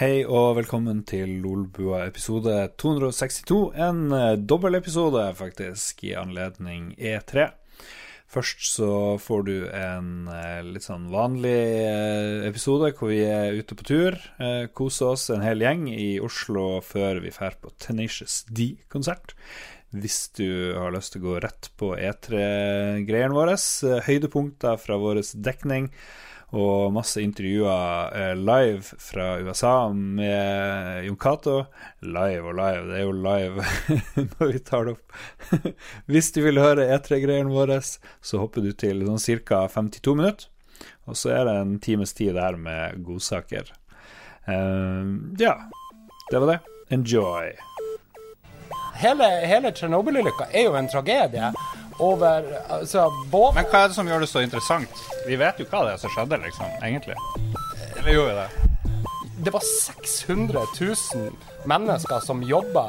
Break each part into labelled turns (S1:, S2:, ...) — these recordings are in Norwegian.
S1: Hei og velkommen til Lolbua episode 262. En eh, dobbeltepisode, faktisk, i anledning E3. Først så får du en eh, litt sånn vanlig eh, episode hvor vi er ute på tur. eh, Koser oss en hel gjeng i Oslo før vi drar på Tenacious D-konsert. Hvis du har lyst til å gå rett på E3-greiene våre, eh, høydepunkter fra vår dekning og masse intervjuer eh, live fra USA med Jon Cato. Live og live, det er jo live når vi tar det opp. Hvis du vil høre E3-greiene våre, så hopper du til sånn ca. 52 minutter. Og så er det en times tid der med godsaker. Eh, ja, det var det. Enjoy.
S2: Hele, hele Tsjernobyl-ulykka er jo en tragedie over altså, både
S3: Men hva er det som gjør det så interessant? Vi vet jo hva det er som skjedde, liksom, egentlig. Eller gjorde vi det?
S2: Det var 600 000 mennesker som jobba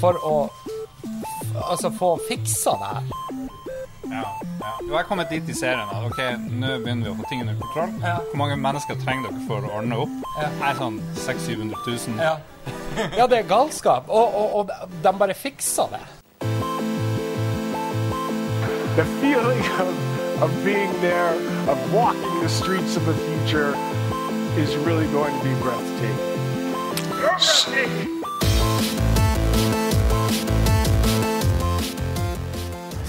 S2: for å altså, få fiksa det her.
S3: Ja. ja. Du har kommet dit i serien at OK, nå begynner vi å få ting under kontroll.
S2: Ja.
S3: Hvor mange mennesker trenger dere for å ordne opp?
S2: Ja.
S3: Her er sånn 600 000.
S2: Ja. ja, det er galskap. Og, og, og de bare fiksa det.
S4: the feeling of, of being there, of walking the streets of the future, is really going to be breathtaking.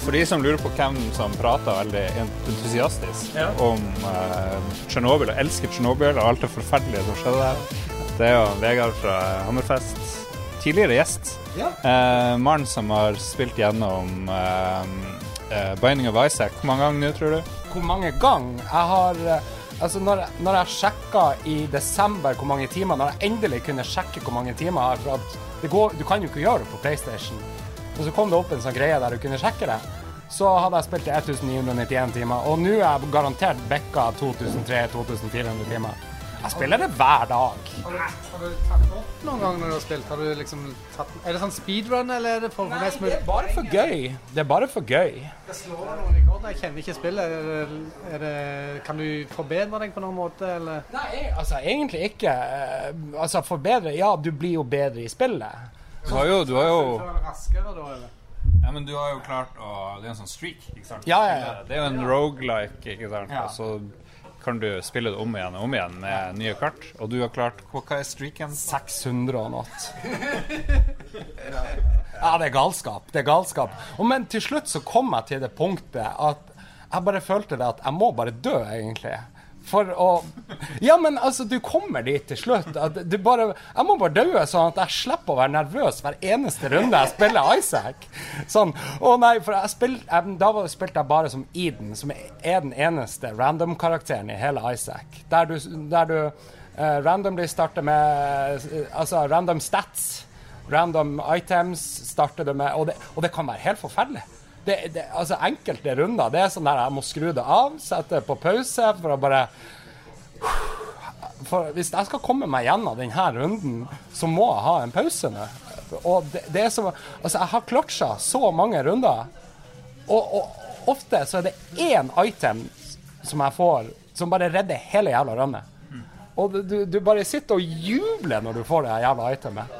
S3: For de som lurer på hvem som prater veldig entusiastisk
S2: Ja.
S3: om eh, Tsjernobyl, og elsker Tsjernobyl og alt det forferdelige som skjedde der, det er jo Vegard fra Hammerfest. Tidligere gjest.
S2: Ja.
S3: Eh, Mannen som har spilt gjennom eh, eh, Binding of Isaac. Hvor mange ganger nå, tror du?
S2: Hvor mange ganger jeg har eh, Altså, når, jeg- når jeg sjekka i desember hvor mange timer Når jeg endelig kunne sjekke hvor mange timer jeg har for at det går, Du kan jo ikke gjøre det på PlayStation. Og så kom det opp en sånn greie der du kunne sjekke det. Så hadde jeg spilt i 1991 timer, og nå er jeg garantert bikka 2300-2400 timer. Jeg spiller det hver dag.
S5: Har du tatt opp noen gang når du har spilt? Har du liksom tatt, er det sånn speedrun, eller er det for mest mulig?
S2: bare for gøy. Det er bare for gøy.
S5: Jeg slår deg noen rekorder, jeg kjenner ikke spillet. Er det, er det, kan du forbedre deg på noen måte, eller?
S2: Nei, e- altså egentlig ikke. Eh, Altså forbedre Ja, du blir jo bedre i spillet.
S3: Du har jo, du har jo
S5: Så er det raskere da, eller?
S3: Ja, men du har jo klart å Det er en sånn streak, ikke sant?
S2: Ja, ja, ja.
S3: Det er jo en roguelike, ikke sant?
S2: Ja.
S3: Og så kan du spille det om igjen og om igjen med nye kart. Og du har klart Hva hva er streaken?
S2: 600 og noe. Ja, det er galskap. Det er galskap. Og men til slutt så kom jeg til det punktet at jeg bare følte det at jeg må bare dø, egentlig. For å Ja, men altså, du kommer dit til slutt. At du bare Jeg må bare dø, sånn at jeg slipper å være nervøs hver eneste runde jeg spiller Isaac. Sånn. Å nei, for jeg spilte jeg, Da var- spilte jeg bare som Eden, som er den eneste random-karakteren i hele Isaac. Der du, der du eh, randomly starter med eh, Altså random stats. Random items starter det med, og det, og det kan være helt forferdelig. Det, det, altså Enkelte runder det er sånn der jeg må skru det av, sette på pause for å bare for Hvis jeg skal komme meg gjennom denne runden, så må jeg ha en pause nå. Og det, det er som, altså Jeg har clutcha så mange runder, og, og ofte så er det én item som jeg får, som bare redder hele jævla runnet.
S6: Hmm.
S2: Og du, du bare sitter og jubler når du får det her jævla itemet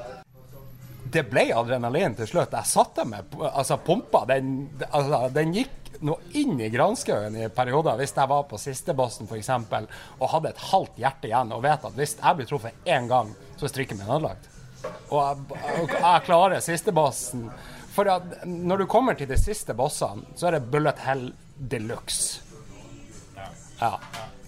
S2: det ble adrenalin til slutt. Jeg satte meg på- Altså, pumpa, den, altså, den gikk nå inn i granskauen i perioder. Hvis jeg var på siste bossen, for eksempel og hadde et halvt hjerte igjen, og vet at hvis jeg blir truffet én gang, så er strikken min ødelagt. Og jeg, og jeg klarer siste bossen. For at når du kommer til de siste bossene, så er det bullet hell de luxe. Ja.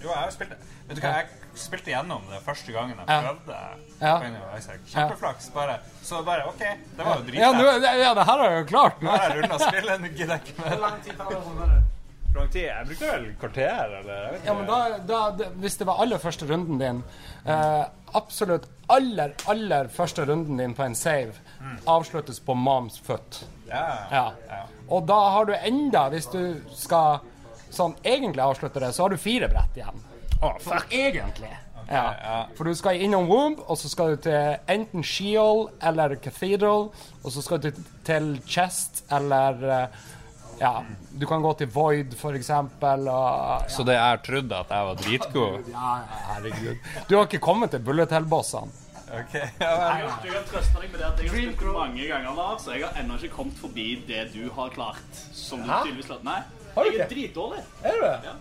S3: Jo, jeg har spilt det. Vet du hva, jeg spilte gjennom det første gangen jeg
S2: Ja.
S3: prøvde
S2: Ja.
S3: Binding of Isaac. Kjempeflaks, bare. Så bare OK, det var jo dritfett.
S2: Ja, nå, ja, det her har jeg jo klart.
S3: Nå har jeg runda spillet, nå gidder jeg ikke mer.
S5: Hvor lang tid tar det å runde det?
S3: Hvor lang tid? Jeg brukte vel kvarter, eller? Jeg vet
S2: Ja, men da, da, det- hvis det var aller første runden din eh, Absolutt aller, aller første runden din på en save avsluttes på moms foot.
S3: Mm. Ja.
S2: Ja.
S3: Ja.
S2: Og da har du enda, hvis du skal sånn egentlig avslutte det, så har du fire brett igjen.
S3: Å, fuck.
S2: Sånn egentlig. ja.
S3: ja.
S2: For du skal innom Womb, og så skal du til enten Sheol eller Cathedral, og så skal du til- til Chest eller eh, Ja, du kan gå til Void, for eksempel, og
S3: Så det jeg trodde at jeg var dritgod
S2: ja, ja, herregud. Du har ikke kommet til bullet hell-bossene.
S7: Jeg kan trøste deg med det at jeg har
S5: Dream
S7: spilt
S5: Crew.
S7: mange ganger, Lars, og jeg har ennå ikke kommet forbi det du har klart. Som du
S2: Hæ?
S7: tydeligvis klarte. Nei,
S2: Har du
S7: jeg er
S2: ikke?
S7: dritdårlig.
S2: Er du det?
S7: Ja.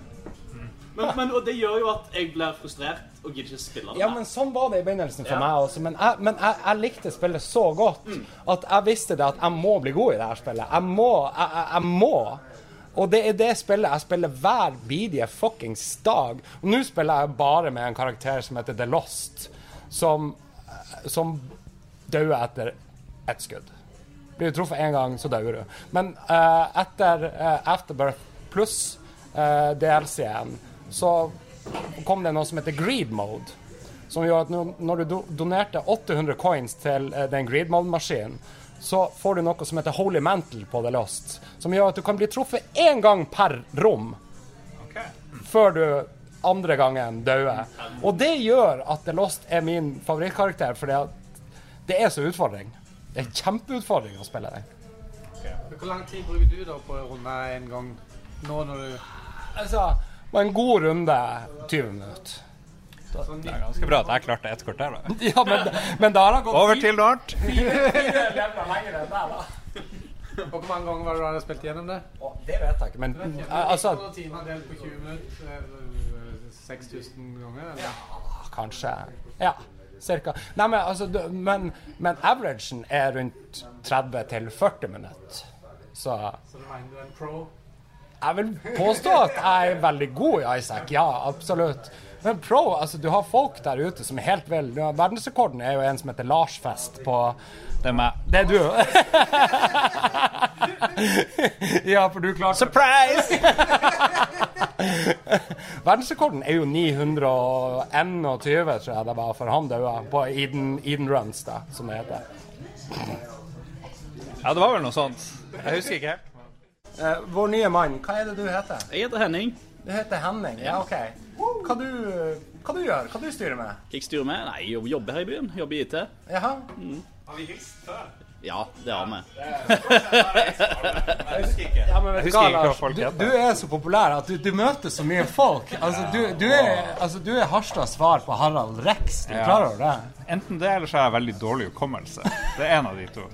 S7: Men, men, og det gjør jo at jeg blir frustrert og gidder ikke spille det.
S2: Ja,
S7: mer.
S2: men sånn var det i begynnelsen for
S7: Ja.
S2: meg også. Men, jeg, men jeg, jeg likte spillet så godt at jeg visste det at jeg må bli god i det her spillet. Jeg må. Jeg, jeg, jeg må. Og det er det spillet jeg spiller hver bidige fuckings dag. Og nå spiller jeg bare med en karakter som heter The Lost, som, som dør etter ett skudd. Blir du truffet én gang, så dør du. Men eh, etter eh, Afterbirth pluss eh, DLC-en, så kom det noe som heter greed mode. Som gjør at når- når du do donerte 800 coins til eh, den greed mode-maskinen, så får du noe som heter holy mantle på The Lost. Som gjør at du kan bli truffet én gang per rom før du andre gangen dauer. Og det gjør at The Lost er min favorittkarakter, fordi at det er så utfordring. Det er kjempeutfordring å spille den.
S5: Hvor lang tid bruker du da på å runde en gang? Nå når du
S2: Altså, på en god runde 20 minutter.
S5: sånn,
S3: Ganske bra at jeg klarte ett kvarter, da.
S2: Ja, men, men da har han gått
S3: Over til Lart.
S2: fire leveler lenger enn der, da.
S5: Og hvor mange ganger var det du hadde spilt gjennom det?
S2: Å, Det vet jeg ikke, men eh, altså
S5: 100 timer delt på 20 minutter. eller, eh, 6000 ganger? Eller?
S2: Kanskje. Ja, cirka. Nei, men altså du, Men, men averagen er rundt 30 til 40 minutter. Så
S5: Så du mener du er en pro?
S2: jeg vil påstå at jeg er veldig god i Isaac. Ja, absolutt. Men pro, altså du har folk der ute som er helt vel du har- Verdensrekorden er jo en som heter Larsfest på
S3: Det er meg.
S2: Det er du. ja, for du klarte
S3: Surprise!
S2: Verdensrekorden er jo 921, tror jeg det var, for han døde på Eden, Eden Runs, da, som det heter.
S3: Ja, det var vel noe sånt. Jeg husker ikke helt.
S2: Eh, vår nye mann, hva er det du heter?
S7: Jeg heter Henning.
S2: Du heter Henning, ja, OK. Hva du, eh, hva du gjør? Hva du styrer med?
S7: Hva jeg styrer med? Nei, jeg jobber her i byen. Jobber i IT.
S2: Jaha?
S7: Ja, det har vi.
S2: Ja, men vet
S3: Jeg
S2: du
S3: husker ikke
S2: hva,
S3: hva
S2: Lars?
S3: folk
S2: Du,
S3: heter.
S2: du er så populær at du, du møter så mye folk. Altså, du, du er, altså, du er Harstads svar på Harald Rex. Du
S3: Ja.
S2: klarer over det?
S3: Enten det, eller så har jeg veldig dårlig hukommelse. Det er en av de to.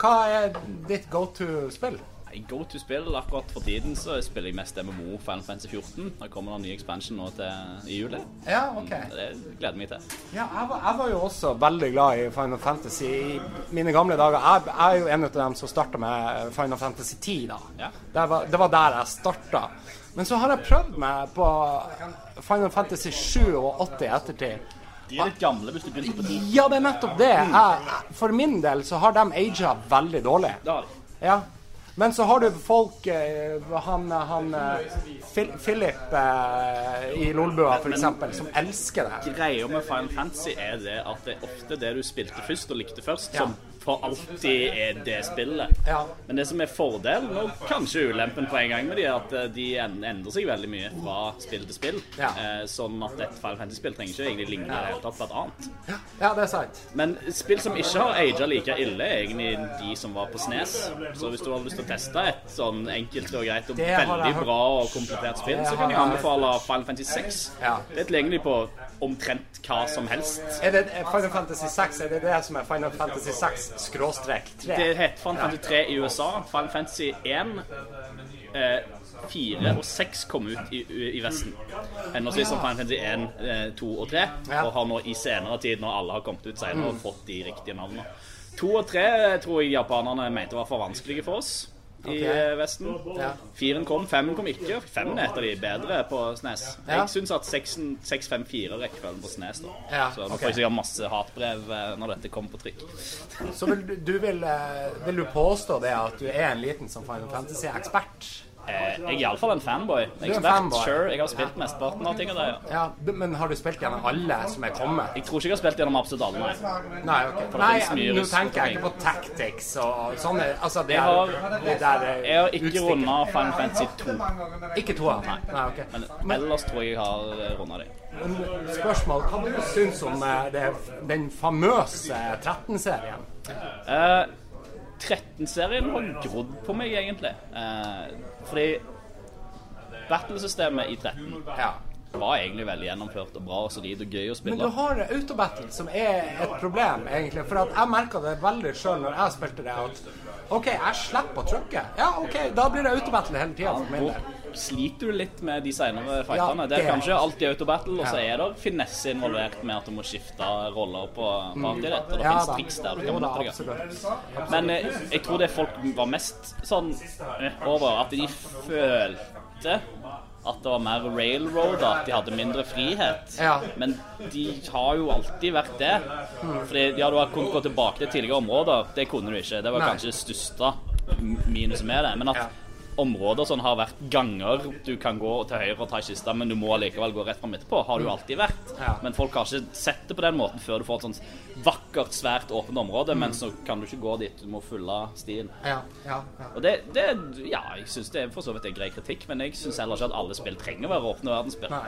S2: Hva er ditt go to-spill?
S7: I go to spill akkurat for tiden så spiller jeg mest MMO Final Fantasy 14. Da kommer det en ny expansion nå til i juli. Mm,
S2: Ja, OK.
S7: Det gleder jeg meg til.
S2: Ja, jeg var, jeg var jo også veldig glad i Final Fantasy i mine gamle dager. Jeg, jeg er jo en av dem som starta med Final Fantasy 10, da.
S7: Ja.
S2: Det, var, det var der jeg starta. Men så har jeg prøvd meg på Final Fantasy 7 og 8 i ettertid.
S7: De er litt gamle hvis du begynte på 10.
S2: Ja, det er nettopp det. Jeg, jeg- for min del så har de aga veldig dårlig.
S7: Da har de.
S2: Ja. Men så har du folk eh, Han, han eh, Phil- Philip eh, i Lolbua, for eksempel, som elsker det.
S7: greia med Final Fantasy er det at det er ofte det du spilte først og likte først, som for alltid er det spillet.
S2: Ja.
S7: Men det som er fordelen, og kanskje ulempen på en gang med de, er at eh, de en- endrer seg veldig mye fra spill til spill.
S2: Ja.
S7: Eh, Sånn at et Final Fantasy-spill trenger ikke egentlig ligne i det hele tatt på et annet.
S2: Ja, det er sant.
S7: Men spill som ikke har aga like ille, er egentlig de som var på Snes. Så hvis du har lyst til å teste et sånn enkelt og greit og
S2: Det har jeg
S7: veldig
S2: hørt.
S7: bra og komplettert spill, så kan jeg
S2: har jeg
S7: anbefale Final Fantasy 6.
S2: Ja.
S7: Det er tilgjengelig på omtrent hva som helst.
S2: Er det er Final Fantasy 6? Er det det som er Final Fantasy 6 skråstrek 3?
S7: Det het Final Fantasy 3 i USA. Final Fantasy 1, eh, 4 og 6 kom ut i, i Vesten. Henholdsvis som Final Fantasy 1, eh, 2 og 3.
S2: Ja. Mm.
S7: Og har nå i senere tid, når alle har kommet ut senere, fått de riktige navnene. 2 og 3 tror jeg japanerne mente var for vanskelige for oss. I
S2: Ok.
S7: eh, Vesten.
S2: Ja.
S7: Firen kom, femmen kom ikke. Femmen er et av de bedre på SNES.
S2: Ja.
S7: Jeg syns at 6-5-4-rekkefølgen på SNES, da.
S2: Ja,
S7: Så nå
S2: ok.
S7: får jeg sikkert masse hatbrev eh, når dette kommer på trykk.
S2: Så vil du, du vil, eh, vil du påstå det at du er en liten som Final Fantasy-ekspert?
S7: Eh, jeg er iallfall en fanboy.
S2: er en
S7: Ekspert,
S2: fanboy.
S7: sure. Jeg har spilt mesteparten av tingene der, ja.
S2: Ja, du- men har du spilt gjennom alle som er kommet?
S7: Jeg tror ikke jeg har spilt gjennom absolutt alle, nei.
S2: Nei, ok.
S7: det
S2: Nei,
S7: finnes mye
S2: nå
S7: russ-
S2: tenker jeg ikke på tactics og sånne Altså, det
S7: har-
S2: er det der eh,
S7: Jeg har ikke
S2: utstikker.
S7: runda Final Fantasy 2,
S2: Ikke toa? Nei, OK.
S7: men ellers tror jeg jeg har eh, runda de.
S2: Men spørsmål, hva du syns om eh, det, den famøse 13-serien?
S7: Eh, 13-serien har grodd på meg, egentlig. Eh, fordi battlesystemet i 13
S2: Ja.
S7: var egentlig veldig gjennomført og bra og solid og gøy å
S2: Men du
S7: spille.
S2: har autobattle, som er et problem, egentlig. For at jeg merka det veldig sjøl når jeg spilte det, at OK, jeg slipper å trykke. Ja, OK, da blir det autobattle hele tida for min del.
S7: Hvor sliter du litt med de senere
S2: Ja,
S7: fightene?
S2: det
S7: Det er
S2: er-
S7: kanskje alltid autobattle, og så
S2: Ja.
S7: er det finesse involvert med at du må skifte roller på partyret. Og det
S2: Ja
S7: finnes
S2: da.
S7: triks der du
S2: Jo
S7: kan
S2: da,
S7: benytte deg av.
S2: absolutt.
S7: Men eh, jeg tror det folk var mest sånn eh, over, at de følte at det var mer railroad, at de hadde mindre frihet.
S2: Ja.
S7: Men de har jo alltid vært det. Fordi ja, du har kunnet gå tilbake til tidligere områder. Det kunne du ikke. Det var
S2: Nei.
S7: kanskje det største m- minuset med det. Men at
S2: Ja.
S7: områder som har vært ganger du kan gå til høyre og ta i kista, men du må likevel gå rett fram etterpå, har det
S2: Mm.
S7: jo alltid vært.
S2: Ja.
S7: Men folk har ikke sett det på den måten før du får et sånt vakkert, svært åpent område,
S2: Mm.
S7: men så kan du ikke gå dit, du må følge stien.
S2: Ja, ja, ja.
S7: Og det, det Ja, jeg syns det er for så vidt en grei kritikk, men jeg syns heller ikke at alle spill trenger å være åpne verdensspill.
S2: Nei.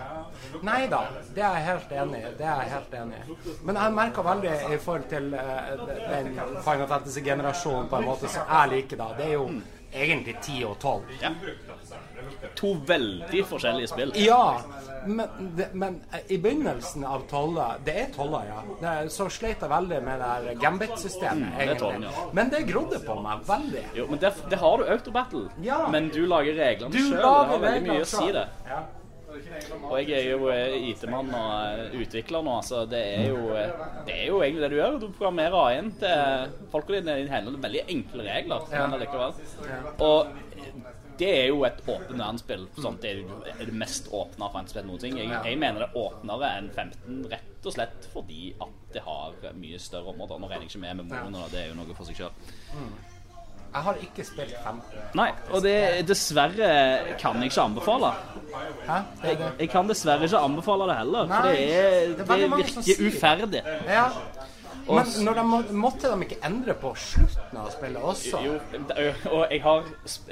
S2: Nei da, det er jeg helt enig i. Det er jeg helt enig i. Men jeg merka veldig i forhold til eh, den Final Fantasy-generasjonen på en måte som jeg liker, da. Det er jo egentlig 10 og 12.
S7: Ja. To veldig forskjellige spill.
S2: Ja, men, det- men eh, i begynnelsen av tolla Det er tolla, ja. Det- Så slet jeg veldig med det her Gambit-systemet,
S7: Mm, det er
S2: egentlig.
S7: tollen, ja.
S2: Men det grodde på meg veldig.
S7: Jo, men der, der har du autobattle,
S2: Ja.
S7: men du lager reglene
S2: Du
S7: sjøl. Det
S2: lager
S7: har veldig
S2: reglene
S7: mye å si,
S2: selv.
S7: det. Og jeg er jo eh, IT-mann og eh, utvikler nå, så det er jo, eh, det er jo egentlig det du gjør. Du programmerer AI-en til folka dine i hendene. Veldig enkle regler,
S2: Ja.
S7: men allikevel. Og eh, det er jo et åpent verdensspill. Sånn, det er jo det mest åpne verdensspillet noen ting. Jeg,
S2: Ja.
S7: jeg mener det er åpnere enn 15, rett og slett fordi at det har mye større områder. Nå regner jeg ikke med med morene, da. det er jo noe for seg sjøl.
S2: Jeg har ikke spilt fem.
S7: Nei, og det dessverre kan jeg ikke anbefale.
S2: Hæ? Det er
S7: Jeg,
S2: det.
S7: jeg kan dessverre ikke anbefale det heller, for
S2: Nei,
S7: det, er,
S2: det er veldig
S7: det
S2: mange som
S7: virker
S2: sier-
S7: uferdig.
S2: Ja. Men når de må, måtte de ikke endre på slutten av spillet også?
S7: Jo, og jeg har,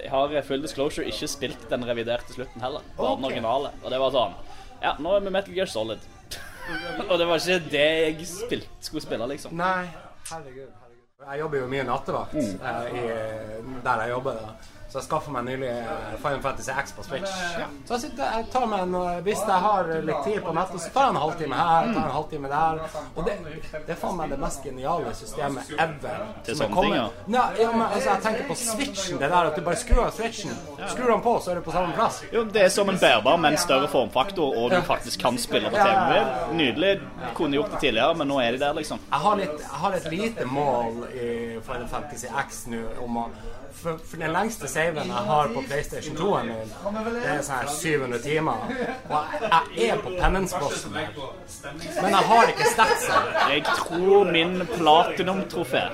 S7: jeg har eh, full disclosure ikke spilt den reviderte slutten heller. Bare den
S2: Ok.
S7: originale. Og det var sånn Ja, nå er vi Metal Gear Solid. og det var ikke det jeg spilt, skulle spille, liksom.
S2: Nei. Herregud. herregud. Jeg jobber jo mye nattevakt
S7: Mm.
S2: eh, i, der jeg jobber. da. Så jeg skaffa meg nylig eh, Final Fantasy X på Switch. Så jeg, sitter, jeg tar meg en, eh, Hvis jeg har litt tid på nettet, så tar jeg en halvtime her tar jeg en halvtime der. Og det, det er faen meg det mest geniale systemet ever.
S7: Til
S2: som er
S7: sånne ting,
S2: kommet.
S7: ja.
S2: Nei, ja, men altså, jeg tenker på switchen. Det der at du bare skrur av switchen. Skrur den på, så er du på samme plass.
S7: Jo, Det er som en bærbar, men større formfaktor, og du faktisk kan spille på TV. Nydelig. Kunne gjort det tidligere, men nå er de der, liksom.
S2: Jeg har, litt, jeg har et lite mål i Final Fantasy X nå om å for, for den lengste saven jeg har på PlayStation 2 -en min, det er sånn her 700 timer. Og jeg, jeg er på Penance-bossen. Men jeg har ikke statsen.
S7: Jeg tror min platinum-trofé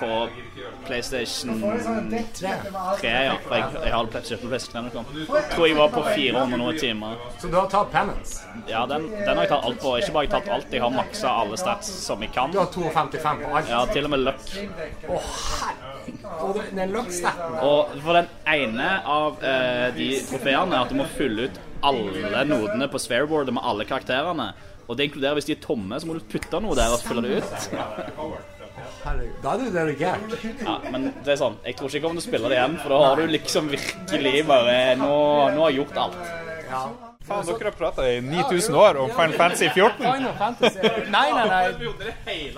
S7: på PlayStation
S2: 3.
S7: 3, ja. For jeg, jeg har det kjøpt på PlayStation 3 når det kom. Tror liksom. jeg var på 400 noe timer.
S2: Så du har tatt Penance.
S7: Ja, den, den har jeg tatt alt på. Ikke bare jeg har tatt alt, jeg har maksa alle stats som jeg kan.
S2: Du har 2,55 på alt.
S7: Ja, til og med luck.
S2: Å, herregud. Og den- den luck-staten.
S7: Og for den ene av eh, de trofeene er at du må fylle ut alle nodene på swearboardet med alle karakterene. Og det inkluderer hvis de er tomme, så må du putte noe der og fylle det ut.
S2: Herregud. Da er du delegert.
S7: Ja, men det er sånn, jeg tror ikke jeg kommer til å spille det igjen, for da har du liksom virkelig bare Nå, nå har jeg gjort alt.
S2: Ja.
S3: Faen, dere har prata i 9000 år om Final Fantasy 14.
S2: Final Fantasy Nei, nei, nei.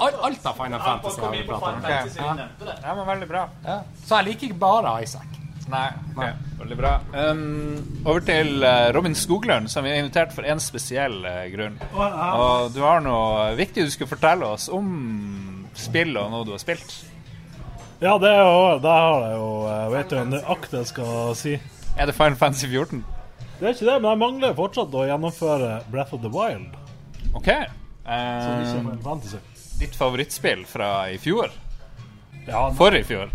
S2: Al- Alt av Final Fantasy har vi pratet om.
S3: Ja, men veldig bra.
S2: Så jeg liker ikke bare Isaac.
S3: Nei. ok, Veldig bra. Um, over til eh, Robin Skoglund, som vi har invitert for én spesiell eh, grunn. Og du har noe viktig du skulle fortelle oss om spill og noe du har spilt.
S8: Ja, det er jo Det har jeg jo Jeg vet jo nøyaktig hva jeg skal si.
S3: Er det Final Fantasy 14?
S8: Det er ikke det, men jeg mangler fortsatt å gjennomføre Breath of the Wild.
S3: OK.
S8: Som ikke er
S3: Eh,
S8: Final Fantasy.
S3: ditt favorittspill fra i fjor?
S8: Ja, nei.
S3: Forrige fjor?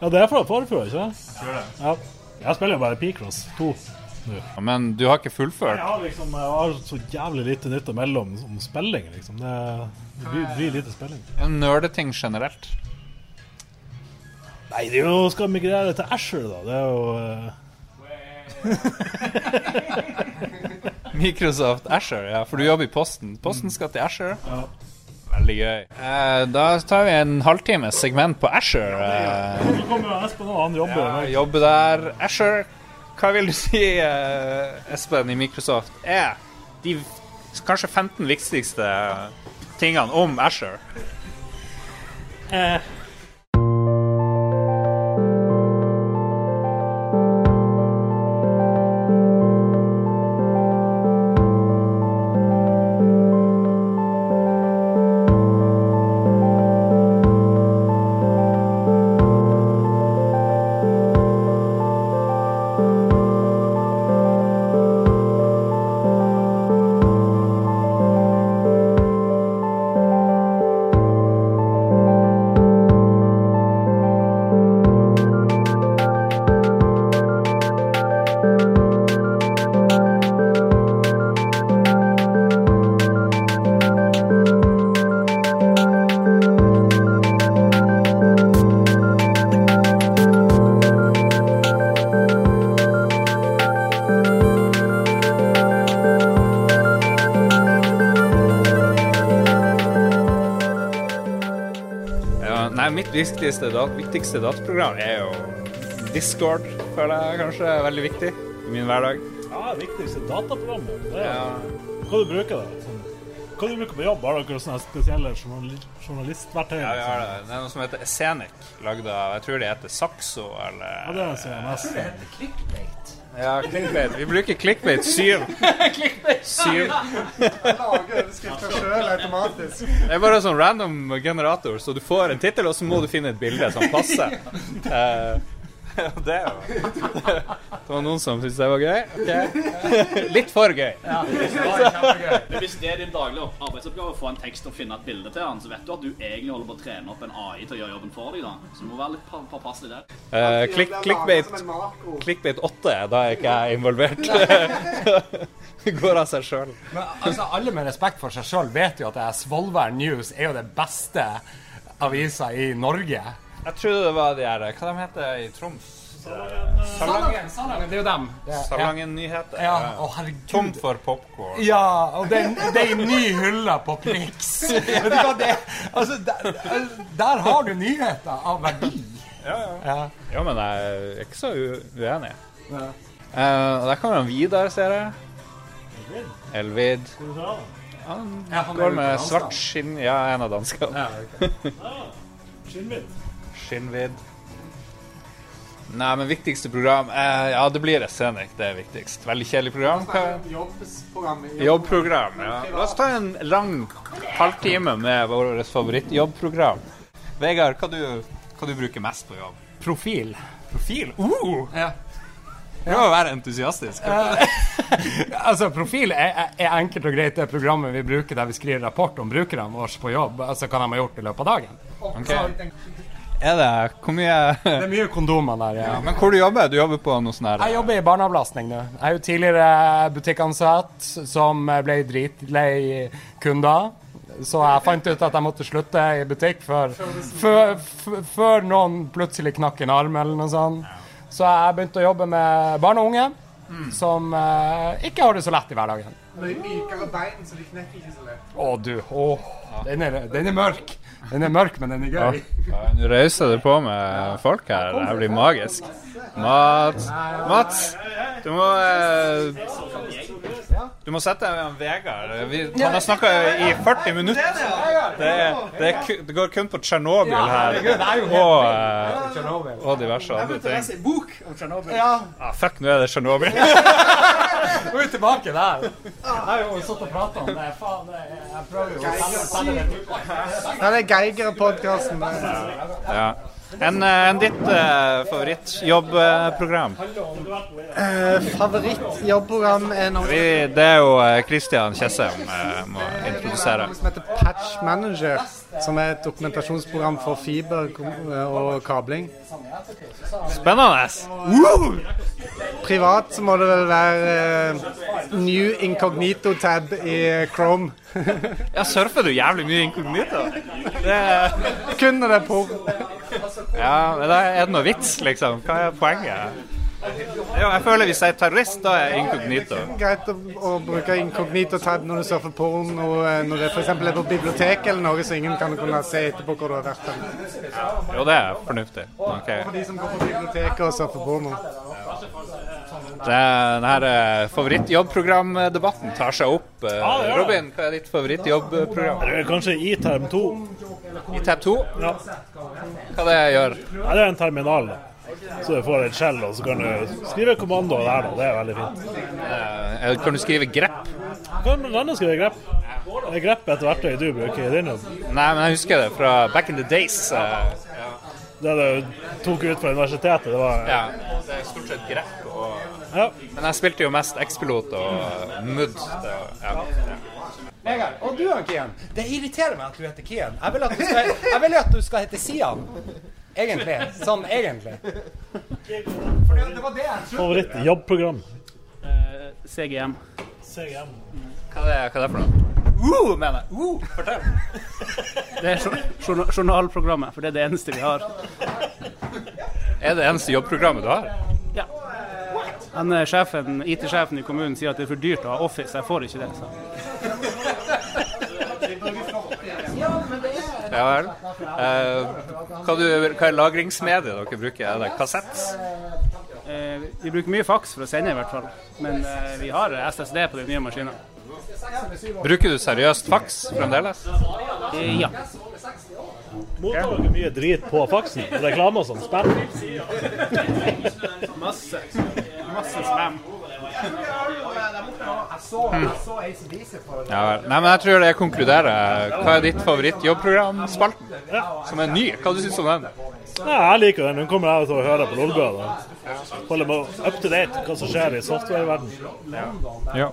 S8: ja, det er fra forfjor, ikke sant? Ja. Jeg spiller jo bare Picross 2.
S3: Men du har ikke
S8: Jeg
S3: fullført?
S8: har liksom Jeg har så jævlig lite nytt imellom om spilling, liksom. Det, det blir, blir lite spilling.
S3: Nerdeting generelt?
S8: Nei, det er jo skal migrere til Asher, da. Det er jo eh,
S3: Microsoft Asher, ja, for du jobber i Posten. Posten skal til Asher. Veldig gøy. Eh, da tar vi en halvtimes segment på Asher. Eh,
S8: Nå kommer jo Espen, og han jobber.
S3: ja,
S8: med-
S3: jobbe der. Asher, hva vil du si, eh, Espen, i Microsoft er de kanskje 15 viktigste tingene om Asher. Ja, nei, mitt viktigste, dat viktigste dataprogram er jo Discord, føler jeg kanskje er veldig viktig i min hverdag.
S8: Ja, det viktigste dataprogrammet. Det er,
S3: Ja.
S8: Hva du bruker det sånn. Hva du bruker på jobb? Har dere sånne spesielle journali- journalistverktøy?
S3: Ja, vi
S8: liksom?
S3: har det. det er noe som heter Esenic, lagd av Jeg tror det heter Saxo,
S8: Ja,
S3: eller
S8: det ser jeg mest.
S3: Ja, Clickbait. Vi bruker Clickbait 7. Syv.
S5: Lager overskrifter sjøl automatisk.
S3: Det er bare en sånn random generator, så du får en tittel, og så må du finne et bilde som passer. Eh, og det, er jo- det var noen som syntes det var gøy. ok. Litt for gøy.
S7: Hvis det er din daglige opp- arbeidsoppgave å få en tekst og finne et bilde til han, så vet du at du egentlig holder på å trene opp en AI til å gjøre jobben for deg, da. Så du må være litt pa- påpasselig der.
S3: Eh,
S5: Det blir
S3: klikk,
S5: laget
S3: clickbait,
S5: som en makro.
S3: clickbait 8, da er ikke jeg involvert. Det går av seg sjøl.
S2: Men altså, alle med respekt for seg sjøl vet jo at det er Svolvær News er jo det beste avisa i Norge.
S3: Jeg trodde det var de her Hva de heter de i Troms?
S2: Salangen, Salangen, det er jo dem. Det er-
S3: Salangen Nyheter.
S2: Ja, å herregud.
S3: Tomt for popkorn.
S2: Ja, og det er- det er en ny hylle på Prix. Vet du hva det Altså, der, der har du nyheter av verdi. Ja.
S3: Ja, men jeg er ikke så u- uenig. Eh, der kommer han Vidar, ser jeg. Elvid. Han
S2: Ja, han er
S3: går
S2: jo
S3: med
S2: dansk,
S3: svart
S2: da.
S3: skinn... Ja, en av danskene.
S2: Ja, ok.
S8: Skinnvidd.
S3: Skinnvidd. Nei, men viktigste program eh, Ja, det blir Scenic, det er viktigst. Veldig kjedelig program. Hva?
S5: Jobbsprogram.
S3: Jobbprogram, ja. La oss ta en lang halvtime med vårt favorittjobbprogram. Vegard, hva du, hva du bruker mest på jobb?
S2: Profil.
S3: Profil? Uh!
S2: Ja.
S3: Prøv å være entusiastisk.
S2: Altså, Profil er, er- er enkelt og greit det programmet vi bruker der vi skriver rapport om brukerne våre på jobb. Altså hva de har gjort i løpet av dagen.
S3: Ok. Er det Hvor mye
S2: Det er mye kondomer der. Ja.
S3: Men hvor du jobber du? jobber på noe sånn her
S2: Jeg jobber i barneavlastning nå. Jeg er jo tidligere butikkansatt som ble dritlei kunder. Så jeg fant ut at jeg måtte slutte i butikk før, før, f- før noen plutselig knakk en arm eller noe sånt. Så jeg begynte å jobbe med barn og unge som eh, ikke har det så lett i hverdagen.
S5: De mykere bein, så de knekker ikke så lett.
S2: Å, du. Åh, den, er, den er mørk. Den er mørk, men den er gøy.
S3: Ja, Nå rauser det på med folk her. Det her blir magisk. Mats, Mats du må eh, Du må sette deg med han Vegard. Vi, han har snakka i 40 minutter. Det, er- det, er ku- det går kun på Tsjernobyl her. Og, eh, og diverse andre ting.
S5: en bok om Tsjernobyl.
S2: Ja,
S3: Ah, fuck, nå er det Tsjernobyl.
S2: nå er vi tilbake der. Jeg har jo sittet og pratet om det. Faen, det er- jeg prøver jo å selge- selge det.
S5: Nei, det er Geiger-podkasten.
S3: Ja. Enn eh, enn ditt eh, favorittjobbprogram?
S5: Eh, Favorittjobbprogram er noe
S3: Vi, det er jo eh, Christian Tjessem eh, må introdusere.
S5: som heter Patch Manager, som er et dokumentasjonsprogram for fiber kom- og kabling.
S3: Spennende!
S5: Privat så må det vel være eh, New Incognito tab i eh, Chrome.
S3: Ja, surfer du jævlig mye inkognito? Det,
S5: Kun når det er porr.
S3: ja, men da er det noe vits, liksom? Hva er poenget? Jo, jeg føler hvis jeg er terrorist, da er jeg inkognito.
S5: Greit å, å bruke incognito tab når du surfer porn, og eh, når det f.eks. er på bibliotek eller noe, så ingen kan kunne se etterpå hvor du har vært. hen.
S3: Jo, det er fornuftig. Ok.
S5: For de som går på biblioteket og surfer porno.
S3: Det, den her eh, favorittjobbprogramdebatten tar seg opp. Eh,
S8: Ja, det gjør det.
S3: Robin, hva er ditt favorittjobbprogram?
S8: Det er kanskje i term to.
S3: I tab 2?
S8: Ja.
S3: Hva det gjør?
S8: Nei, det er en terminal. da. Så du får en skjell, og så kan du skrive kommandoer der. da. Det er veldig fint.
S3: Eh, Kan du skrive grep?
S8: Kan du lande skrive grep? Det er grep et verktøy du bruker i din jobb.
S3: Nei, men jeg husker det fra back in the days. eh,
S8: Det du tok ut fra universitetet, det var
S3: Ja, det er stort sett grep. Og...
S8: Ja.
S3: Men jeg spilte jo mest X-pilot og MUD. Det, ja.
S2: Vegard, og du Kian. Det irriterer meg at du heter Kian. Jeg vil at du skal, jeg vil at du skal hete Sian. Egentlig. Sånn egentlig. For det, det var det jeg trodde.
S8: Favorittjobbprogram.
S7: Eh, CGM.
S8: CGM.
S3: Hva, er det, hva er det for noe?
S7: Uh, mener jeg. Uh, fortell. Det er jour- journa- journalprogrammet, for det er det eneste vi har.
S3: Er det eneste jobbprogrammet du har?
S7: Ja. Han eh, sjefen, IT-sjefen i kommunen sier at det er for dyrt å ha Office. Jeg får ikke det, sa han.
S3: Ja vel. Eh, hva, du, hva er lagringsmediet dere bruker? Er det kassett?
S7: Eh, Vi bruker mye faks for å sende, i hvert fall. Men eh, vi har SSD på de nye maskinene.
S3: Bruker du seriøst faks fremdeles?
S7: Eh, Ja.
S8: Mottar dere mye drit på faksen? Reklame og sånn? Spam?
S7: Masse. Masse spam.
S3: Ja vel. Nei, men jeg tror jeg konkluderer. Hva er ditt favoritt-jobbprogram-spalten? Som er ny. Hva du syns du om den?
S8: Ja, jeg liker den. Hun kommer her til å høre på Lolbø. da. Holder meg up to date hva som skjer i softwareverdenen.
S3: Ja.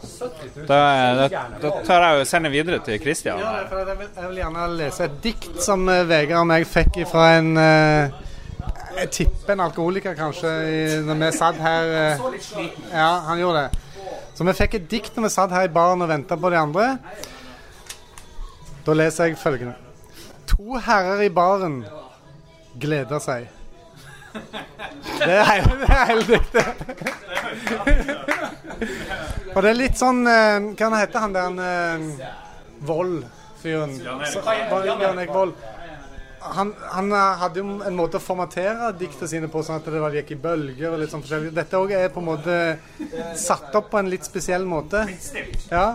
S3: Da, da, da tar jeg og sender videre til Christian.
S5: Ja, det er fordi Jeg vil, jeg vil gjerne lese et dikt som eh, Vegard og meg fikk fra en eh, Jeg tipper en alkoholiker, kanskje, i, når vi satt her. eh, ja, han gjorde det. Så vi fikk et dikt når vi satt her i baren og venta på de andre. Da leser jeg følgende. To herrer i baren gleder seg. Det er hele, det er hele diktet. Og det er litt sånn eh, Hva han heter han der han, eh, Vold-fyren. Så- Jan- Jan Erik Vold. Han, han eh, hadde jo en måte å formatere diktene sine på, sånn at det var- gikk i bølger og litt sånn forskjellig. Dette òg er på en måte satt opp på en litt spesiell måte. Ja.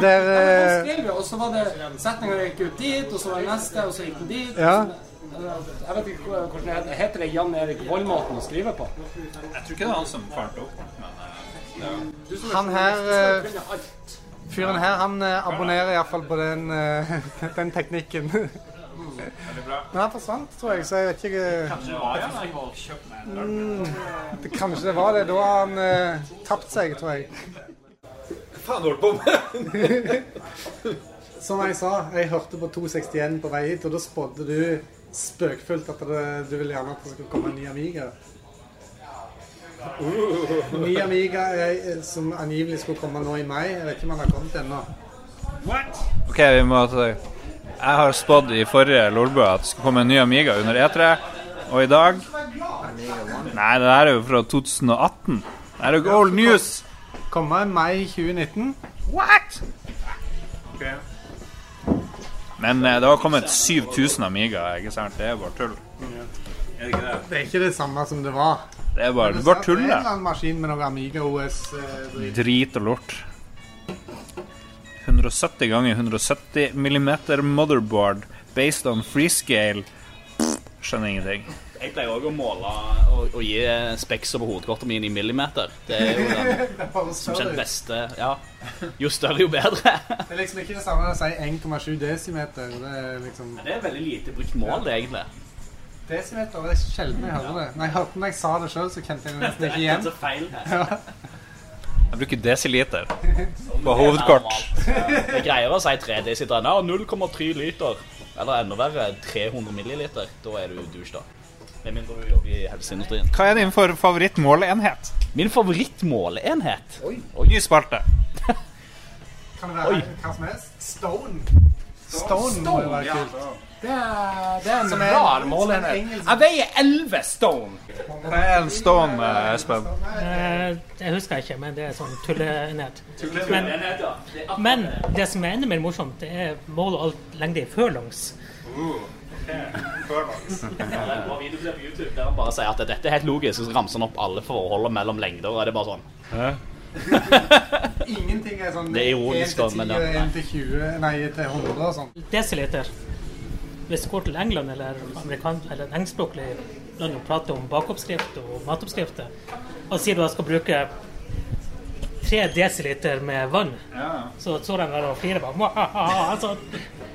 S5: Der eh,
S2: Og så var det setninga gikk ut dit, og så var det neste, og så gikk den dit.
S5: Ja.
S2: Jeg vet ikke hvordan det heter. Heter det Jan Erik Vold-måten å skrive på?
S3: Jeg tror ikke det er han som fant opp.
S5: eh, Han her eh, Fyren her, han eh, abonnerer iallfall på den, eh, den teknikken. Men han forsvant, tror jeg, så jeg vet ikke eh, Mm, Det- Kanskje det var det. Da har han eh, tapt seg, tror jeg. Som jeg sa, jeg hørte på 261 på vei hit, og da spådde du spøkfullt at det, du ville gjerne at det skulle komme en ny Amiga. Ny Amiga eh, som angivelig skulle komme nå i mai. Jeg vet ikke om han har kommet ennå.
S3: Ok, vi må ta Jeg har spådd i forrige Lolbø at det skulle komme en ny Amiga under E3, og i dag Nei, det der er jo fra 2018. Det er jo old news.
S5: Komme i mai 2019.
S3: Men eh, det har kommet 7000 Amiga, ikke sant? Det er bare tull.
S5: Det er ikke det samme som det var.
S3: Det er bare, det er bare tull,
S5: Det er en eller
S3: det.
S5: annen maskin med noe Amiga eh, OS-dritt.
S3: Drit og lort. 170 ganger 170 millimeter motherboard based on freescale. Pff, Skjønner ingenting.
S7: Jeg pleier òg å måle og, og gi eh, speks over hodekortet mitt i millimeter. Det er jo den som kjent beste Ja. Jo større, jo bedre.
S5: Det er liksom ikke det samme å si 1,7 desimeter. Det er liksom
S7: Det er veldig lite brukt mål, det, egentlig.
S5: Desimeter det er sjelden jeg hører det. Når jeg hørte når jeg sa det sjøl, så kjente jeg det nesten ikke igjen.
S7: Så feil her.
S3: Jeg bruker desiliter på hovedkort.
S7: Jeg greier å si 3 dl. Nei, 0,3 liter. Eller enda verre, 300 milliliter. Da er du douche, da. Med mindre du jobber i helseindustrien.
S3: Hva er din for favorittmåleenhet?
S7: Min favorittmåleenhet
S3: Ny spalte.
S5: Kan det være hva som helst? Stone. Stone, må jo være kult.
S2: Det er, det er en
S5: Som er-
S2: rar
S5: som er
S2: målenhet.
S5: engelsk.
S2: Jeg veier 11 stone.
S3: Hva er en stone, eh, Espen?
S9: Eh, Jeg husker ikke, men det er sånn tulleenhet. Men, men det som er enda mer morsomt, det er mål og alt lengde i førlangs.
S7: Det er bra videoklipp på YouTube der han bare sier at dette er helt logisk, og så ramser han opp alle forholdene mellom lengder, og det er bare sånn.
S5: Ingenting er sånn
S7: Det er ironisk,
S5: 1 til 10
S7: men ja,
S5: og
S7: nei.
S5: 1 til 20, nei, til 100 og sånn.
S9: Desiliter. Hvis du går til England eller amerikan eller et engelskspråklig land og prater om bakeoppskrift og matoppskrifter, og sier du at jeg skal bruke tre desiliter med vann, så står de der og flirer bare «Mwahaha», altså,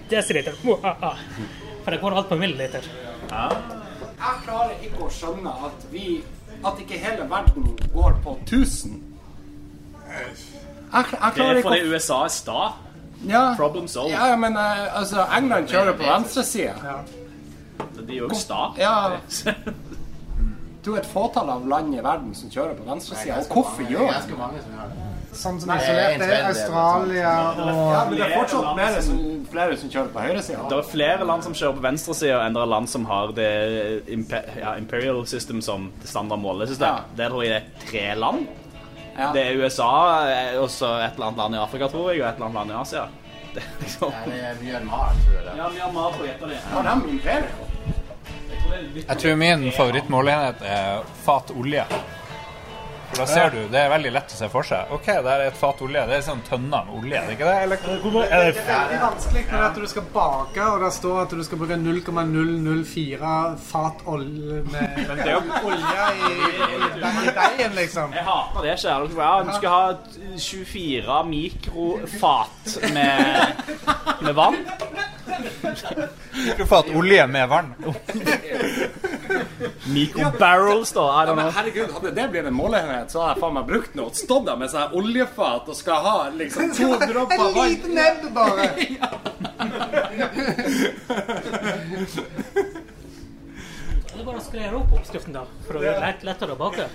S9: Desiliter. mwahaha. For det går alt på milliliter.
S2: Jeg klarer ikke å skjønne at vi At ikke hele verden går på 1000. Jeg, kl- jeg
S7: Det
S2: klarer
S7: er
S2: ikke
S7: fordi USA er sta.
S2: å ja.
S7: Problem solved.
S2: Ja, men eh, altså, England kjører på venstresida.
S7: De er jo sta.
S2: Ja. Du er et fåtall av land i verden som kjører på venstresida. Og hvorfor gjør de det?
S5: Sånn som isolert, det er Australia og
S2: Ja, men det er fortsatt flere som, flere som kjører på høyresida.
S7: Det er flere land som kjører på venstresida enn det er land som har det impe ja, imperial system som standard målesystem.
S2: Ja.
S7: Der tror jeg det er tre land.
S2: Ja.
S7: Det er USA, eh, og så et eller annet land i Afrika, tror jeg, og et eller annet land i Asia. Det er liksom... Ja, Myanmar, tror jeg. det.
S2: Har de imperium?
S3: Jeg tror min favorittmåleenhet er fat olje. For da ser du, det er veldig lett å se for seg. OK, der er et fat olje. Det er sånn tønner med olje, er det ikke det? Eller
S8: Hvor mye- Er det
S5: Det er veldig vanskelig når det er at du skal bake, og det står at du skal bruke 0,004 fat olje med
S7: er jo-
S5: olje i, i, i deigen, liksom.
S7: Jeg hater det ikke. Dere bare, Ja, du skal ha t- 24 mikrofat med, med vann.
S3: fat olje med vann?
S7: Mikrobarrels, da. I don't
S2: Men
S7: know.
S2: herregud, hadde det blitt en måleenhet, så hadde jeg faen meg brukt noe. Stått der med sånn her oljefat og skal ha liksom to
S5: En
S2: dråper vann.
S5: liten nebb, bare.
S9: Det er bare å skrere opp oppskriften da, for å gjøre det lett- lettere å bake.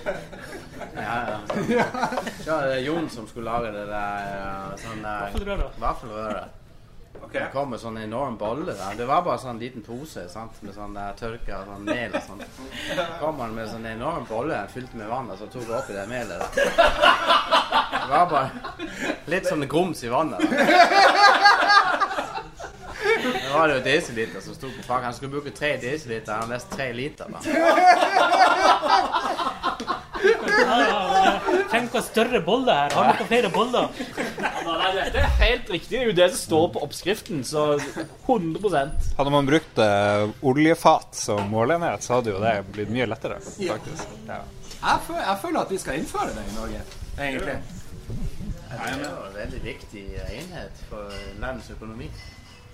S10: Ja, det er Jon som skulle lage det der eh, sånn eh,
S9: Vaffelrøret.
S10: vaffelrøret. Det kom med sånn enorm bolle der. Det var bare sånn liten pose sant? med sånn der tørka sånn mel og sånn. Så kom han med sånn enorm bolle fylt med vann, og så tok han oppi det melet der. Det var bare litt sånn grums i vannet. Da. Det var det jo desiliter som sto på pakken. Han skulle bruke tre desiliter, han leste tre liter. da.
S9: Tenk hva større bolle her. Har dere flere boller?
S7: Nei, nei, Dette er helt riktig. Det er jo det som står på oppskriften, så 100
S3: Hadde man brukt eh, oljefat som måleenhet, så hadde jo det blitt mye lettere, faktisk. Ja.
S2: Jeg føler, jeg føler at vi skal innføre det i Norge, egentlig.
S10: Det er jo en veldig viktig enhet for landets økonomi.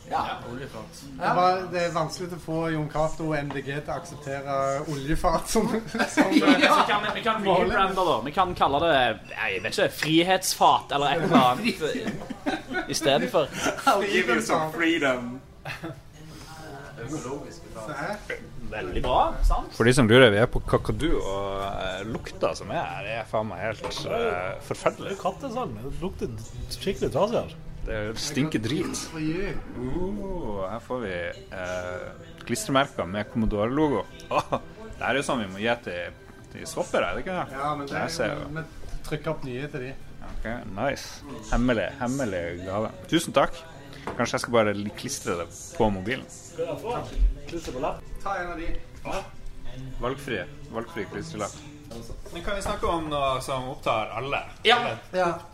S2: Ja.
S10: Oljefat.
S5: Det, var, det er vanskelig å få Jon Cato og MDG til å akseptere oljefat som, som
S7: Ja, så kan, vi kan rebrande, da. Vi kan kalle det jeg vet ikke, frihetsfat eller et eller annet istedenfor.
S2: freedom.
S7: Veldig bra. sant?
S3: For de som lurer, vi er på Kakadu, og eh, lukta som er her, er faen meg helt eh, forferdelig.
S8: kattesand? sånn, Det lukter skikkelig trasig her.
S3: Det stinker drit. Uh, her får vi eh, klistremerker med Commodore-logo. Åh, det her er jo sånn vi må gi til, til swapper, er det ikke det?
S5: Ja, men det
S3: Jeg ser
S5: er,
S3: jo.
S5: vi trykker opp nye til de.
S3: Ok, Nice. Hemmelig, hemmelig gave. Tusen takk. Kanskje jeg skal bare li- klistre det på mobilen.
S5: Ta en av de.
S3: Valgfri, valgfri klistrelapp. Men kan vi snakke om noe som opptar alle?
S2: Ja.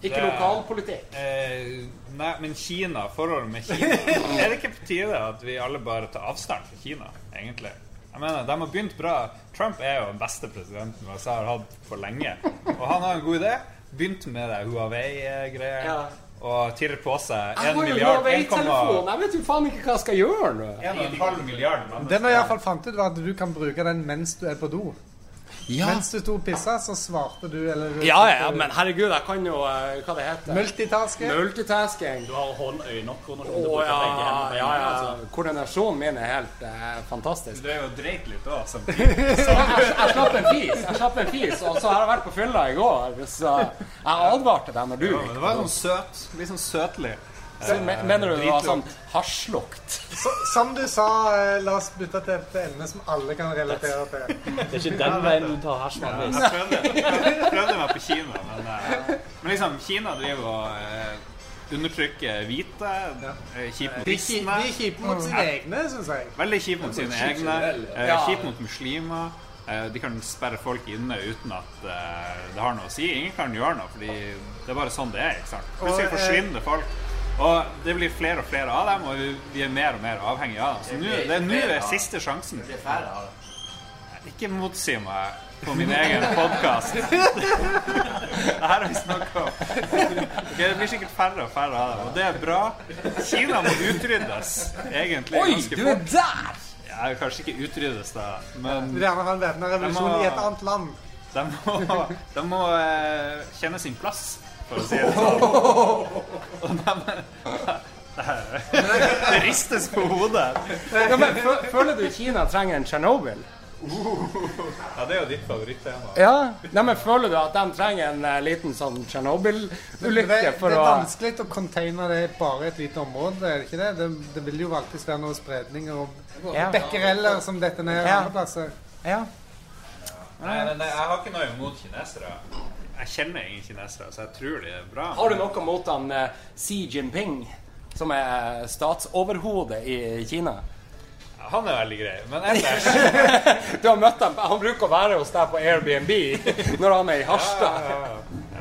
S2: Ikke lokalpolitikk.
S3: Eh, nei, men Kina, forholdet med Kina Er det ikke på tide at vi alle bare tar avstand fra Kina, egentlig? Jeg mener, De har begynt bra. Trump er jo den beste presidenten USA har hatt for lenge. Og han har en god idé. Begynt med det Huawei-greia.
S2: Ja.
S3: Og tirrer på seg 1
S2: Jeg har jo
S3: milliard
S2: Huawei-telefon.
S3: 1,5
S2: Jeg vet jo faen ikke hva jeg skal gjøre nå.
S3: milliard. mann.
S5: Det vi i hvert fall fant ut, var at du kan bruke den mens du er på do. Mens du sto og pissa, så svarte du, eller
S2: Ja, ja, men herregud, jeg kan jo eh, Hva det heter
S5: Multitasking.
S2: Multitasking.
S7: Du har hånd, øyne og koordinasjon til å
S2: Å
S7: bruke
S2: ja,
S7: begge hendene på en
S2: ja,
S7: gang.
S2: ja.
S7: altså.
S2: Koordinasjonen min er helt eh, fantastisk.
S3: Du er jo dreit litt òg, som
S2: Jeg slapp en fis, jeg slapp en fis, og så har jeg vært på fylla i går. Så jeg advarte deg når du gikk.
S3: Det var sånn søt. Litt sånn søtlig.
S2: Så me- Mener du det var sånn hasjlukt?
S5: Så- Som du sa, eh, la oss bytte til et emne som alle kan relatere til.
S7: Det er ikke den veien du tar hasj vanligvis.
S3: Jeg prøvde, jeg prøvde meg på Kina, men, eh, men liksom, Kina driver og eh, undertrykker hvite, eh, kjipe mot
S5: De er kji-
S3: kristne,
S5: de er kjipe mot sine egne, syns jeg.
S3: veldig kjipe mot sine egne, eh,
S5: Ja.
S3: kjipe mot muslimer. eh, De kan sperre folk inne uten at eh, det har noe å si. Ingen kan gjøre noe, fordi det er bare sånn det er. ikke sant? Plutselig
S5: Og, eh,
S3: forsvinner folk. Og det blir flere og flere av dem, og vi- vi er mer og mer avhengige av dem. Så nå- det er nå er siste sjansen.
S11: Det er færre av det.
S3: Ikke motsi meg på min egen podkast. det her har vi snakka om. Ok, det blir sikkert færre og færre av dem, og det er bra. Kina må utryddes, egentlig.
S2: Oi,
S3: ganske
S2: du
S3: fort.
S2: er der!
S3: Ja, kanskje ikke utryddes, da, men
S5: Du vil gjerne ha en væpna revolusjon i et annet land.
S3: de må, de må eh, kjenne sin plass, for å si det sånn. Og de, det ristes på hodet.
S2: Ja, men, fø- føler du Kina trenger en Tsjernobyl?
S3: Ja, Det er jo ditt favorittema.
S2: Ja. Nei, men føler du at de trenger en eh, liten sånn
S5: Det, det
S2: Tsjernobyl-ulykke
S5: er
S2: for å
S5: vanskelig å containe det i bare et lite område, er det ikke det? Det, det vil jo alltid være noen spredninger og
S2: Ja.
S5: bekkereller som detter ned
S2: Ja.
S5: andre plasser.
S2: Ja.
S3: Nei, men jeg har ikke noe imot kinesere. Jeg kjenner ingen kinesere, så jeg tror de er bra.
S2: Har du noe mot han eh, Xi Jinping, som er statsoverhodet i Kina?
S3: Han er veldig grei, men ellers
S2: Du har møtt ham, Han bruker å være hos deg på Airbnb når han er i Harstad.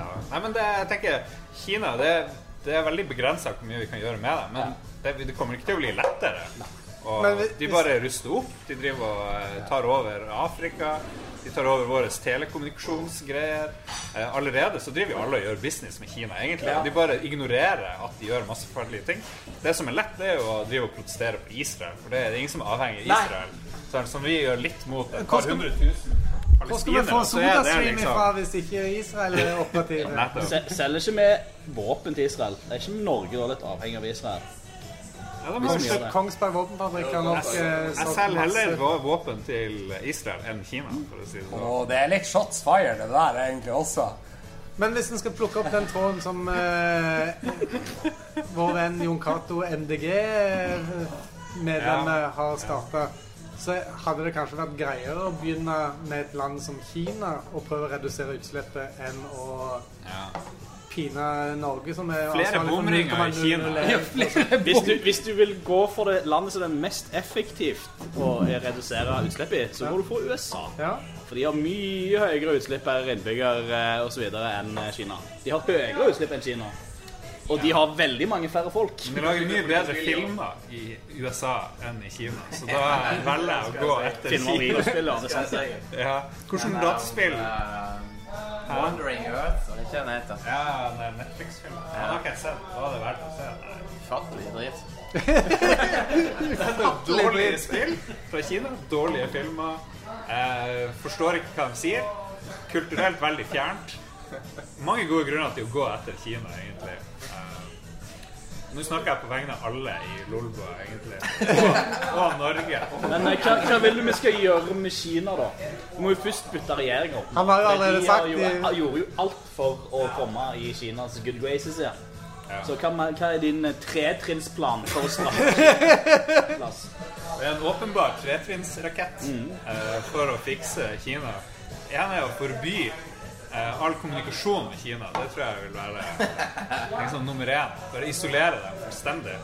S3: ja. Nei, men det, jeg tenker Kina, det, det er veldig begrensa hvor mye vi kan gjøre med det. Men det, det kommer ikke til å bli lettere. Og
S5: Men vi-
S3: de bare ruster opp. De driver og eh, tar over Afrika. De tar over våre telekommunikasjonsgreier. Eh, allerede så driver jo alle og gjør business med Kina, egentlig. Og de bare ignorerer at de gjør masse farlige ting. Det som er lett, det er jo å drive og protestere på Israel, for det er ingen som er avhengig av
S2: Nei.
S3: Israel. Sånn som vi gjør litt mot et
S5: Hvor
S3: par
S5: skal-
S3: hundre tusen
S5: Hvor skal vi få
S3: palestinere, så er altså, det
S5: Sodastream ifra
S3: liksom
S5: hvis ikke Israel er operative?
S3: Nettopp.
S7: Se- Selger ikke vi våpen til Israel? Det er ikke Norge da litt avhengig av Israel?
S3: Ja, de
S7: Hvis
S3: har jo
S7: vi gjør
S3: slutt-
S7: det.
S5: Kongsberg våpenfabrikk har nok eh,
S3: Jeg
S5: solgt
S3: selger heller
S5: masse.
S3: vå- våpen til Israel enn Kina, for å si det sånn.
S2: Og det er litt shots fired, det der egentlig også.
S5: Men hvis en skal plukke opp den tråden som eh, vår venn Jon Cato MDG-medlemmet eh, har starta, så hadde det kanskje vært greiere å begynne med et land som Kina og prøve å redusere utslippet enn å pine Norge, som er
S7: altså,
S3: Flere
S7: liksom,
S5: ansvarlig for
S3: bomringer i
S5: 0,001.
S3: Kina.
S7: Hvis du, hvis du vil gå for det landet som er mest effektivt å redusere utslipp i, så må du få USA.
S5: Ja.
S7: For de har mye høyere utslipp per innbygger eh, og så videre enn eh, Kina. De har høyere utslipp enn Kina. Og de har veldig mange færre folk.
S3: De lager mye bedre filmer i USA enn i Kina, så da velger jeg å gå etter
S7: Filmer og
S3: Kina.
S7: videospiller. Det er sant, det.
S3: Ja. Hvordan dataspill?
S11: Eh, Wandering Earth, er ikke den heter?
S3: Ja, det er Netflix-film. Den har ikke jeg sett. Hva er det verdt å se?
S11: Ufattelig dritt.
S3: Det er dårlige spill fra Kina, dårlige filmer. Eh, forstår ikke hva de sier. Kulturelt veldig fjernt. Mange gode grunner til å gå etter Kina, egentlig. Eh, nå snakker jeg på vegne av alle i Lolbua, egentlig. Og, og Norge.
S7: Men eh, hva, hva vil du vi skal gjøre med Kina, da? Vi må jo først bytte regjering om.
S5: Han har jo allerede
S7: de
S5: sagt
S7: har jo,
S5: de-
S7: han gjorde jo alt for å komme i Kinas good graces igjen. Så hva, med- hva er din eh, tretrinnsplan for å straffe Kina? Lars?
S3: Det er en åpenbar tretrinnsrakett eh, for å fikse Kina. En er å forby eh, all kommunikasjon med Kina. Det tror jeg vil være liksom, nummer én. Bare isolere dem fullstendig.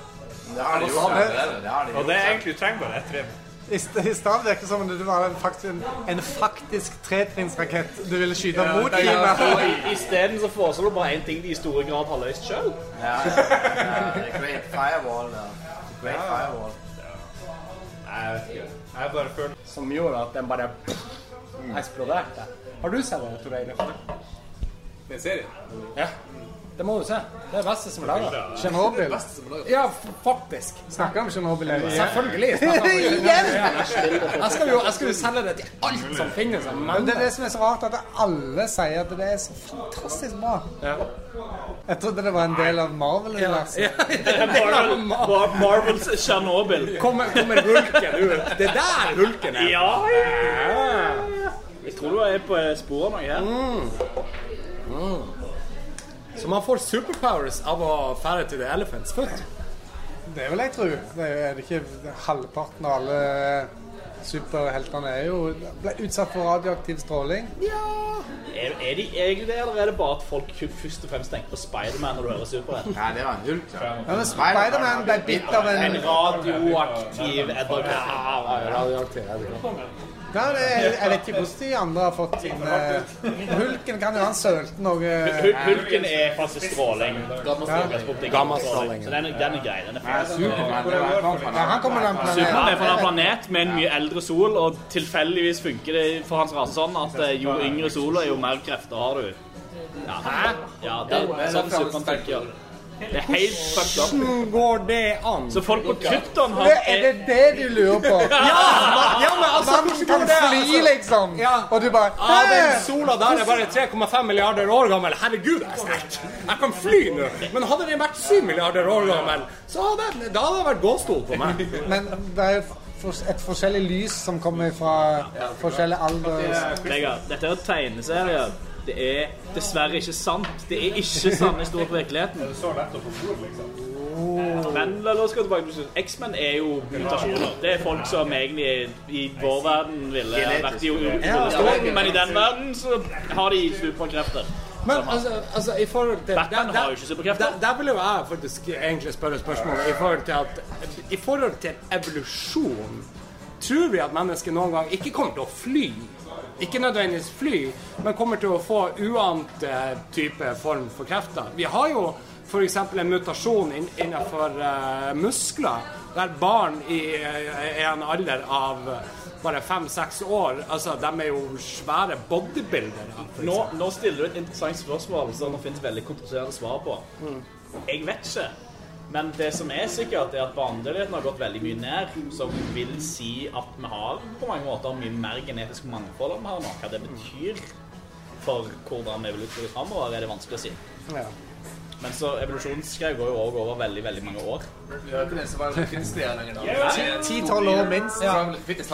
S11: Det har de gjort allerede. Det har de
S3: Og
S11: gjort.
S3: det er egentlig utrengbart ett trinn.
S5: I st- i stad virket det som om det var en faktisk, en, en faktisk tretrinnsrakett du ville skyte mot Kina.
S7: Og i- Isteden så foreslår du bare én ting de i store grad har løst sjøl.
S11: Ja, ja, ja, det er Great Firewall. da. The Great Firewall.
S3: Nei, jeg vet ikke. Jeg bare føler Mm.
S2: Som gjorde at den bare eksploderte. Har du sett det, Tor Eilif?
S3: Det er serien.
S2: Ja. Det må du se. Det er det beste som er laga.
S5: Tsjernobyl.
S2: Ja, f- faktisk.
S5: Snakker om Tsjernobyl.
S2: Selvfølgelig. Igjen! Jeg skal jo, jeg skal jo selge det til alt som finnes av
S5: Men det er
S2: mennesker.
S5: det som er så rart, at alle sier at det er så fantastisk bra.
S2: Ja.
S5: Jeg trodde det var en del av Marvel-universet.
S7: Marvel, Mar Marvels Tsjernobyl.
S2: Kommer, kommer hulken ut? Det er der hulken er!
S7: Ja, ja. Jeg tror du er på eh, sporet av noe her.
S2: Mm. Så man får superpowers av å fære til The Elephants Foot.
S5: Det vil jeg tro. Det er er det ikke halvparten av alle superheltene er jo ble utsatt for radioaktiv stråling.
S7: Er, er de egentlig det, eller er det bare at folk kun først og fremst tenker på Spiderman når du hører Superhelten?
S12: Nei, det var en hulk. da.
S5: Ja, men Spiderman ble bitt av en
S7: En radioaktiv Edward Hammer.
S5: Nei, det, jeg, jeg vet ikke hvordan de andre har fått sin eh, Hulken kan jo han sølte noe
S7: Hul- Hulken er faktisk stråling.
S2: Gammastråling.
S7: Så den, er- den er grei. Den er fin.
S12: Superman, det var en
S5: Nei, han kommer til en
S7: Supermann er
S5: planet.
S7: fra en planet med en mye eldre sol, og tilfeldigvis funker det for hans rase sånn at eh, jo yngre sola, jo mer krefter har du. Ja, Hæ? Ja, det er sånn Supermann funker. Det er helt fucked up.
S2: Hvordan går det an?
S7: Så folk på krypton har
S5: Det, er det det du lurer på?
S2: Ja, men altså,
S5: Han
S2: hvordan går
S5: kan
S2: det an?
S5: fly, liksom.
S2: Ja.
S5: Og du bare
S2: Ja, den
S5: «Hæ?»
S2: sola der er bare 3,5 milliarder år gammel. Herregud, det er sterkt! Jeg kan fly nå! Men hadde den vært 7 milliarder år gammel, så hadde den, da hadde det vært gåstol på meg.
S5: Men det er jo for, et forskjellig lys som kommer fra forskjellig alder.
S7: Vegard, dette er tegneserier. Det er dessverre ikke sant. Det er ikke sanne historier på virkeligheten. liksom. Men la la oss gå tilbake til X-Men er jo mutasjoner. Det er folk som egentlig i vår verden ville vært i jordestolen, men i den verden så har de superkrefter.
S2: Men altså, altså i forhold til
S7: Batman
S2: der-
S7: har jo
S2: der-
S7: ikke superkrefter.
S2: Der, der vil jo jeg faktisk egentlig spørre spørsmål i forhold til at I forhold til evolusjon Tror vi at mennesket noen gang ikke kommer til å fly? Ikke nødvendigvis fly, men kommer til å få uant eh, type form for krefter. Vi har jo f.eks. en mutasjon inn, innenfor eh, muskler, der barn i eh, en alder av eh, bare fem-seks år, altså de er jo svære bodybuildere. for
S7: Nå, nå stiller du et interessant spørsmål som det finnes veldig kontroversielle svar på. Jeg vet ikke. Men det som er sikkert, er at barnedødeligheten har gått veldig mye ned. Som vil si at vi har på mange måter mye mer genetisk mangfold enn vi har nå. Hva det betyr for hvordan evolusjonen framover, er det vanskelig å si. Men så evolusjonsgreier går jo også over veldig, veldig mange år.
S5: Ti-tolv år minst.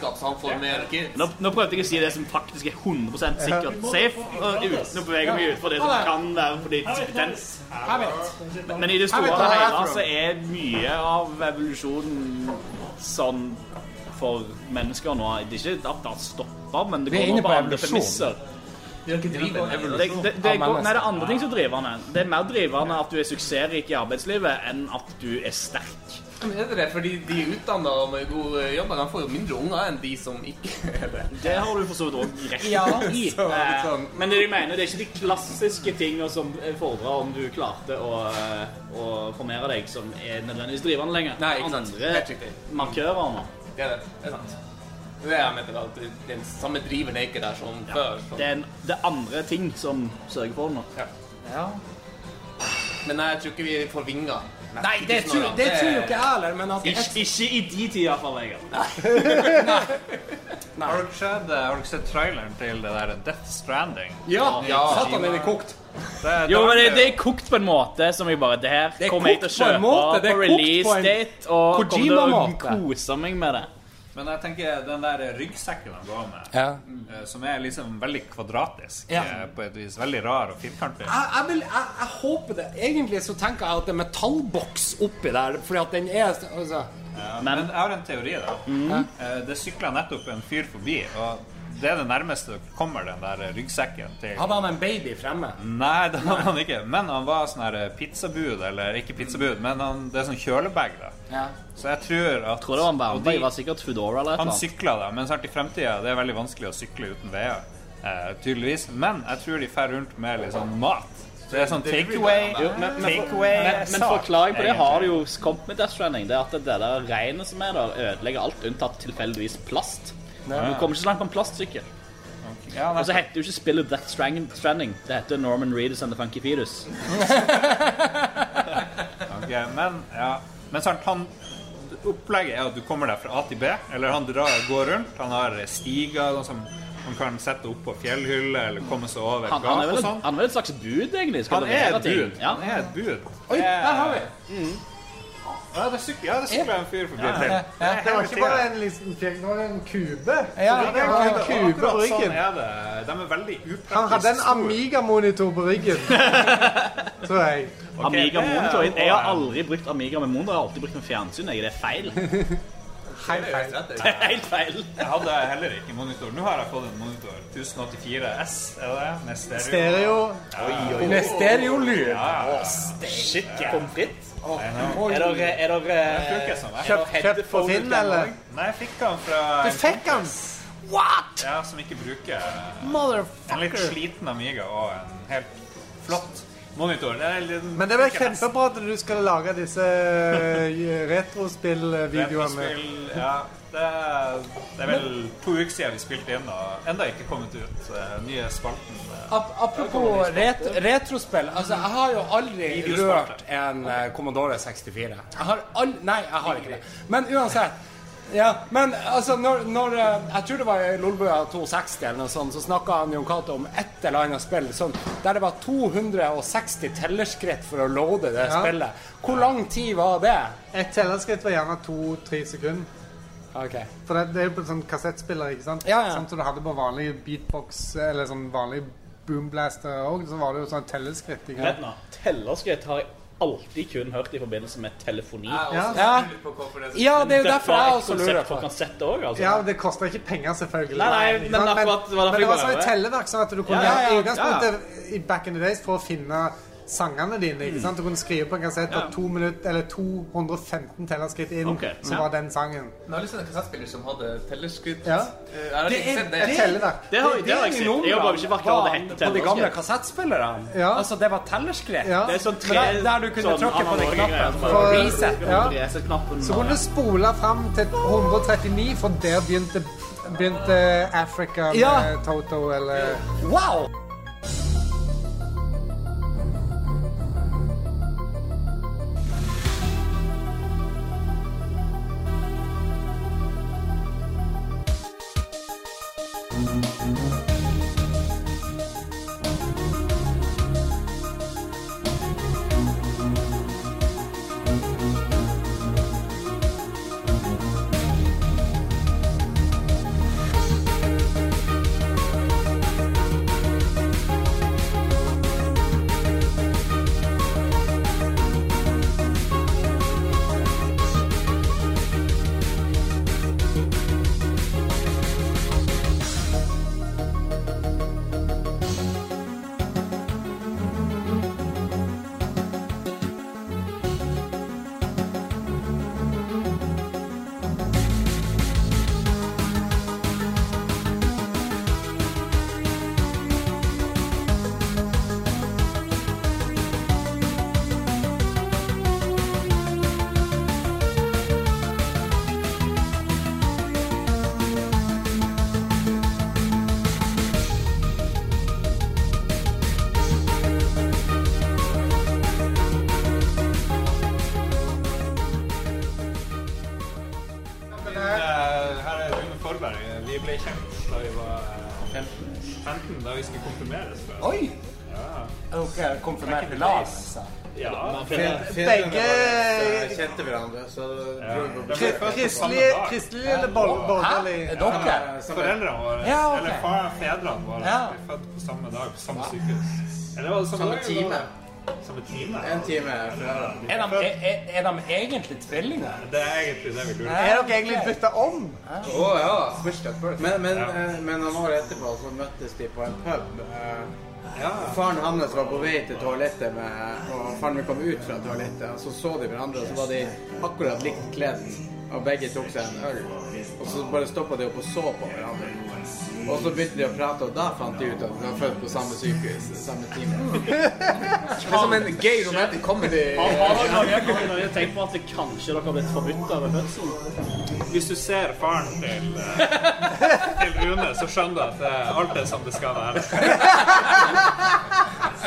S7: Nå, nå prøvde jeg å si det som faktisk er 100 sikkert safe, og uten å bevege meg ut for det som kan være politisk betent. Men, men i det store og hele så er mye av evolusjonen sånn for mennesker nå Det er ikke at det har stoppa, men det
S2: Vi er
S7: går nå
S2: inne
S7: på
S2: på
S7: andre
S2: evolusjon.
S7: premisser. Det, det, det, går, nei, det er andre ting som er drivende. Det er mer drivende at du er suksessrik i arbeidslivet, enn at du er sterk. Det har du for så vidt òg rett i. Eh, Men det de mener, det er ikke de klassiske tingene som fordrer om du klarte å, eh, å formere deg, som er nødvendigvis drivende lenger. Nei, ikke sant. Andre markører nå. Det er, det er andre ting som sørger for det nå.
S2: Nei, det tror, det tror jo ikke jeg heller, men at
S7: Ikke, ikke i de tider, for Vegard.
S3: Har dere sett, eh, har dere sett traileren til det der Death Stranding?
S2: Ja, satan er det kokt.
S3: Det, det
S7: Jo,
S3: var
S7: men det,
S3: ikke-
S7: det er kokt på en måte som jeg bare Det her
S2: er
S7: kommer jeg til å
S2: kokt på en
S7: kjøpe på,
S2: måte, det er kokt på
S7: release
S2: en
S7: date, og kommer til å
S2: Kojima-måte.
S7: kose meg med det.
S3: Men jeg tenker den der ryggsekken han går med,
S2: Ja.
S3: eh, som er liksom veldig kvadratisk
S2: Ja.
S3: eh, på et vis. Veldig rar og firkantet.
S2: Jeg, jeg, vil, jeg, jeg håper det. Egentlig så tenker jeg at det er metallboks oppi der, fordi at den er altså,
S3: Men jeg har en teori, da.
S2: Mhm.
S3: Eh, Det sykla nettopp en fyr forbi, og det er det nærmeste dere kommer den der ryggsekken til
S2: Hadde han en baby fremme?
S3: Nei, det hadde han ikke. Men han var sånn her pizzabud, eller ikke pizzabud, men han, det er sånn kjølebag, da.
S2: Ja.
S3: Så jeg tror at
S7: Tror det var en
S3: og
S7: verbe.
S3: de-
S7: Jeg var sikkert Foodora eller et
S3: Han
S7: eller annet.
S3: sykla, da, men snart i fremtida det er veldig vanskelig å sykle uten veier. Eh, tydeligvis. Men jeg tror de fer rundt med litt sånn mat. Så det er sånn takeaway.
S7: Jo, men, men, for, men, men forklaring på det har det jo kommet med Death Stranding. Det er at det der regnet som er der, ødelegger alt unntatt tilfeldigvis plast. Du kommer ikke så langt på en plastsykkel.
S3: Ja,
S7: Og så heter jo ikke spillet Death Strang- Stranding. Det heter Norman Reedus and the Funky Fetus.
S3: Ok, men ja. Men sant, han Opplegget er at du kommer deg fra A til B. Eller han drar, går rundt. Han har stiger sånn som man kan sette opp på fjellhylle, eller komme seg over
S7: Han,
S3: gap
S7: han, er
S3: og
S7: vel,
S3: sånn.
S7: han er vel et slags bud, egentlig? Skal
S3: Han er
S7: levere
S3: et
S7: ting.
S3: bud.
S7: Ja.
S3: Han er et bud.
S7: Mm.
S2: Oi, der har vi!
S3: Ja, det sykler, ja, det
S7: Eh.
S3: sykler en fyr forbi til.
S5: Det var ikke bare en liten fjell, det var en kube.
S2: Ja,
S5: det var en kube på
S3: Akkurat sånn
S5: ryggen.
S3: er det. De er veldig upraktiske.
S5: Han hadde en Amiga-monitor på ryggen. Tror jeg.
S3: det
S7: Amiga
S3: er-
S7: monitor. Jeg har aldri brukt Amiga med monitor, jeg har alltid brukt med fjernsyn. Jeg. Det er feil.
S5: Helt feil.
S7: Det er helt feil.
S3: Jeg hadde heller ikke monitor. Nå har jeg fått en monitor. 1084 S, er det? Med stereo.
S5: Stereo.
S2: Med stereolyd.
S7: Shit, pommes frites. Er
S2: Oi.
S7: det, er det,
S3: Bruker jeg som jeg.
S7: Kjøpt,
S5: Kjøpt på Finn, eller?
S3: Nei, jeg fikk den fra
S5: Du fikk han!
S3: en ja, som ikke bruker eh, En litt
S5: Motherfucker.
S3: sliten Amiga og en helt flott monitor. Det er litt,
S5: Men det var kjempebra at du skal lage disse eh, retrospillvideoene.
S3: Retrospill, Ja, det, er- det er vel to uker siden vi spilte inn, og enda ikke kommet ut eh, nye spalten. eh.
S2: Ap apropos ret retrospill. Altså, jeg har jo aldri rørt en eh, Commodore 64. Jeg har all... Nei, jeg har ikke det. Men uansett. Ja, men altså, når, når eh, Jeg tror det var i Lolbua 260 eller noe sånt, så snakka Jon Cato om et eller annet spill sånn, der det var 260 tellerskritt for å loade det
S5: Ja.
S2: spillet. Hvor lang tid var det?
S5: Et tellerskritt var gjerne to-tre sekunder.
S2: Ok.
S5: For det, det er jo på sånn kassettspiller, ikke sant?
S2: Ja, ja.
S5: Sånn som du hadde på vanlig beatbox, eller sånn vanlig boomblaster òg, så var det jo sånn telleskritt. Ikke
S7: Vent
S5: sant?
S7: nå. Tellerskritt har jeg alltid kun hørt i forbindelse med telefoni.
S5: Ja.
S2: Ja. ja, det er jo derfor jeg også
S7: konsept
S2: lurer på
S7: for kassett òg, altså.
S5: Ja, og det kosta ikke penger, selvfølgelig.
S7: Nei, nei, men
S5: Sant?
S7: akkurat det var
S5: men
S7: derfor
S5: det
S7: jeg
S5: var
S7: bare-
S5: sånn et telleverk, sånn at du kunne
S7: Ja,
S5: i
S7: ja, ja, Mm.
S5: utgangspunktet i back in the days for å finne sangene dine. ikke sant? Du kunne skrive på en kassett at to minutter, eller 215 tellerskritt inn,
S7: Ok,
S5: så
S7: ja.
S5: var den sangen.
S10: Nå har jeg lyst til en kassettspiller som hadde tellerskritt.
S5: Ja.
S10: Eh, Jeg har ikke sett det.
S5: Et telleverk.
S7: Det har jeg, det har jeg
S2: Det
S7: sett.
S2: er noen
S7: Jeg har bare ikke vært klar over det hette
S2: På de gamle
S7: tellerskritt.
S2: kassettspillerne?
S5: Ja.
S2: Altså, det var tellerskritt?
S5: Ja.
S7: Det er sånn tre
S2: Der, der du kunne
S7: sånn
S2: trykke på den
S7: analoge greier
S2: knappen
S7: som
S2: for å
S5: For-
S2: reset.
S5: Ja.
S7: Reset-knappen.
S5: Så kunne du spole fram til 139, for der begynte, begynte Africa med
S2: Ja.
S5: Toto eller
S2: Wow!
S3: Eh, Her er Rune Forberg. Vi ble kjent da vi var eh, 15, 15 da vi skulle konfirmeres. tror jeg.
S2: Oi! Er dere konfirmert i lag? altså?
S3: Ja,
S5: Begge
S11: Kjente hverandre, så dro
S3: de
S11: vi på
S3: ble født på samme
S5: kristelige
S3: dag.
S5: kristelige eller bor- borgerlige.
S2: Er dere?
S3: Foreldrene våre,
S2: Ja, ok.
S3: eller far, fedrene våre,
S2: Ja.
S3: ble født på samme dag på samme sykehus. Eller var det samme,
S11: Samme
S3: dag,
S11: time.
S3: Samme time?
S11: En time før.
S2: Er de, er, er- er de egentlig tvillinger?
S3: Det er egentlig det vi lurer på.
S5: Er dere egentlig bytta om?
S11: Å ja. Men, men, eh, men noen år etterpå så møttes de på en pub. eh, Faren hans var på vei til toalettet, med, og faren min kom ut fra toalettet. Og så så de hverandre, og så var de akkurat likt kledd. Og begge tok seg en øl. Og så bare stoppa de opp og så på hverandre. Og så begynte de å prate, og da fant de ut at de var født på samme sykehus. Samme time. Det er som en gay romantic comedy.
S7: Har har dere noen gang tenkt på at det kanskje dere har blitt forbudt over fødselen?
S3: Hvis du ser faren til, eh, til Rune, så skjønner du at det, alt er som det skal være.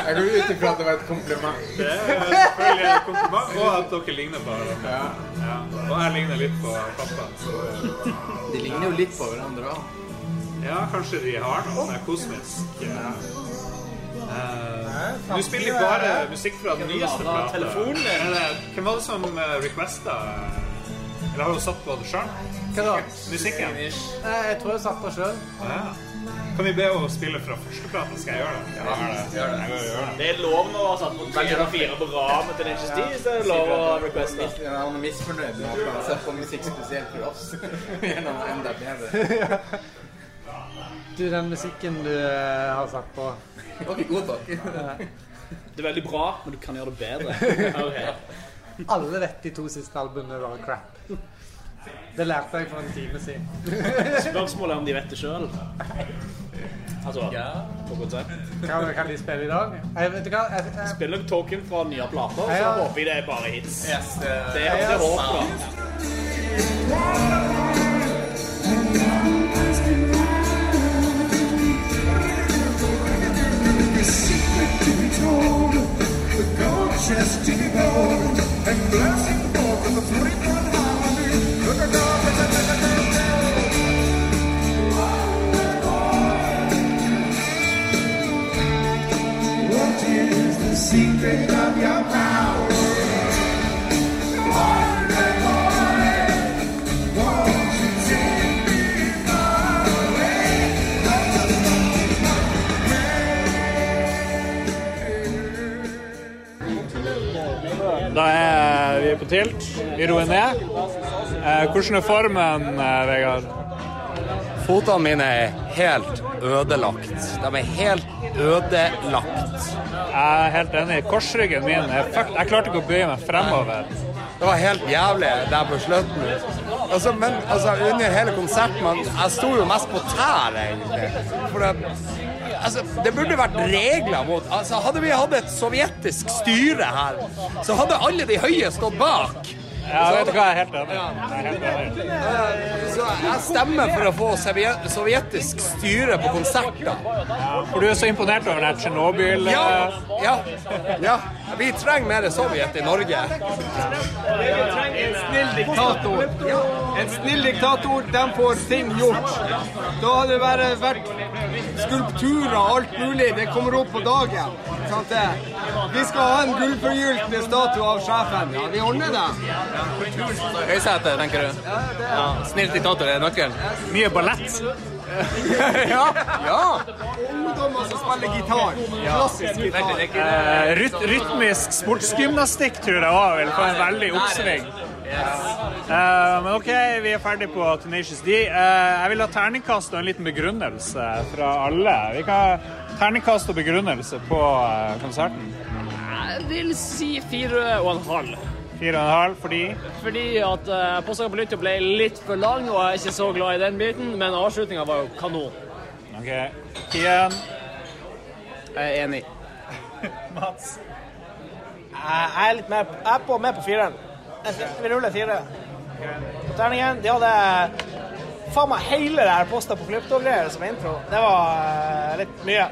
S11: Jeg går ut ifra at det var et kompliment.
S3: Det er selvfølgelig en kompliment, og at dere ligner på hverandre. Ja. Og jeg ligner litt på pappa. Så,
S11: De ligner jo litt på hverandre òg.
S3: ja, kanskje de har noe sånn her kosmisk eh, Du spiller jo bare musikk fra den nyeste plata.
S13: telefonen din?
S3: Eller, Hvem var det som eh, requesta eh, Eller har du satt på det sjøl?
S5: Hva da?
S3: Musikken?
S5: Nei, jeg tror jeg satt på sjøl.
S3: Ja. Kan vi be henne spille fra første plata? Skal jeg gjøre det? Ja, gjør det. Jeg vil gjøre det.
S13: Det er lov nå å
S3: altså.
S13: ha satt på tre eller fire på rad med Tenacious D, så er det lov å requeste.
S2: Han er misfornøyd med at han har sett på musikk spesielt for oss. Gjennom enda bedre.
S5: Du, den musikken du eh, har satt på
S2: Det var ikke god nok.
S13: Det er veldig bra, men du kan gjøre det bedre. Ok.
S5: Alle vet de to siste albumene var crap. Det lærte jeg for en time siden.
S13: Spørsmålet er om de vet det sjøl. Altså, på godt sett.
S5: Kan, kan de spille i dag? Jeg, vet du hva? Jeg, jeg,
S13: Spiller dere Token fra nye plater, så
S5: Ja.
S13: håper jeg det er bare hits.
S2: Yes,
S13: Det er det er håp, da.
S3: Da er vi på tilt. Vi roer ned. Eh, Hvordan er formen, eh, Vegard?
S2: Fotene mine er helt ødelagt. De er helt ødelagt.
S3: Jeg er helt enig. Korsryggen min er fucked. Jeg klarte ikke å bøye meg fremover.
S2: Det var helt jævlig der på slutten. Altså, men altså, under hele konserten man, Jeg sto jo mest på tær, egentlig. For det, altså, det burde vært regler mot altså, Hadde vi hatt et sovjetisk styre her, så hadde alle de høye stått bak.
S3: Ja, vet du hva, jeg er helt enig. Jeg er helt enig.
S2: Så jeg stemmer for å få sovje- sovjetisk styre på konserter.
S3: For du er så imponert over den her Tsjernobyl
S2: Ja,
S3: eh,
S2: ja, ja. Vi trenger mer Sovjet i Norge.
S10: En snill diktator, de får ting gjort. Da har det bare vært skulpturer og alt mulig. Det kommer opp på dagen. Sant det? Vi skal ha en gullforgylte statue av sjefen. Ja, vi ordner det.
S2: Høysete, tenker du? Ja, Snill diktator er nøkkelen.
S3: Mye ballett.
S2: Ja, ja.
S10: Ungdommer som spiller gitar. Klassisk gitar.
S3: Eh, ryt rytmisk sportsgymnastikk tror jeg òg vil få en veldig oppsving. Eh, men OK, vi er ferdig på Tenacious D. Eh, jeg vil ha terningkast og en liten begrunnelse fra alle. Vi kan ha terningkast og begrunnelse på eh, konserten.
S7: Jeg vil si fire og en halv.
S3: Fire og en halv fordi
S7: Fordi at uh, Postsaken på lytta ble litt for lang, og jeg er ikke så glad i den biten, men avslutninga var jo kanon.
S3: OK. Kian,
S2: Jeg er enig.
S3: Mats
S10: Jeg er litt mer jeg er på, med på fireren. Jeg sy- Vi ruller fire. På terningen, de hadde faen meg hele det her postet på Klypto-greier som intro. Det var eh, litt mye.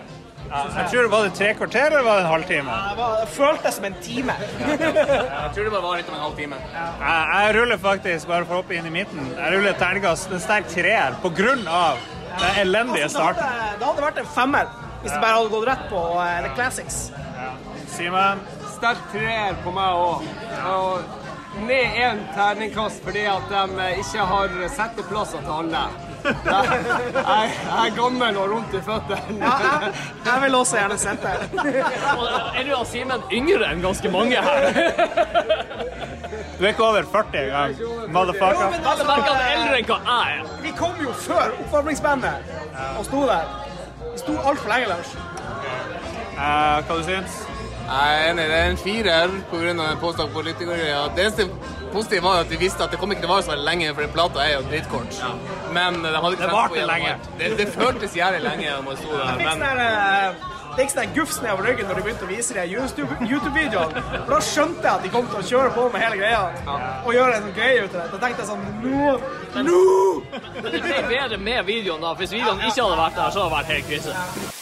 S3: Jeg tror det var det tre kvarter eller var det en halvtime?
S10: Det, var, det føltes som en time.
S2: Jeg tror det bare var litt om en halv time.
S3: Jeg, jeg ruller faktisk, bare for å hoppe inn i midten, jeg ruller terningkast en sterk treer på grunn av den
S10: Altså,
S3: elendige
S10: det,
S3: starten.
S10: hadde, det hadde vært en femmer hvis det bare hadde gått rett på eh, The Classics.
S3: Simen,
S10: Sterk treer på meg òg. Og ned én terningkast fordi at de ikke har setteplasser til alle. Jeg, er gammel og rundt i føttene. Ja, jeg, jeg vil også gjerne sette.
S7: Og Er du av Simen yngre enn ganske mange her?
S3: du er ikke over 40 engang. Motherfucker.
S7: Jeg merker han er eldre enn hva jeg er.
S10: Vi kom jo før oppvarmingsbandet og sto der. Vi sto altfor lenge, Lars.
S3: Eh, hva du syns
S2: Jeg er enig. Det er en firer pga. den påstått politikergreia. Det eneste positive var at vi visste at det kom ikke til å vare så veldig lenge, for den plata er jo drittkort. Men det hadde ikke
S3: Det
S2: tenkt på
S3: varte
S2: gjennom
S3: lenge.
S2: alt. Det, det føltes jævlig lenge når man sto der,
S10: Fikk sånn
S2: men
S10: der, eh, fikk sånn der gufs nedover ryggen når de begynte å vise de YouTube- YouTube-videoene. For Da skjønte jeg at de kom til å kjøre på med hele greia og gjøre en sånn greie ut av det. Da tenkte jeg sånn Nå! Nå!
S7: Men det ble bedre med videoen, da. for Hvis videoen ikke hadde vært der, så hadde det vært helt krise.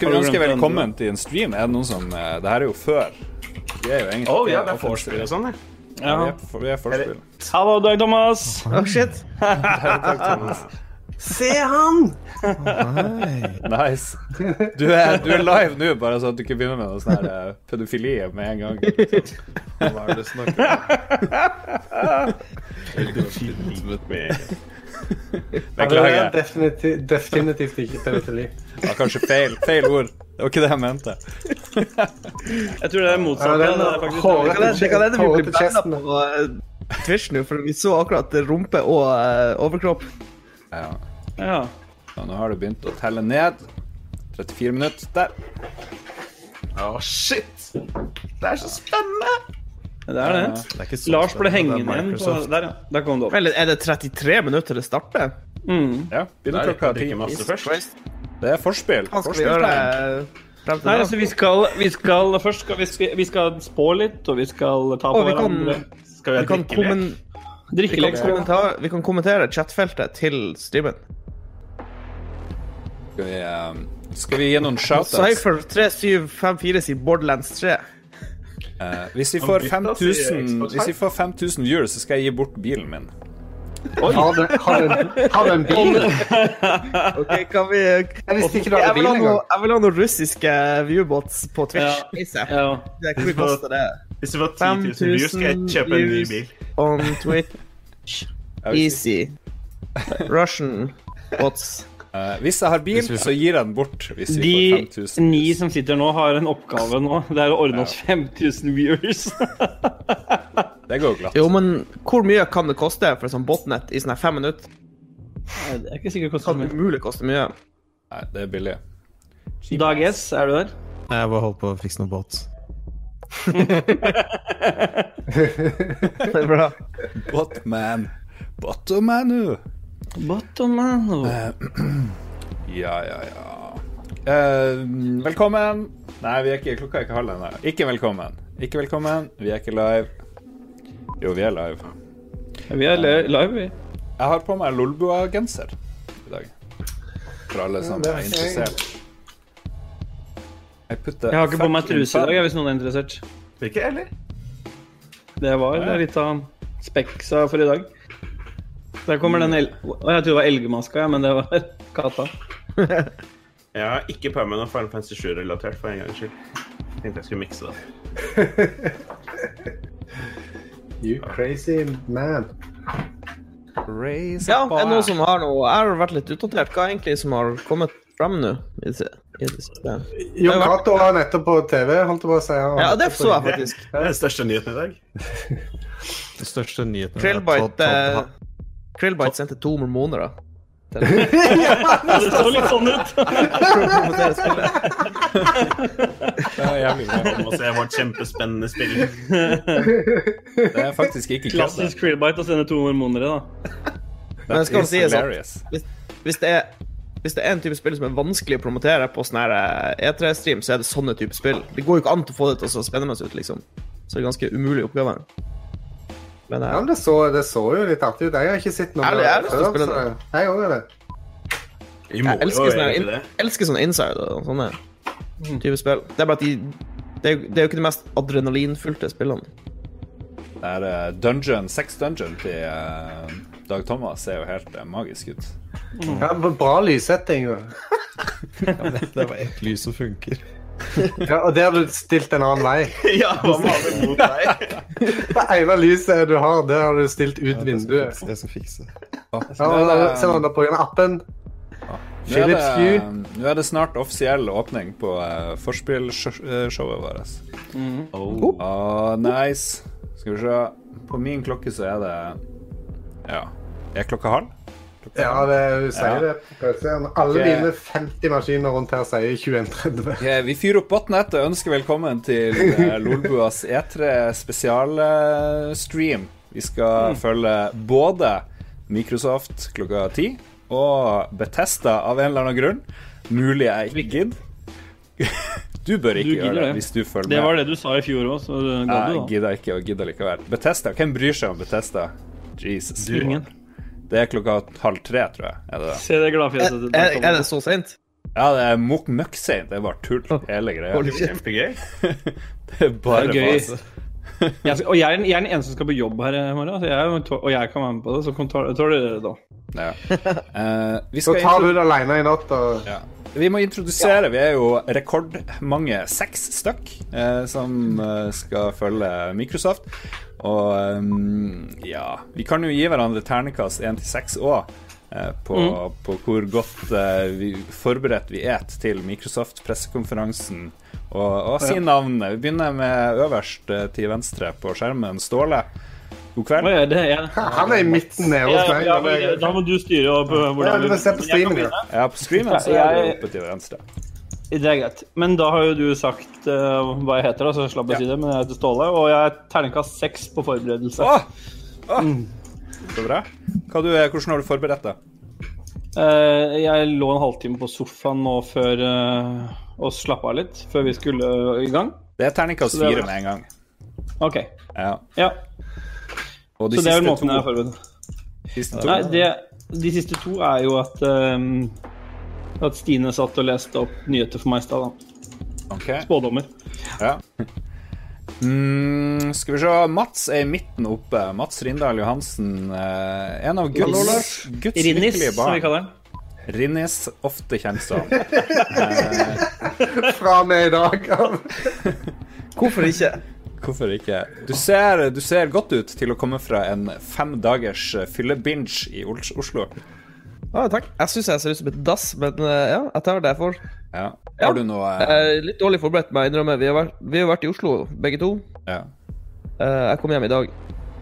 S11: Hum.
S3: Skal vi ønske velkommen til en stream? Er det noen som eh, Det her er jo før. Vi er jo egentlig
S13: Å, ja, det er
S3: offensive.
S13: forspill og sånn,
S3: Ja, vi er, for- vi er forspill.
S13: Hallo, Dag Thomas. Oh, shit. Se han!
S3: Nice. Du er, du er live nå, bare så at du ikke begynner med noe sånn her eh, pedofili med en gang. Hva er det du snakker
S14: Ja,
S3: Beklager.
S14: det er definitivt, definitivt ikke pedofili.
S3: Det var kanskje feil, feil ord. Det var ikke det jeg mente.
S13: Jeg tror det er motsatt.
S14: Ja, den-
S13: det er faktisk-
S14: Håret
S10: kan hende- det kan hende vi
S14: Håret
S10: blir
S14: på
S10: banna
S14: kjesten.
S10: på eh, Twitch nå, for vi så akkurat rumpe og eh, overkropp.
S3: Ja. Så nå har du begynt å telle ned. 34 minutter. Der.
S13: Å, shit! Det er så spennende! Det er
S10: Ja,
S13: det.
S10: det er ikke så
S13: Lars
S10: spennende,
S13: ble hengende
S10: det er
S13: igjen på
S10: Microsoft.
S13: Der, ja. Der kom det opp. Mm.
S10: Eller er det 33 minutter det starter?
S3: Ja,
S13: begynner klokka ti.
S3: Det er forspill.
S10: Hva skal vi gjøre eh, frem til
S13: Nei,
S10: da?
S13: altså, vi skal, vi skal Først skal vi, skal vi skal spå litt, og vi skal ta på
S10: Og vi kan-
S13: hverandre. Skal vi
S10: vi
S13: ha
S10: kan
S13: drikkelek?
S10: kommen-
S13: Drikkelek
S10: Vi
S13: skal
S10: kan,
S13: vi ha.
S10: kommenta vi kan kommentere chatfeltet til streamen.
S3: Skal vi, eh, skal vi gi noen shoutouts?
S10: Cypher3754 sier Borderlands 3.
S3: Eh, hvis vi får 5000 Hvis vi får 5000 viewers, så skal jeg gi bort bilen min.
S14: Oi. Har du- har du- har du en bil?
S10: OK, kan vi Jeg
S14: visste ikke du hadde
S10: vil ha
S14: bil
S10: noe-
S14: engang.
S10: Jeg vil ha noen russiske viewbots på Twitch.
S13: Ja.
S10: Det kan vi koste det.
S13: Hvis vi får 10 000 views, skal jeg kjøpe en ny
S10: views
S13: bil.
S10: On Twitch. Easy. Russian bots.
S3: Eh, hvis jeg har bil, så gir jeg den bort. Hvis vi får
S13: De
S3: 5000
S13: ni som sitter nå, har en oppgave nå. Det er å ordne oss 5000 viewers.
S3: Det går glatt.
S10: Jo, men hvor mye kan det koste for sånn botnett i sånn her fem minutter?
S13: Det er ikke sikkert det
S10: kan umulig koste mye.
S3: Nei, det er billig.
S13: Dag S, er du der?
S15: Nei, Jeg bare holdt på å fikse noen båt.
S10: Det er bra.
S3: Botman. Bottomanu.
S13: Bottomanu.
S3: Eh, ja, ja, ja. Eh, velkommen. Nei, vi er ikke klokka er ikke halv ennå. Ikke velkommen. Ikke velkommen. Vi er ikke live. Jo, vi er live.
S13: Vi er live, vi.
S3: Jeg har på meg Lolbua-genser i dag. For alle som
S13: Ja, det er
S3: er
S13: ikke-
S3: interessert. Jeg, putter
S13: Jeg har ikke på meg
S3: fucking
S13: truse i dag,
S3: fem-
S13: jeg, hvis noen er sånn interessert.
S3: Ikke heller.
S13: Det var
S3: Nei.
S13: litt av speksa for i dag. Der kommer den el... Å, jeg trodde det var elgmaska, ja, men det var katta.
S16: Jeg har ikke på meg noe Final Fantasy 7-relatert for en gangs skyld. Tenkte jeg skulle mikse det.
S14: You crazy man.
S10: Ja, er det noen som har noe Jeg har vært litt utdatert. Hva er egentlig som har kommet frem nå? I det- i det siste?
S14: Jon Cato var nettopp på TV, holdt jeg på å si. Han var
S10: Ja, det
S14: nettopp
S10: så
S14: på-
S10: jeg faktisk.
S16: Det er den største nyheten i dag.
S15: Den største nyheten er at Todd-
S10: Krillbite eh,
S15: Todd-
S10: Krillbite sendte to mormoner, da.
S13: det så litt sånn ut.
S3: Det er jævlig bra.
S16: Det må se vårt kjempespennende spill.
S3: Det er faktisk ikke kødd, det.
S13: Klassisk krillbite å sende to hormonere, da.
S10: Men det skal
S13: is
S10: si det sånn
S13: hilarious.
S10: hvis, hvis det er hvis det er en type spill som er vanskelig å promotere på sånne her, eh, E3-stream, så er det sånne type spill. Det går jo ikke an til å få det til å se spennende ut, liksom. Så det er ganske umulig oppgave. Men
S14: Ja, men det så, det så jo litt artig ut. Jeg har ikke sett noe
S10: Jeg har- jeg har lyst til å
S14: før. altså.
S10: spille
S14: så Jeg òg gjør det.
S10: Jeg
S14: må jo
S10: elsker sånne,
S14: gjøre
S10: in,
S14: det.
S10: elsker sånne insider og sånne
S14: Mm.
S10: type spill. Det er bare at de det er, det er jo ikke de mest adrenalinfylte spillene.
S3: Det er eh, dungeon, sex dungeon til eh, Dag Thomas ser jo helt eh, magisk ut.
S14: Ja, men bra lyssetting. jo.
S15: Det var ett lys som funker.
S14: Ja, og det har du stilt en annen vei.
S15: Ja, hva med alle
S14: mot deg? Det ene lyset du har, det har du stilt ut vinduet.
S15: Jeg skal fikse.
S14: Ja, og da- Se om du bruker den appen.
S3: Nå er,
S14: Philips
S3: det, eh,
S14: Hue.
S3: nå er det snart offisiell åpning på uh, forspillshowet vårt. Oh. nice. Skal vi se. På min klokke så er det Ja. Er klokka halv? Klokka
S14: Ja,
S3: halv?
S14: det, hun sier
S3: Ja.
S14: det. på PC-en. Alle
S3: Ok.
S14: dine 50 maskiner rundt her sier 2130.
S3: Ok, vi fyrer opp botnet og ønsker velkommen til eh, Lolbuas E3 spesialstream. eh, Vi
S14: Mm.
S3: skal følge både Microsoft klokka ti og Betesta av en eller annen grunn. Mulig jeg ikke gidder. Du bør ikke gjøre det hvis du følger
S13: Det
S3: med.
S13: var det du sa i fjor òg, så det ga
S3: Jeg
S13: du, da.
S3: gidder ikke å gidde likevel. Betesta, hvem bryr seg om Betesta? Jesus.
S13: Ingen.
S3: Det er klokka halv tre, tror jeg. Er det det?
S13: Se det gladfjeset
S10: Er, er det så seint?
S3: Ja, det er mokk møkkseint. Det er bare tull, hele greia.
S13: Hold kjeft.
S3: Det er bare
S13: Det er gøy.
S3: fase.
S13: Jeg, og jeg er, den, jeg er den eneste som skal på jobb her i morgen, så jeg, og jeg kan være med på det. Så kan tar, tar dere det da.
S3: Ja. Eh, vi
S14: Så
S3: skal
S14: tar
S3: intro-
S14: du det alene i natt. Og...
S3: Vi må introdusere. Vi er jo rekordmange, seks stykk, eh, som eh, skal følge Microsoft. Og ehm, ja Vi kan jo gi hverandre ternekast én til seks òg. På,
S13: Mm.
S3: på hvor godt eh, vi, forberedt vi er til Microsoft-pressekonferansen. Og, og si
S13: Ja.
S3: navnet. Vi begynner med øverst eh, til venstre på skjermen. Ståle, god kveld.
S14: Han er i midten nede hos meg.
S3: Ja, ja,
S13: da må du styre opp eh,
S14: Ja,
S13: hvordan
S14: du må se på streamen, ja.
S3: Ja, på streamen så er det oppe til venstre.
S13: Det er greit. Men da har jo du sagt eh, hva jeg heter, da, så jeg slapp å si det. Men jeg heter Ståle, og jeg er terningkast seks på forberedelse. Mm.
S3: Så bra. Hva du, hvordan har du forberedt deg?
S13: Eh, jeg lå en halvtime på sofaen nå før eh, og slappa av litt, før vi skulle eh, i gang.
S3: Det er terningkast
S13: Så det er
S3: fire
S13: bra.
S3: med en gang.
S13: OK.
S3: Ja.
S13: Ja.
S3: Og de
S13: så det er vel
S3: siste
S13: måten
S3: to-
S13: jeg har forberedt
S3: Siste to.
S13: Nei, det, de siste to er jo at ehm, At Stine satt og leste opp nyheter for meg i stad, da. Spådommer.
S3: Ja. Mm, skal vi se. Mats er i midten oppe. Mats Rindal Johansen. eh, En av Guds,
S13: Hallo, Lars.
S3: Guds
S13: Rinnis,
S3: virkelige
S13: som vi
S3: barn.
S13: kaller den.
S3: Rinnis, ofte kjent som.
S14: Fra og med i dag.
S13: Hvorfor ikke?
S3: Hvorfor ikke? Du ser, du ser godt ut til å komme fra en fem dagers fyllebinge i Os- Oslo.
S10: Ja,
S13: Ah,
S10: takk. Jeg syns jeg ser ut som et dass, men eh, ja, jeg tar det jeg får.
S3: Ja.
S10: Ja.
S3: Har du noe
S10: Jeg er litt dårlig forberedt, må jeg innrømme. Vi har vært, vi har vært i Oslo, begge to.
S3: Ja.
S10: Eh, jeg kom hjem i dag,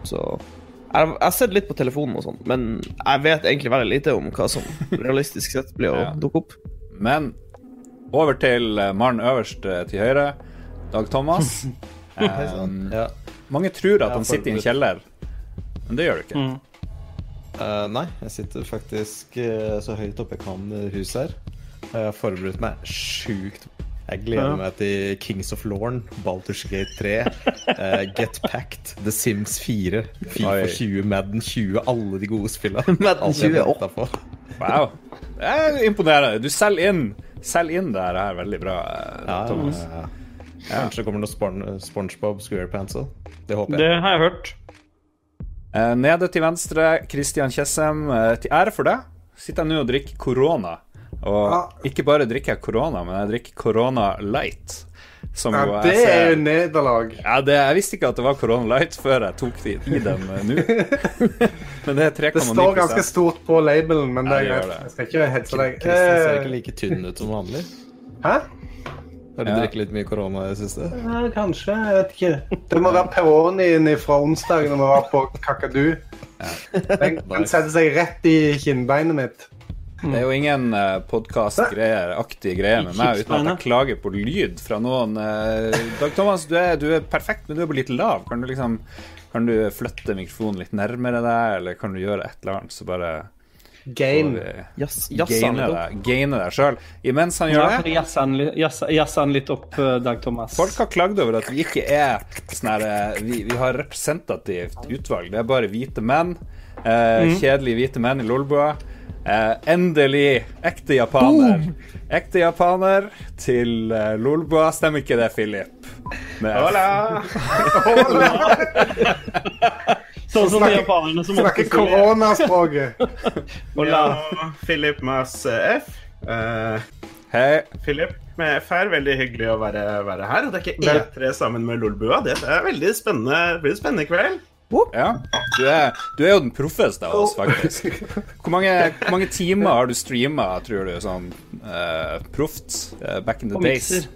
S10: så jeg, jeg har sett litt på telefonen og sånn, men jeg vet egentlig veldig lite om hva som realistisk sett blir å dukke opp.
S3: Men over til eh, mannen øverst eh, til høyre, Dag Thomas.
S13: Hei
S3: Um, mange tror at han sitter i en kjeller, men det gjør du ikke.
S15: Eh, nei, jeg sitter faktisk eh, så høyt oppe jeg kan i huset her. Og jeg har forberedt meg sjukt. Jeg gleder
S13: Ja.
S15: meg til Kings of Lorne, Balters Gate 3, eh, Get Packed, The Sims 4, Fifa
S3: Oi.
S15: 20, Madden 20, alle de gode spillene.
S3: Madden
S15: Alt jeg
S3: 20,
S15: venter på.
S3: Wow. Det er imponerende. Du selger inn. Selg inn det her er veldig bra, eh,
S15: Ja,
S3: Thomas.
S15: ja, ja. Kanskje det kommer noe Spon SpongeBob SquarePants òg. Det håper jeg.
S13: Det har jeg hørt.
S3: Eh, Nede til venstre, Christian Tjessem. eh, Til ære for deg sitter jeg nå og drikker korona.
S14: Ja.
S3: Og ikke bare drikker jeg korona, men jeg drikker korona light. Som
S14: Ja,
S3: jo jeg
S14: det er
S3: ser-
S14: jo nederlag.
S3: Ja, det, jeg visste ikke at det var Corona Light før jeg tok det i den eh, nå. Men det er 3,9
S14: Det står ganske stort på labelen, men det er
S3: Ja, det gjør
S14: greit.
S3: det.
S14: Jeg skal ikke hetse deg.
S15: Kristian ser ikke
S14: Eh,
S15: like tynn ut som vanlig.
S14: Hæ?
S15: Har du drukket litt mye korona i det siste?
S14: Ja, kanskje. Jeg vet ikke. Det må være peronien fra onsdag når vi var på Kakadu. Den, den setter seg rett i kinnbeinet mitt.
S3: Det er jo ingen podkast-aktige greier med meg uten at jeg klager på lyd fra noen. Eh, Dag Thomas, du er, du er perfekt, men du er bare litt lav. Kan du liksom Kan du flytte mikrofonen litt nærmere deg, eller kan du gjøre et eller annet, så bare
S14: Gain.
S10: Jazz- jazz han
S3: Gaine
S10: litt
S3: deg, gaine deg sjøl. Imens han
S13: Ja,
S3: gjør
S13: for
S3: det
S13: Jazz han li- jazz- jazz han litt opp, eh, Dag Thomas.
S3: Folk har klagd over at vi ikke er sånn her eh, vi, vi har representativt utvalg. Det er bare hvite menn. Eh,
S13: Mhm.
S3: Kjedelige hvite menn i Lolbua. Eh, endelig ekte japaner. Ekte japaner til eh, Lolbua. Stemmer ikke det, Philip? Med F.
S16: Hola!
S10: Sånn
S14: som de japanerne som ofte Snakker koronaspråket.
S16: Ja, Philip Mas eh, F. Eh,
S3: Hei.
S16: Philip med F her. Veldig hyggelig å være, være her. Og det er ikke E3 sammen med Lolbua. Det er veldig spennende, blir en spennende kveld.
S3: Ja. Du er, du er jo den proffeste av oss, faktisk. Hvor mange, hvor mange timer har du streama, tror du, sånn eh, proft eh, back in the days?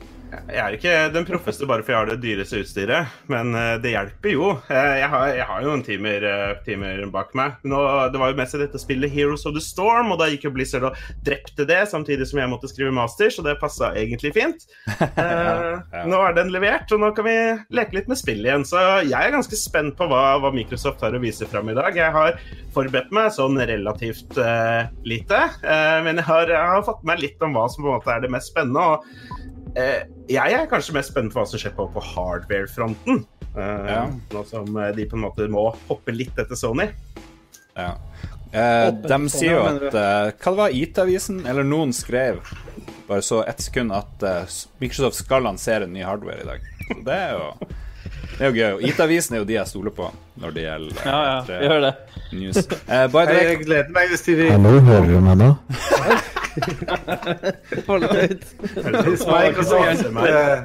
S16: Jeg er ikke den proffeste bare for jeg har det dyreste utstyret, men eh, det hjelper jo. Eh, Jeg har, jeg har jo noen timer, eh, timer bak meg. Nå, det var jo mest i dette spillet Heroes of the Storm, og da gikk jo Blizzard og drepte det, samtidig som jeg måtte skrive master, så det passa egentlig fint. Eh, Nå er den levert, og nå kan vi leke litt med spill igjen. Så jeg er ganske spent på hva, hva Microsoft har å vise fram i dag. Jeg har forberedt meg sånn relativt eh, lite, eh, men jeg har, jeg har fått med meg litt om hva som på en måte er det mest spennende. og Eh, jeg er kanskje mest spent på hva som skjer på, på hardware-fronten. Eh,
S3: Ja.
S16: Nå som eh, de på en måte må hoppe litt etter Sony.
S3: Ja. Eh, de
S16: Åpent for
S3: sier jo
S16: det,
S3: at
S16: mener du?
S3: eh, Hva det var IT-avisen, eller noen skrev bare så ett sekund at eh, Microsoft skal lansere ny hardware i dag. Så det er jo, det er jo gøy. Og IT-avisen er jo de jeg stoler på når det gjelder eh,
S13: Ja, ja, vi hører det.
S3: News. Eh, by the way,
S5: Jeg gleder meg hvis de
S10: Hallo, hører du meg nå?
S5: Hold ut. Hvis Microsoft, eh,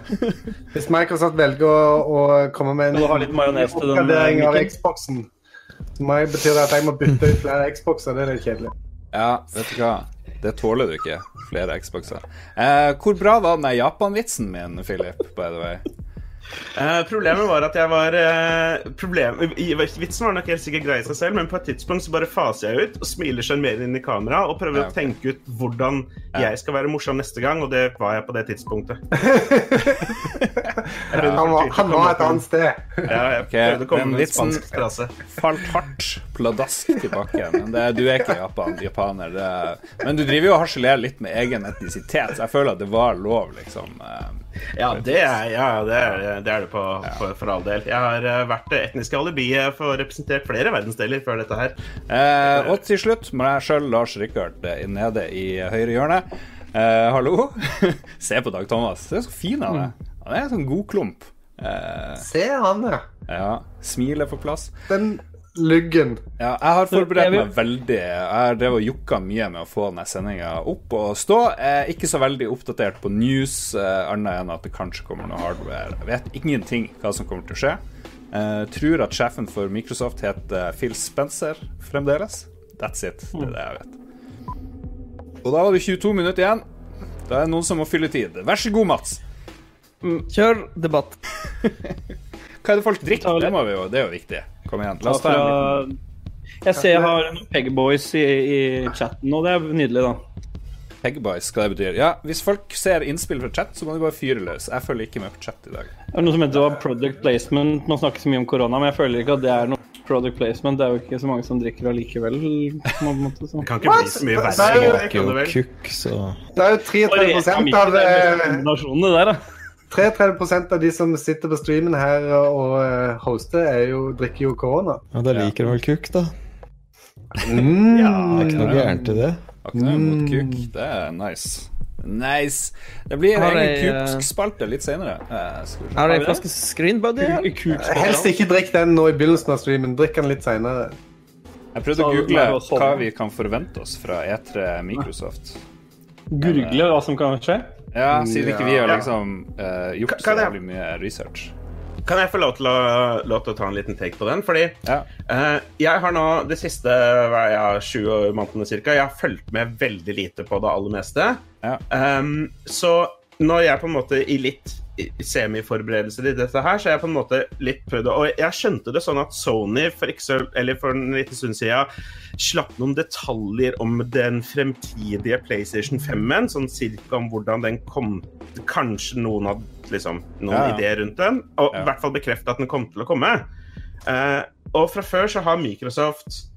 S5: hvis Microsoft velger å, å komme med en
S13: Må du ha litt majones til den,
S5: oppgradering av
S13: Mikkel?
S5: Xboxen, så må jeg- betyr det at jeg må bytte ut flere Xboxer. Det er litt kjedelig.
S3: ja, vet du hva? Det tåler du ikke. Flere Xboxer. Eh, hvor bra var den der Japan-vitsen min, Philip, by the way?
S16: Eh, problemet var at jeg var eh, problem, i- Vitsen var nok helt sikkert grei i seg selv, men på et tidspunkt så bare faser jeg ut og smiler sjarmerende inn i kamera og prøver
S3: Ja, ok.
S16: å tenke ut hvordan jeg skal være morsom neste gang, og det var jeg på det tidspunktet. Jeg prøvde
S5: Han var, han
S16: faktisk ikke å komme
S5: var
S16: opp
S5: et
S16: med-
S5: annet sted.
S16: Ja, jeg
S3: Ok,
S16: prøvde å komme
S3: den
S16: med en
S3: vitsen
S16: spansk frase.
S3: Falt hardt pladask tilbake igjen. Men det, du er ikke Japan, japaner. Det er, men du driver jo og harselerer litt med egen etnisitet, så jeg føler at det var lov, liksom. eh,
S16: Ja, det er, ja, det, er, det, er det på, for, for all del. Jeg har eh, vært det etniske alibiet for representert flere verdensdeler før dette her.
S3: Eh, og til slutt må jeg sjøl, Lars Rikard, eh, nede i høyre hjørne. Eh, hallo? Se på Dag Thomas. Se så fin han er.
S5: Mm.
S3: Han er en sånn god klump. Eh,
S5: Se han, ja.
S3: ja. Smilet på plass.
S5: Den luggen.
S3: Ja, jeg har forberedt
S5: Jeg vil-
S3: meg veldig. Jeg drev og jukka mye med å få denne sendinga opp og stå. Jeg er ikke så veldig oppdatert på news, eh, annet enn at det kanskje kommer noe hardware. Jeg vet ingenting hva som kommer til å skje. Jeg tror at sjefen for Microsoft heter Phil Spencer fremdeles. That's it. Det er det jeg vet. Og da var det 22 minutter igjen. Da er det noen som må fylle tid. Vær så god, Mats.
S17: Kjør debatt.
S3: Hva er det folk drikker? Det, må vi jo, det er jo viktig. Kom igjen. La oss ta en liten
S13: Fra... Jeg ser jeg har noen Pegboys i, i chatten, og det er nydelig, da.
S3: Pegboys, hva det betyr. Ja, hvis folk ser innspill fra chat, så må de bare fyre løs. Jeg følger ikke med på chat i dag.
S13: Det er noe som heter det var product placement. Man snakker så mye om korona, men jeg føler ikke at det er noe product placement. Det er jo ikke så mange som drikker allikevel. på en måte, så.
S16: Kan
S5: ikke bli så mye verre. Nei,
S10: Jeg er jo kukk, så
S5: Det er jo 33
S13: Bare
S5: av
S13: det
S5: eh,
S13: er mye kombinasjonene der, da.
S5: 33 av de som sitter på streamen her og eh, hoster, er jo, drikker jo korona.
S10: Ja, da liker de vel kukk, da.
S5: Mm.
S10: Det er ikke noe gærent i det.
S3: Har ikke
S17: Mm.
S3: noe imot kuk. Det er nice. Nice. Det blir
S17: Har
S3: en
S17: jeg, eh,
S3: egen kukspalte litt senere. Eh, skal vi se.
S17: Her er en flaske Screen Buddy. her.
S5: Helst ikke drikk den nå i begynnelsen av streamen. Drikk den litt seinere.
S3: Jeg prøvde å google hva vi kan forvente oss fra E3 Microsoft.
S13: Gurgle hva som kan skje.
S3: Ja, siden ikke vi har
S16: Ja.
S3: liksom eh, gjort så
S16: Kan- kan jeg-
S3: jævlig mye research.
S16: Kan jeg få lov til å, lov til å ta en liten take på den? Fordi eh, jeg har nå de siste hva er jeg, sju månedene cirka, jeg har fulgt med veldig lite på det aller meste. Ehm, så når jeg på en måte i litt i- semiforberedelser i dette her, så har jeg på en måte litt prøvd å Og jeg skjønte det sånn at Sony for, ikke så- eller for en liten stund siden slapp noen detaljer om den fremtidige PlayStation 5-en, sånn cirka om hvordan den kom Kanskje noen hadde liksom noen
S3: Ja, ja.
S16: ideer rundt den, og i hvert fall bekrefte at den kom til å komme. Eh, og fra før så har Microsoft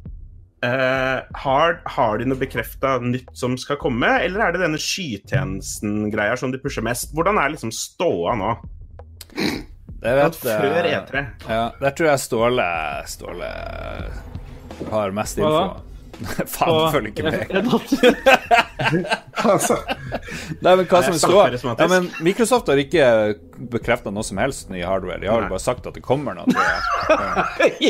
S16: Eh, har, har de noe bekrefta nytt som skal komme, eller er det denne skytjenesten-greia som de pusher mest? Hvordan er liksom ståa nå?
S3: Det vet
S16: Ja, før
S5: E
S3: eh,
S16: E3.
S3: Ja, der tror jeg Ståle Ståle har mest
S13: Hva da?
S3: info. Faen,
S13: På-
S3: følger ikke med.
S5: altså.
S3: Nei, men hva
S16: Jeg
S3: som
S16: snakker
S3: står
S16: karismatisk.
S3: ja, men Microsoft har ikke bekrefta noe som helst ny hardware. De har jo bare sagt at det kommer noe. tror jeg.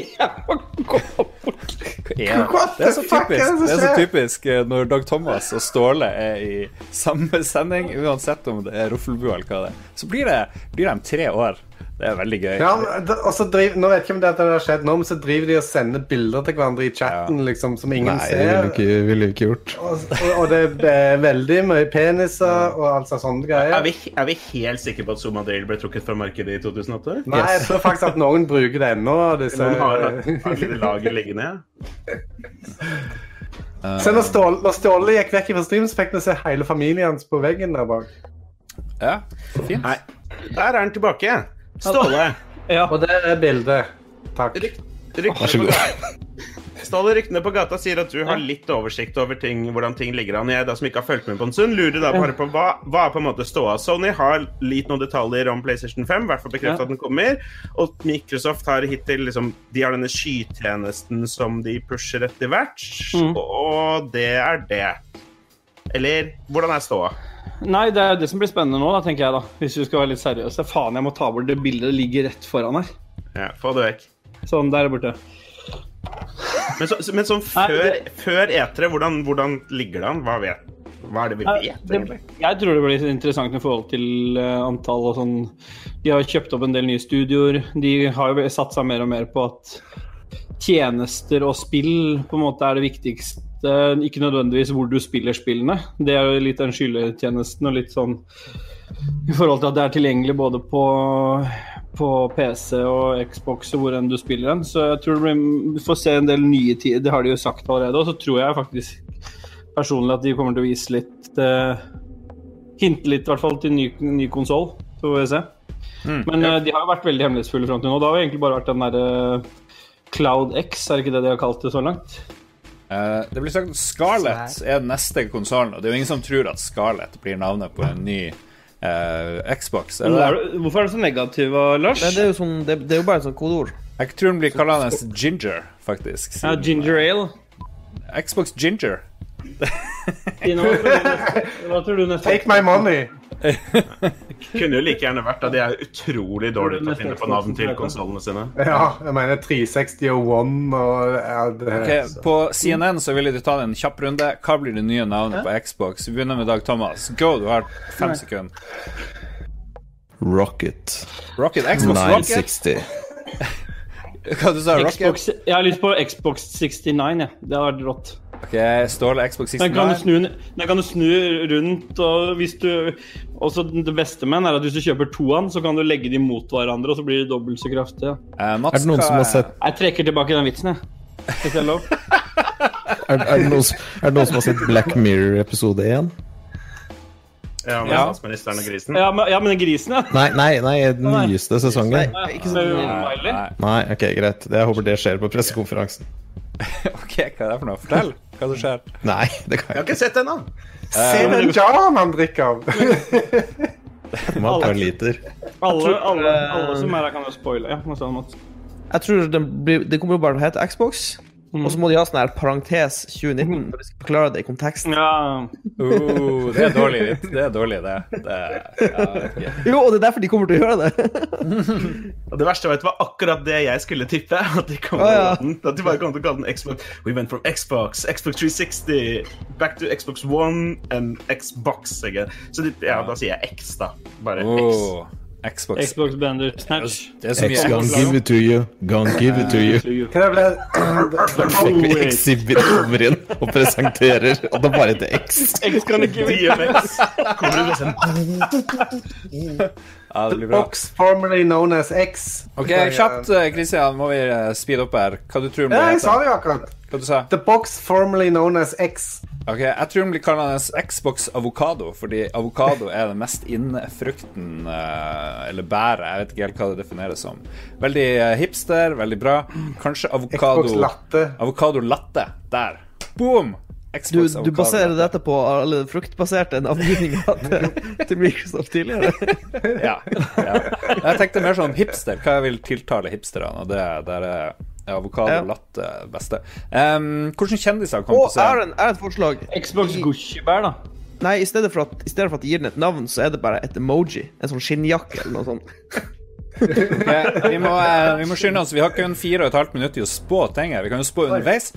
S3: Ja. Hva er det? Det er så
S5: What the fuck er det som
S3: typisk, det er så
S5: skjer?
S3: typisk eh, når Dag Thomas og Ståle er i samme sending, uansett om det er Ruffelbua eller hva det er. Så blir det, blir de tre år. Det er veldig gøy.
S5: Ja, men d- og så driv, nå vet jeg ikke om dette har skjedd nå, men så driver de og sender bilder til hverandre i chatten liksom, som ingen
S10: Nei, det ville
S5: ser.
S10: du ikke, ville du ikke gjort.
S5: Og, og, og det er veldig mye peniser og alt sånt sånne
S16: Er
S5: greier.
S16: vi, er vi helt sikre på at Somadril ble trukket fra markedet i 2008?
S5: Nei, jeg tror faktisk at noen bruker det ennå. Disse...
S16: Noen har har et lite lager liggende?
S5: Se, når Ståle, når Ståle gikk vekk fra stream, så fikk vi se hele familien hans på veggen der bak.
S3: Ja, fint.
S16: Nei, der er han tilbake. Ståle.
S5: Og det er bildet. Takk.
S16: Ryk,
S3: Ah,
S16: ryktene, på gata. Ståle, ryktene på gata sier at du har litt oversikt over ting, hvordan ting ligger an. Jeg da, som ikke har fulgt med på en stund, lurer da bare på hva, hva er på en måte ståa. Sony har litt noen detaljer om PlayStation 5, i hvert fall bekreftet
S13: Ja.
S16: at den kommer. Og Microsoft har hittil liksom, De har denne skytjenesten som de pusher
S5: Mm.
S16: etter hvert. Og det er det. Eller hvordan er ståa?
S13: Nei, det er det som blir spennende nå, da, tenker jeg, da. Hvis vi skal være litt seriøse. Faen, jeg må ta bort det bildet. Det ligger rett foran her.
S16: Ja, få det vekk.
S13: Sånn, der borte.
S16: Men, så, så- men sånn før, før etere, hvordan, hvordan ligger det an? Hva, vet, hva er det vi
S13: Nei,
S16: vet,
S13: det,
S16: egentlig?
S13: jeg tror det blir interessant i forhold til eh, antall og sånn. De har kjøpt opp en del nye studioer. De har jo satsa mer og mer på at tjenester og spill på en måte er det viktigste. Ikke nødvendigvis hvor du spiller spillene. Det er jo litt den skylletjenesten og litt sånn i forhold til at det er tilgjengelig både på, på PC og Xbox og hvor enn du spiller den. Så jeg tror det blir, vi får se en del nye tider, det har de jo sagt allerede. Og så tror jeg faktisk personlig at de kommer til å vise litt eh, Hinte litt i hvert fall til ny, ny konsoll. Så får vi se. Men eh, de har jo vært veldig hemmelighetsfulle fram til nå. Det har jo egentlig bare vært den derre Cloud X, er det ikke det de har kalt det så langt?
S3: Eh, Det blir sagt Scarlett er den neste konsollen, og det er jo ingen som tror at Scarlett blir navnet på en ny eh, Xbox.
S13: Men er du- hvorfor er du så negativ, Lars?
S10: Nei, det, er jo sånn, det, det er jo bare et sånt kodeord.
S3: Jeg tror den blir kallende Ginger, faktisk. eh,
S13: Ja, Ginger Ale.
S3: Xbox Ginger.
S13: Tina, hva tror du neste- hva tror du neste
S16: Kunne jo like gjerne vært da de er utrolig dårlige til å finne på navn til konsollene sine.
S14: Ja, jeg mener 360 og One og ja, det,
S3: Ok, på CNN så ville de ta en kjapp runde. Hva blir det nye navnet på Xbox? Vi begynner med Dag Thomas. Go, du har fem
S13: Nei.
S3: sekunder.
S8: Rocket.
S3: Rocket, Xbox Rocket?
S8: 960.
S10: sånn-
S3: Hva du sa du? Rocket?
S13: Xbox, jeg har lyst på Xbox 69, jeg. Det hadde vært rått.
S3: Ok, Ståle, Xbox
S13: Den kan, du
S3: 69.
S13: snu, den kan du snu rundt, og hvis du Også det beste med den er at hvis du kjøper toan, så kan du legge de mot hverandre, og så blir de dobbelt så kraftige.
S3: Eh, Mats,
S8: Er det noen
S3: hva
S8: som har sett-
S13: Jeg trekker tilbake den vitsen, jeg. Hvis det er lov.
S8: Er, er, det noen, som- er det noen som har sett Black Mirror episode 1?
S16: Ja, med
S13: Ja.
S16: statsministeren og grisen.
S13: Ja, men, ja, men den grisen, ja.
S8: Nei, nei, nei, den nyeste sesongen.
S13: Ikke så Miley.
S8: Nei, ok, greit. Jeg håper det skjer på pressekonferansen.
S3: Ok, hva er det for noe? Fortell hva som skjer. Eh,
S8: Nei, det kan
S16: Jeg har ikke sett den, da.
S14: Se den jaren han drikker av!
S8: ikke man tar en liter.
S13: Alle,
S10: tror-
S13: alle, alle som er her, kan jo spoile. Ja, hva sa du, Mats?
S10: Jeg tror den blir, Det kommer jo bare til å hete Xbox. Og så må de ha sånn her parentes 2019 for å forklare det i konteksten.
S3: Oh, det er dårlig, vits. det er dårlig, det. det er, ja, vet ikke.
S10: Jo, og det er derfor de kommer til å gjøre det.
S16: Og det verste jeg vet, var akkurat det jeg skulle tippe. At de, kom
S10: Å,
S16: til å
S10: ja.
S16: kalle den, at de bare kom til å kalle den Xbox. We went from Xbox, Xbox 360, back to Xbox One and Xbox again. Så de, ja, da sier jeg X, da. Bare
S3: Oh,
S16: Xbox.
S13: Xbox Bender Snatch.
S3: Det
S8: X gonna give it to you. Gonna give it to you.
S14: Hva er det
S8: Da fikk vi Exhibit kommer inn og presenterer, og det er bare et X.
S13: X kan ikke
S16: DMX. Kommer du
S3: Ja, det blir bra.
S14: Box formerly known as X.
S3: Ok, kjapt, eh, Christian, må vi eh, speede opp her. Hva du tror den
S14: Ja,
S3: blir
S14: jeg sa
S3: heter?
S14: det jo akkurat.
S3: Hva du sa?
S14: The box formerly known as X.
S3: Ok, jeg tror den blir kallende Xbox avokado, fordi avokado er den mest innfrukten, eh, eller bæret, jeg vet ikke helt hva det defineres som. Veldig eh, hipster, veldig bra. Kanskje avokado
S14: Xbox latte.
S3: Avokado latte. Der. Boom! Xbox
S10: Du, du
S3: avokado.
S10: baserer dette på alle fruktbaserte navngivninga til, til Microsoft tidligere.
S3: ja, ja. Jeg tenkte mer sånn hipster. Hva jeg vil tiltale hipsterne, og det der er avokado
S10: Ja.
S3: latte beste. Um, hvordan kjendiser kom på
S10: Og
S3: scenen?
S10: Aaron er et forslag.
S13: Xbox Gucci-bær, da.
S10: Nei, i stedet, for at, i stedet for at de gir den et navn, så er det bare et emoji. En sånn skinnjakke eller noe sånt.
S3: Ok, vi, må, eh, vi må skynde oss. Vi har kun fire og et halvt minutt til å spå ting her. Vi kan jo spå underveis,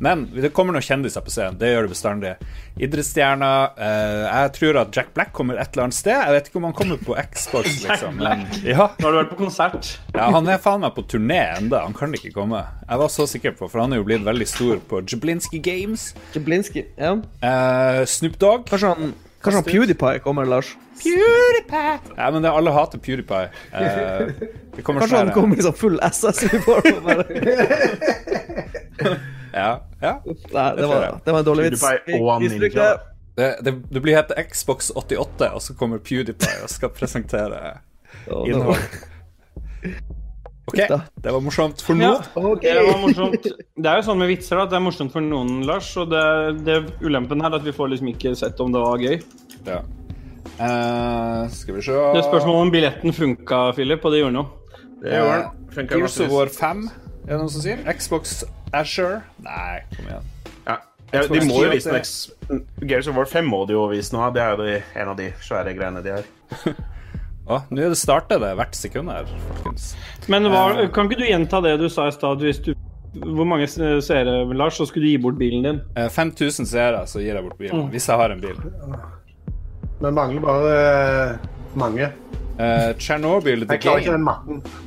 S3: men det kommer noen kjendiser på scenen. Det gjør det bestandig. Idrettsstjerner. eh, jeg tror at Jack Black kommer et eller annet sted. Jeg vet ikke om han kommer på Xbox, liksom. Men, ja.
S13: Nå har du vært på konsert.
S3: ja, han er faen meg på turné enda Han kan ikke komme. Jeg var så sikker på, for han er jo blitt veldig stor på Jablinski Games.
S10: Jablinski, ja.
S3: Eh, Snoop Dogg.
S10: Kanskje han, kanskje han PewDiePie kommer, Lars?
S3: PewDiePie! Ja, men det, alle hater PewDiePie. Eh, det kommer
S10: Kanskje han
S3: sånn her-
S10: kommer i sånn full SS-uniform? og bare-
S3: Ja. ja.
S10: Nei, det var, det var en dårlig vits. Vi- vi stryker det.
S3: Det, det, det blir hett Xbox 88, og så kommer PewDiePie og skal presentere
S10: det var-
S3: innhold. OK, det var morsomt for nå.
S13: Det var morsomt. Det er jo sånn med vitser da, at det er morsomt for noen, Lars. Og det, det er ulempen her er at vi får liksom ikke sett om det var gøy.
S3: Ja. Eh, skal vi se
S13: Det er spørsmål om billetten funka, Philip, og det gjorde noe.
S3: Det Eh,
S14: Eh,
S3: Gears of War 5, er det noen som sier? Xbox Azure? Nei, kom igjen.
S16: Ja. Ja, de må jo
S8: Tror jeg
S16: visstnok Gears of War 5 må de jo vise nå. Det er jo de- en av de svære greiene de har.
S3: Å, nå er det startet det hvert sekund her, folkens.
S13: Men hva,
S3: Eh,
S13: kan ikke du gjenta det du sa i stad? Hvis du Hvor mange seere, Lars, så skulle du gi bort bilen din?
S3: eh, 5000 seere, så gir jeg bort bilen.
S13: Mm.
S3: Hvis jeg har en bil.
S14: Vi mangler bare eh, mange.
S3: Eh, Chernobyl The
S14: Jeg klarer ikke
S3: Game.
S14: den matten.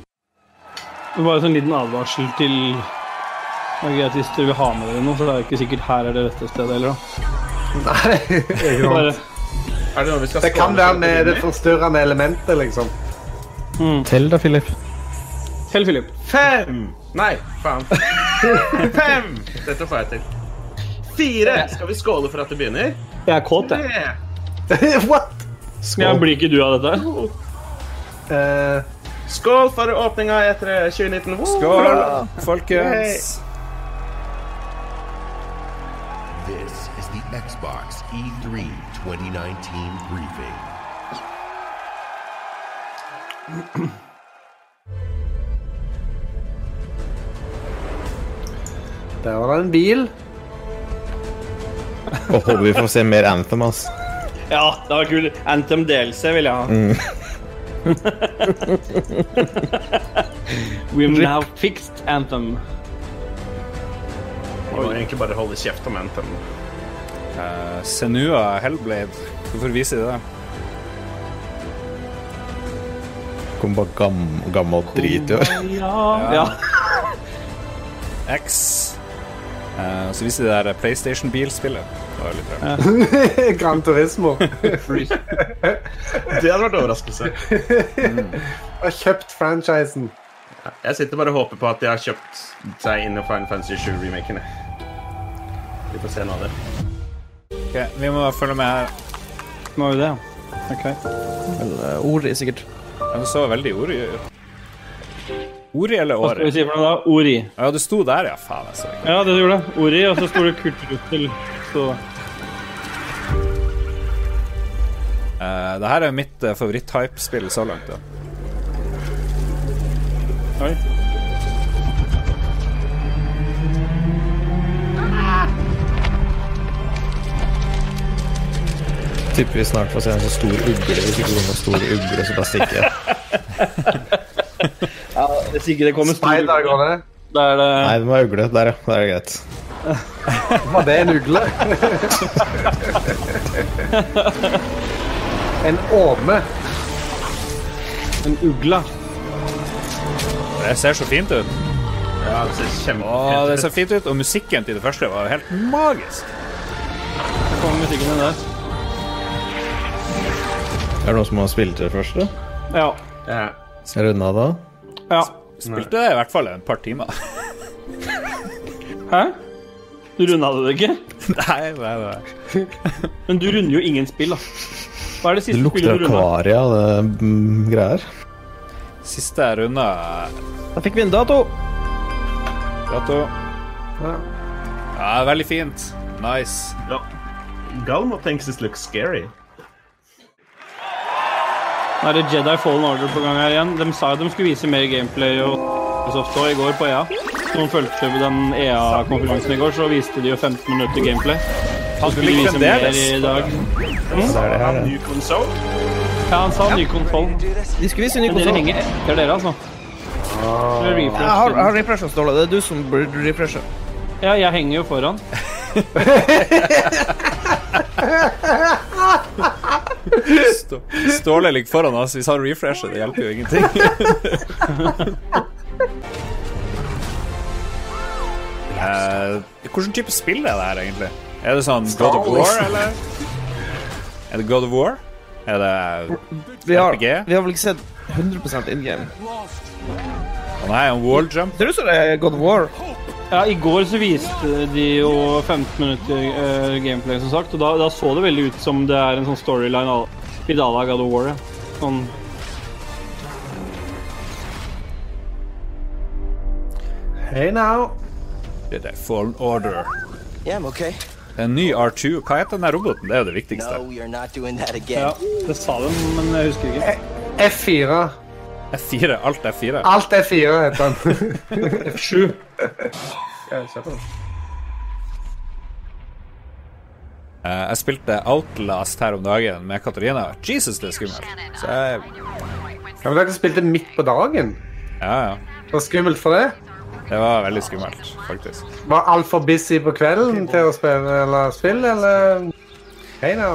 S13: Det var en sånn liten advarsel til Det er greit hvis dere vil ha med dere noe, så det er jo ikke sikkert her er det rette stedet heller, da.
S14: Nei,
S13: Bare,
S16: Er det noe vi skal
S14: Det kan være med det forstørrende elementet, liksom.
S8: Tell da, Philip.
S13: Tell Philip.
S16: Fem! Nei, faen. Fem! Dette får jeg til. Fire! Skal vi skåle for at det begynner?
S13: jeg er kåt, jeg.
S16: Tre.
S14: What?
S13: Ja, blir ikke du av dette?
S16: Skål for åpninga etter 2019. Woo!
S3: Skål, folkens.
S11: This is the Xbox E E3 2019 briefing.
S14: Der var det en bil.
S8: Og håper vi får se mer Anthem, ass.
S13: Ja, det var kult. Anthem DLC vil jeg ha.
S8: Mm.
S13: We've now fixed Anthem.
S16: Vi må egentlig bare holde kjeft om Anthem.
S3: Eh, Senua Hellblade. Hvorfor viser de det?
S8: Kom bare gam gammel drit, jo.
S3: Ja. X. Eh, så viser de det der PlayStation-bilspillet. Det var litt rart.
S14: Gran Turismo.
S16: Det hadde vært overraskelse.
S14: Har kjøpt franchisen.
S16: Jeg sitter bare og håper på at de har kjøpt seg inn i Final Fantasy 7-remaken. Vi får se nå det.
S3: Ok, vi må følge med her.
S13: Må jo det, OK.
S10: Vel, eh, Ori, sikkert.
S3: Ja, det så veldig ord Ori eller
S13: Hva
S3: Åri?
S13: skal vi si for noe da? Ori.
S3: Ja, det sto der, ja. Faen, jeg så ikke.
S13: Ja, det gjorde det. Ori, og så sto det kultrussel. Så
S3: Eh, det her er mitt eh, favoritt-hype-spill så langt. Da.
S13: Oi.
S8: Tipper vi snart får se en så stor ugle hvis ikke det kommer noen stor ugle, så bare stikker jeg.
S13: Ja, hvis ikke det kommer
S14: Spider, går det?
S13: Da er det
S8: Nei, det var ugle. Der, ja. Da er det greit.
S14: Var det en ugle? en åme.
S13: En ugle.
S3: Det ser så fint ut.
S16: Ja, det ser
S3: kjempefint ut. Det ser fint ut, og musikken til det første var helt magisk.
S13: Så kommer musikken inn der.
S8: Er det noen som har spilt det først, da?
S13: Ja.
S8: Jeg runda det.
S13: ja.
S3: Spilte det i hvert fall et par timer.
S13: Hæ? Du runda det ikke?
S3: nei, nei, nei.
S13: Men du runder jo ingen spill, da. Hva er det
S8: Det
S13: siste
S8: lukter
S13: spillet du runda?
S8: akvaria og det mm, greier.
S3: Siste runde
S10: Da fikk vi en dato.
S3: Dato. Ja, veldig fint. Nice.
S16: Ja. Galmo thinks it looks scary.
S13: Nå er det Jedi Fallen Order på gang her igjen. De sa jo de skulle vise mer gameplay og Microsoft også i går på E EA. Noen fulgte jo den EA-konferansen i går, så viste de jo 15 minutter gameplay. Så skulle de vise mer i dag. Mm?
S8: Så er det her, ja.
S16: Ny konsol?
S13: Ja, han sa ny kontroll.
S10: De skulle vise en ny
S13: Men dere
S10: konsol.
S13: henger etter dere, altså. Så er
S10: Ah. Jeg har,
S13: det
S10: jeg
S13: refresh.
S10: har refresha, Ståle. Det er du som burde refreshe.
S13: Ja, jeg henger jo foran.
S3: Stå- Ståle ligger foran oss. Hvis han refresher, det hjelper jo ingenting. Eh, Hvilken type spill er det her, egentlig? Er det sånn God of War, eller? Er det God of War? Er det eh,
S10: Vi har,
S3: RPG?
S10: vi har vel ikke sett 100 in game.
S3: Han er en wall jump.
S10: Ser ut som det er God of War.
S13: Ja, I går så viste de jo 15 minutter eh, gameplay, som sagt. Og da, da så det veldig ut som det er en sånn storyline à- litt à la God of War. Ja. Sånn
S14: Hey now.
S3: Det er Fallen Order.
S6: Yeah, I'm okay.
S3: Det er En ny R2. Hva heter den der roboten? Det er jo det viktigste.
S6: No, you're not doing that again.
S13: Ja, det sa de, men jeg husker
S10: E-
S13: ikke.
S14: F4.
S3: F4. Alt er 4.
S14: Alt F4 heter den.
S13: F7.
S16: Ja, se på den.
S3: Eh, jeg spilte Outlast her om dagen med Katarina. Jesus, det er skummelt. Så jeg
S14: Ja, men dere spilte midt på dagen?
S3: Ja, ja.
S14: Det var skummelt for det?
S3: Det var veldig skummelt, faktisk.
S14: Var altfor busy på kvelden til å spille eller spille, eller Hei nå.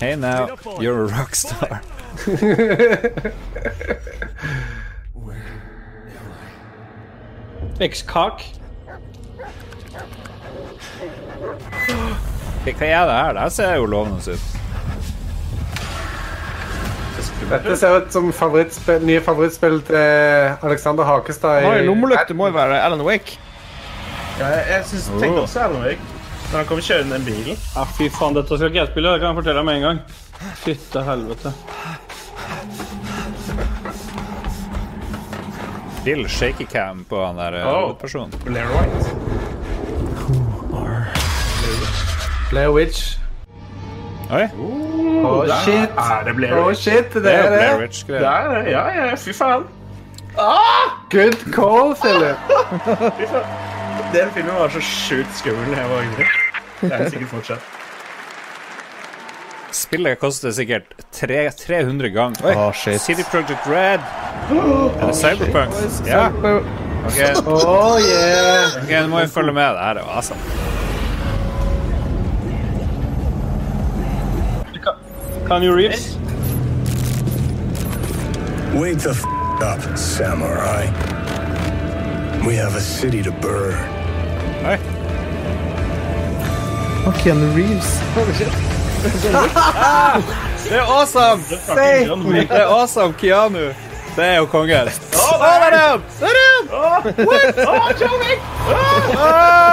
S3: Hey now, you're a rockstar.
S13: Ekskak.
S3: Hva hva er det her? Det her ser jo lovende ut.
S14: Dette ser ut som favorittspill, nye favorittspill til Alexander Hakestad
S10: Han har jo
S14: i
S10: lommelykt, det må jo være Alan Wake.
S16: Ja, jeg jeg synes, tenkte også Alan Wake. Når han kom kjørende den bilen.
S13: Ja, fy faen, dette skal ikke jeg spille. Det kan jeg fortelle deg med en gang. Fytte helvete.
S3: Dill shaky cam på han der eh,
S16: Oh.
S3: hovedpersonen.
S16: Blair White.
S14: Blair Witch.
S3: Oi.
S14: Å,
S16: der
S14: shit.
S16: Er det Blair
S14: Å,
S16: Witch?
S14: shit, det er det.
S16: Det er det, ja, Ah! ja, fy faen.
S14: Good call, Philip.
S16: Fy faen. Den filmen var så sjukt skummel da jeg var yngre. Det er det sikkert fortsatt.
S3: Spillet koster sikkert tre, 300 ganger. Oi,
S14: Ah,
S3: City Project Red. Er det Cyberpunk? Ja. Ok,
S14: Oh, yeah.
S3: Ok, nå må vi følge med. Det her er jo awesome.
S13: Kan you reeves?
S18: Wake the f up, samurai. We have a city to burn.
S10: Og Ken Reeves.
S3: Det er awesome!
S10: Say me.
S3: Det er awesome, Keanu. Det er jo kongen.
S10: Å, der er han! Der er han! What?
S16: Ah,
S10: Å, John Wick!
S19: Ah!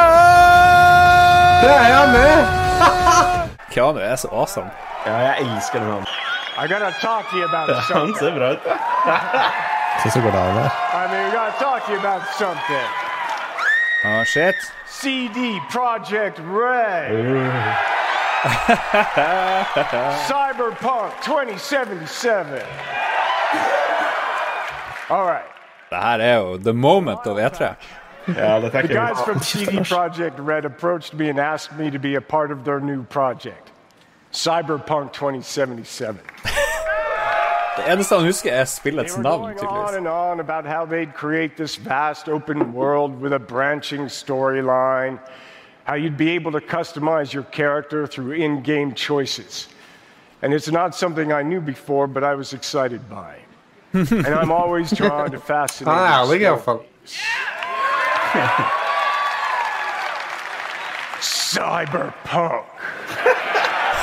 S14: Det er jeg med!
S3: Keanu er så awesome.
S16: Ja, jeg elsker den mannen.
S4: I gotta talk to you about
S16: Ja, han
S4: something.
S16: ser bra ut.
S8: Se så går det av der.
S4: I mean, we gotta talk to you about something.
S3: Oh, shit.
S4: CD Project Red. Cyberpunk 2077. All right.
S3: Det her er jo the moment of E E3. Uh,
S16: Ja, dette
S4: The guys from CD Projekt Red approached me and asked me to be a part of their new project, Cyberpunk 2077.
S3: Det eneste han husker, er spillets navn, tydeligvis.
S4: On and on about how they'd create this vast open world with a branching storyline, how you'd be able to customize your character through in game choices. And it's not something I knew before, but I was excited by. and I'm always drawn to fascinating.
S14: Han er ærlig, i hvert
S4: stories. Cyberpunk.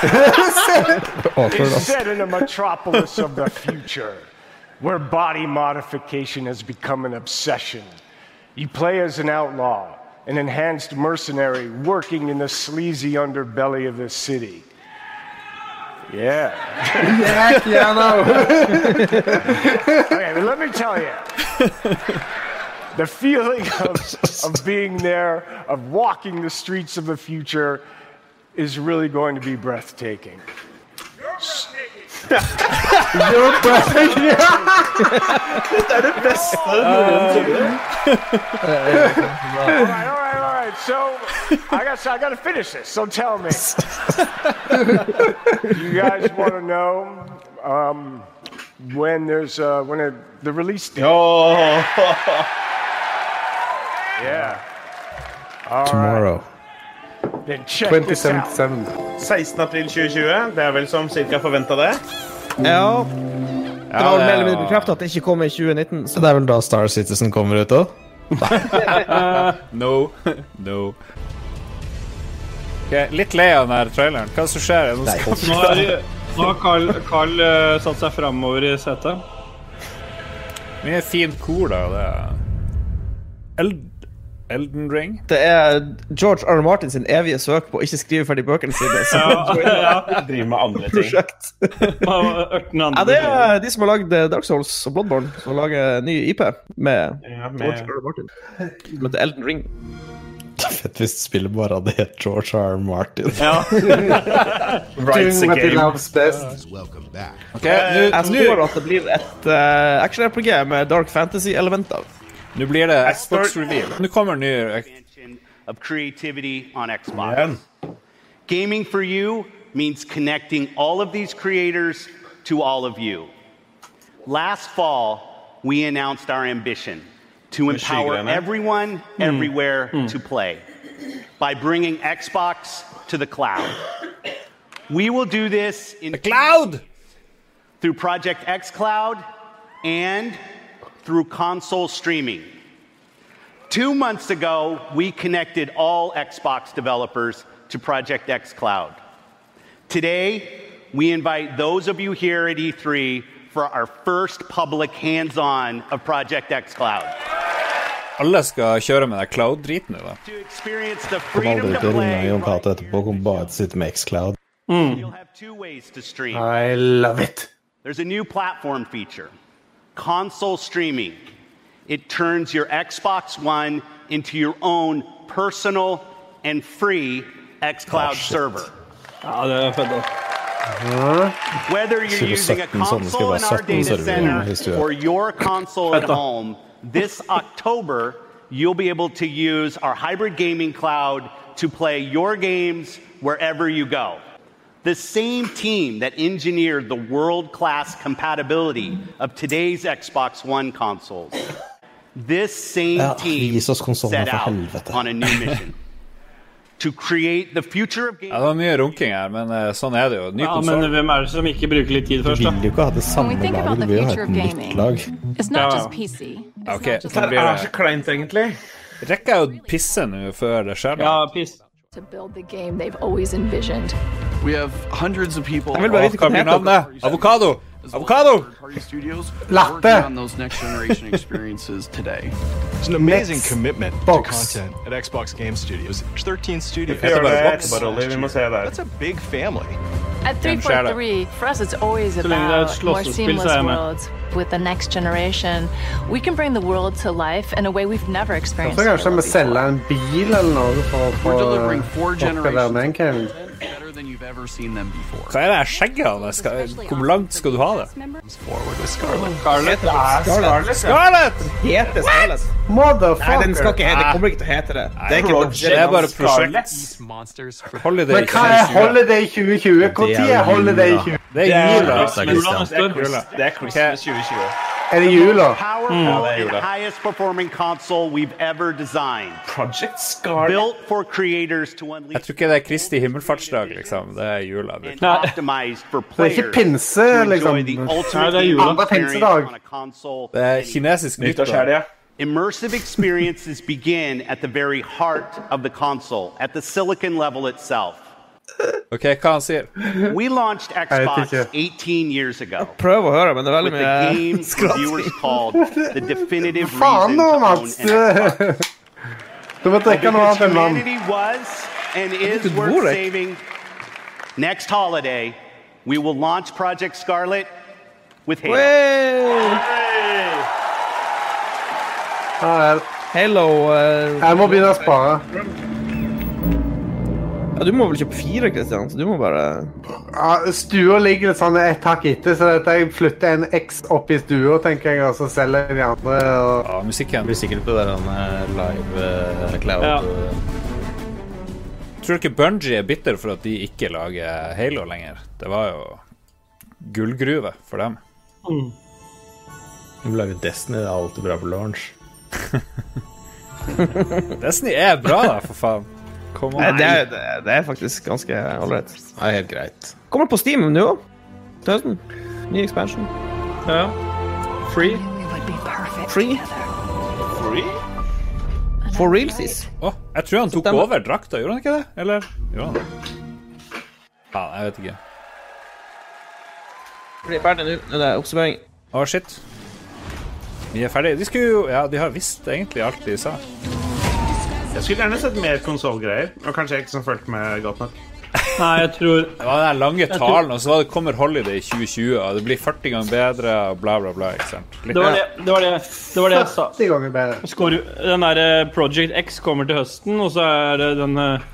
S8: Awkward,
S4: is
S8: that's-
S4: set in a metropolis of the future where body modification has become an obsession. You play as an outlaw, an enhanced mercenary working in the sleazy underbelly of this city. Yeah.
S14: Heck yeah, no.
S4: okay, but let me tell you. The feeling of, of being there, of walking the streets of the future, is really going to be breathtaking.
S14: You're breathtaking.
S4: Dette er det beste all right, all right, all right. So I got, I got to finish this. So tell me, you guys want to know um, when there's uh, when a, the release date? Oh, yeah. All right.
S8: Tomorrow.
S4: Then check this out.
S16: 16. april 2020. Det er vel som cirka forventa det.
S10: Ja. Det var vel mer eller mindre bekreftet at det ikke kom i 2019.
S8: Så det er vel da Star Citizen kommer ut òg?
S3: No. No. Ok, litt lei av den her traileren. Hva er det som skjer? Er det noe skapt?
S13: Nå har, nå har Carl, Carl eh, satt seg framover i setet.
S3: Mye fint kor, da. Det er Eld Elden Ring.
S10: Det er George R. R. Martin sin evige søk på å ikke skrive ferdig bøkene sine. Så
S16: Driver med andre ting.
S10: prosjekt. Ja, det er de som har lagd eh, Dark Souls og Bloodborne, som lager ny IP med
S16: med-
S10: George R. R. Martin. Som heter Elden Ring.
S8: Fett hvis spillet bare hadde hett George R. Martin.
S10: Ja.
S8: Writes the Doing what he game. loves
S11: best. Welcome back.
S10: Eh, jeg spår at det blir et eh, action-RPG med dark fantasy-elementer.
S3: Nå blir det
S10: Xbox
S3: Xbox Reveal. Nå kommer ny
S20: expansion of creativity on Xbox.
S10: Man.
S21: Gaming for you means connecting all of these creators to all of you. Last fall, we announced our ambition to
S16: Machine
S21: empower
S16: gun, eh?
S21: everyone,
S16: Hmm.
S21: everywhere
S16: Hmm.
S21: to play by bringing Xbox to the cloud. We will do this in the cloud through Project X Cloud and through console streaming. Two months ago, we connected all Xbox developers to Project X Cloud. Today, we invite those of you here at E3 for our first public hands on of Project X Cloud.
S3: Alle skal kjøre med den cloud-driten i det.
S21: Experience the
S8: Kom
S21: freedom to
S8: aldri til å ringe
S21: play.
S8: Jon Cato etterpå og bare sitte med X-Cloud.
S10: Mm.
S21: You'll have two ways to stream.
S14: I love it.
S21: There's a new platform feature console streaming. It turns your Xbox One into your own personal and free
S14: Oh,
S21: xCloud server.
S13: Ja, det er fett, da.
S21: Whether you're
S8: Super
S21: using a
S8: 17 sånne skal
S21: console in
S8: være
S21: our
S8: 17
S21: data
S8: servere hvis du
S21: center
S8: er.
S21: or your console at
S8: Vent da.
S21: home, this October, you'll be able to use our hybrid gaming cloud to play your games wherever you go. The same team that engineered the world class compatibility of today's Xbox One consoles, this same
S8: Ja,
S21: team
S8: vis oss konsolene,
S21: set
S8: for
S21: out
S8: helvete.
S21: on a new mission to create the future of
S3: Ja, det var mye runking her, men eh, sånn er det jo. Ny
S13: Ja,
S3: konsol.
S13: men hvem er det som ikke bruker litt tid
S3: Du
S13: først, da?
S3: vil jo ikke ha det
S8: samme When we think laget, about du the vil jo ha future et of nytt gaming, lag.
S20: It's not
S3: Ja, ja.
S20: just PC. It's
S3: Ok,
S20: not just
S3: så blir
S20: Ah,
S3: det
S20: så
S3: kleint, egentlig. Rekker jeg å pisse nå før det skjer? Ja, piss.
S20: to build the game they've always envisioned.
S22: We have hundreds of people.
S3: Jeg vil bare vite hva blir navnet. Avokado! Avokado!
S22: Latte. on those next generation experiences today.
S23: There's an amazing
S22: Next
S23: commitment
S22: box.
S23: to content at Xbox Game Studios. There's 13 studios.
S16: If you're an
S23: Xbox
S16: Xbox
S23: last
S16: Oliver,
S23: year.
S16: you must say that.
S23: That's a big family.
S20: At
S23: Damn shout out.
S20: 343, for us, it's always
S23: So lang
S20: about
S23: that's
S20: more
S23: Schlosser's
S20: seamless
S23: Pilsner, man.
S20: worlds. With the next generation, we can bring the world to life in a way we've never
S14: Jeg
S20: experienced.
S14: tror kanskje vi selger en bil eller noe for å få
S22: delivering four
S14: folk til å være med en kveld.
S22: Better than you've ever seen them before.
S3: Hva er det her skjegget hans? Skal- Hvor langt skal du ha det? Scarlett.
S22: Scarlett.
S3: Scarlett!
S10: Heter Scarlett. Nei, den skal ikke hete, kommer ikke til å hete det. Det er, ikke
S3: Nei,
S10: Roger,
S3: det er bare
S10: Scarlett.
S3: prosjekt. Holiday
S14: Men hva er
S3: 2020?
S14: Holiday 2020? Når er Holiday 2020?
S3: Det er jula.
S16: Det er Christmas 2020.
S14: Er det jula?
S21: powerful
S3: Mm.
S14: Hmm.
S21: and highest performing console we've ever designed.
S16: Project Scarlet.
S21: Built for creators to unleash
S3: Jeg tror ikke det er Kristi himmelfartsdag, liksom. Det er jula.
S21: and optimized for
S3: Det er ikke
S21: players
S3: pinse,
S21: to enjoy
S3: liksom.
S21: the
S14: Ah,
S3: Nei,
S21: ultimate
S3: det er jula.
S21: experience
S3: Pinsedag.
S21: on a console.
S3: Det er kinesisk nyttår.
S21: Nyttårshelga. Immersive experiences begin at the very heart of the console, at the silicon level itself.
S3: OK, hva han sier?
S21: We launched Xbox 18 years ago.
S10: Prøv å høre, men det er veldig
S21: With the game
S10: mye
S21: viewers called the definitive
S14: Faen
S21: reason
S14: nå,
S21: to own
S14: Mats! Du må drikke noe
S21: Because
S14: annet enn vann.
S21: humanity was and is
S14: at
S21: worth
S14: Borek.
S21: saving. Next holiday, we will launch Project Scarlet with Halo.
S10: Hello eh,
S14: Jeg må begynne å spare.
S10: Ja, du må vel kjøpe fire, Kristian. Så du må bare
S14: Ja, Stua ligger litt sånn et hakk etter, så dette, jeg flytter en X opp i stua, tenker jeg, og så selger jeg de andre. Og...
S3: Ja, musikken.
S15: Blir sikkert på den live eh, cloud.
S3: Ja.
S15: eh,
S3: Tror du ikke Bungie er bitter for at de ikke lager Halo lenger? Det var jo gullgruve for dem.
S15: De lager Destiny, det er alltid bra på launch.
S3: Destiny er bra, da, for faen. Kom
S10: Nei,
S3: an.
S10: det, er, det, er- det er faktisk ganske ålreit.
S15: Det er helt greit.
S10: Kommer på Steam nå til høsten. Ny expansion.
S13: Ja. Free.
S10: Free. For realsies.
S3: Å, jeg tror han tok
S10: September.
S3: over drakta, gjorde han ikke det? Eller? Gjorde han det? Ja, jeg vet ikke.
S10: Blir ferdig nå. Nå er det oppsummering.
S3: Å, shit. Vi er ferdige. De skulle jo Ja, de har visst egentlig alt de sa.
S16: Jeg skulle gjerne sett mer konsolgreier. Og kanskje jeg ikke som fulgte med godt nok.
S13: Nei, jeg tror
S3: Det var den der lange
S13: tror-
S3: talen, og så var det kommer Holiday 2020, og det blir 40 ganger bedre, og bla, bla, bla. Ikke sant?
S13: Det var det, det, var det, det, var det jeg sa.
S14: 40 ganger bedre.
S13: Skår, den der eh, Project X kommer til høsten, og så er det den eh,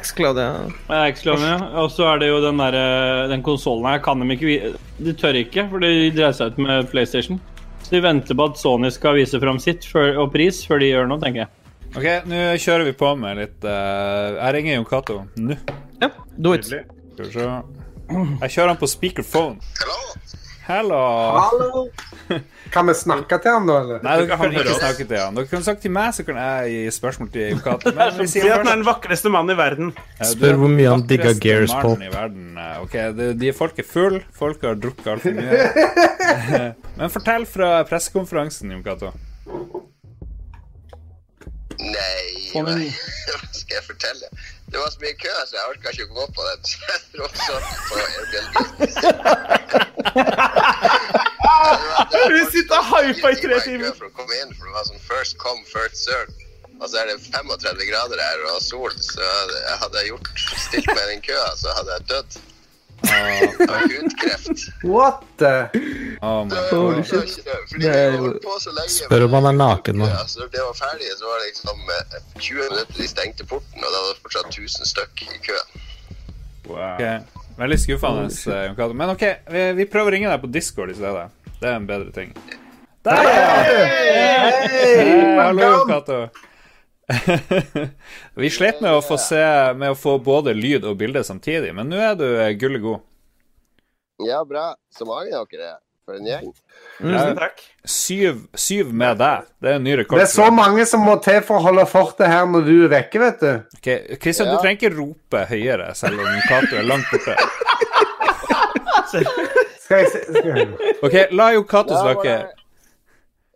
S10: X-Cloud, ja.
S13: Ja, X-Cloud, ja. Og så er det jo den der, eh, den konsollen her kan de ikke vi- De tør ikke, for de dreier seg ut med PlayStation. Så de venter på at Sony skal vise fram sitt før, og pris før de gjør noe, tenker jeg.
S3: Ok, nå kjører vi på med litt eh, Jeg ringer Jon Cato nå.
S10: Ja, do it.
S3: Skal vi se Jeg kjører han på speakerphone. Hello.
S14: Hallo! Kan vi snakke til han da, eller?
S3: Nei, dere kan ikke snakke til han. Dere kan snakke til meg, så kan jeg gi spørsmål til Jon Cato.
S16: Det er som å si at han er den vakreste mannen i verden.
S8: Spør hvor mye han digga Gears
S3: Gears
S8: på.
S3: i verden. Eh, Ok, de, de folk er full Folk har drukket alt for mye. Men fortell fra pressekonferansen, Jon Cato.
S24: Nei, nei. skal jeg fortelle? Det var så mye kø, så jeg orka ikke å gå på den. Så jeg dro sånn på Airbnb.
S16: Hun sitter og hyper i tre timer.
S24: For å komme inn, for det var sånn first come, first serve. Og så er det 35 grader her og sol, så jeg hadde jeg gjort, stilt meg i den køa, så hadde jeg dødd. Av hudkreft.
S14: What the?
S3: Oh my
S8: Holy
S10: god.
S8: shit.
S24: Fordi vi har holdt på så lenge.
S8: Spør om han er naken nå.
S24: Ja, så når det var ferdig, så var det liksom eh, 20 minutter de stengte porten, og da var det fortsatt 1000 stykk i kø.
S3: Ok, Veldig skuffende, eh, Jon Cato. Men OK, vi, vi prøver å ringe deg på Discord i stedet. Det er en bedre ting. Der, ja! Hei, Hallo, Jon Cato. Vi slet med å få se Med å få både lyd og bilde samtidig, men nå er du eh, gullet god.
S24: Ja, bra. Så mange av dere er. For en gjeng.
S3: Eh, Syv, syv med deg. Det er en ny rekord.
S14: Det er så mange som må til for å holde fortet her når du er vekke, vet du.
S3: Ok, Christian, du
S14: Ja.
S3: trenger ikke rope høyere, selv om Cato er langt borte.
S14: Skal jeg se skal jeg...
S3: OK, la jo Cato
S24: Ja,
S3: snakke.
S24: hvordan-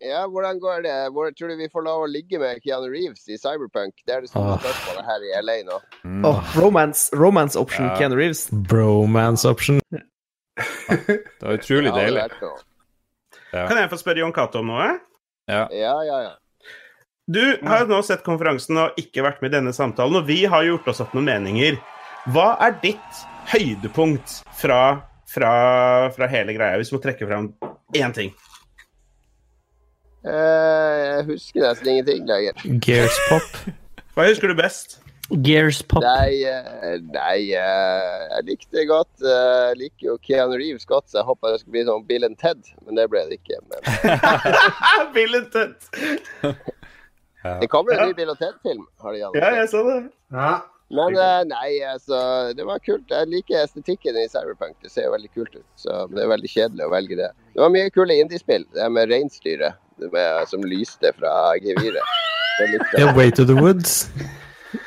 S24: Ja, hvordan går det? Hvor, tror du vi får lov å ligge med Keanu Reeves i Cyberpunk? Det er det store
S8: Åh.
S24: spørsmålet her i LA nå.
S10: Åh, Oh, romance, romance option,
S8: Mm. Ja.
S10: Keanu Reeves.
S8: Bromance option.
S3: Det var utrolig
S24: Ja, det
S3: deilig.
S24: vært noe.
S16: Kan jeg få spørre Jon Cato om noe?
S3: Ja.
S24: Ja, ja, ja.
S16: Du har jo nå sett konferansen og ikke vært med i denne samtalen, og vi har gjort oss opp noen meninger. Hva er ditt høydepunkt fra, fra, fra hele greia, hvis du må trekke fram én ting?
S24: Eh, jeg husker nesten ingenting lenger.
S8: Gears pop.
S16: Hva husker du best?
S8: Gears pop.
S24: Nei, eh, nei eh, jeg likte godt eh, Jeg liker jo Keanu Reeves godt, så jeg håpa det skulle bli sånn Bill and Ted, men det ble det ikke. Men
S16: Ah, Bill and Ted.
S24: det kommer en ny Bill and Ted-film, har de annonsert.
S16: Ja, jeg så det.
S24: Men eh, nei, altså, det var kult. Jeg liker estetikken i Cyberpunk. Det ser jo veldig kult ut, så det er veldig kjedelig å velge det. Det var mye kule indiespill. Det her med reinsdyret det med- som lyste fra geviret. Det likte
S8: Ja,
S24: jeg.
S8: Way to the Woods.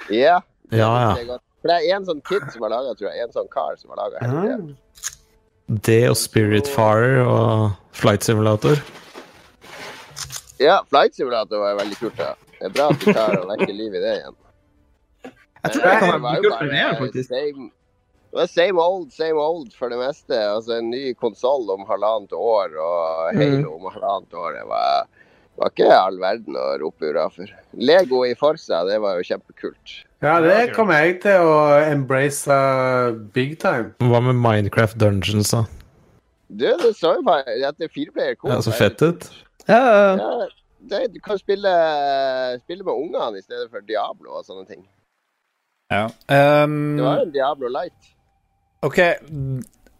S24: Ja,
S10: Ah,
S8: Ja,
S24: det er
S8: ja.
S24: godt. For det er en sånn kid som har laga, tror jeg. En sånn kar som har
S10: Ah.
S24: laga.
S8: Det og Spiritfarer og Flight Simulator.
S24: Ja, flight simulator var veldig kult. Ja. Det er bra at du klarer å vekke liv i det igjen.
S10: Jeg tror det kan
S24: var
S10: være
S24: jo
S10: kult
S24: bare
S10: for det, faktisk.
S24: Same, det var same old, same old for det meste. Altså en ny konsoll om halvannet år
S10: Mm.
S24: og Halo om halvannet år. Det var, var ikke all verden å rope hurra for. Lego i Forsa, det var jo kjempekult.
S14: Ja, det kommer jeg til å embrace uh, big time.
S8: Hva med Minecraft Dungeons, da?
S24: Du, det så jo faktisk at det er fireplayer coop.
S8: Ja, så fett ut.
S24: Ja, det, du kan spille, spille med ungene i stedet for Diablo og sånne ting.
S3: Ja. Um,
S24: Det var jo en Diablo Light.
S3: Ok,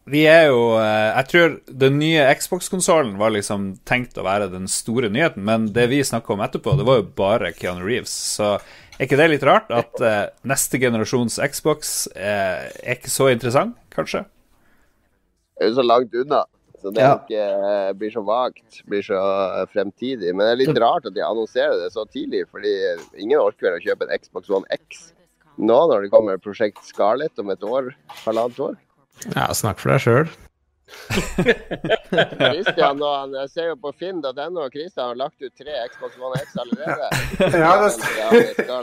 S3: vi er jo eh, Jeg tror den nye Xbox-konsollen var liksom tenkt å være den store nyheten, men det vi snakka om etterpå, det var jo bare Keanu Reeves. Så er ikke det litt rart at eh, neste generasjons Xbox eh, er ikke så interessant, kanskje?
S24: er jo så langt unna. Så det
S3: Ja.
S24: ikke eh, blir så vagt, blir så eh, fremtidig. Men det er litt rart at de annonserer det så tidlig, fordi ingen orker vel å kjøpe en Xbox One X nå når det kommer Prosjekt Scarlett om et år, halvannet år.
S8: Ja, snakk for deg sjøl.
S24: Christian og han, jeg ser jo på Finn.no, Christian har lagt ut tre Xbox One X allerede.
S14: Ja, det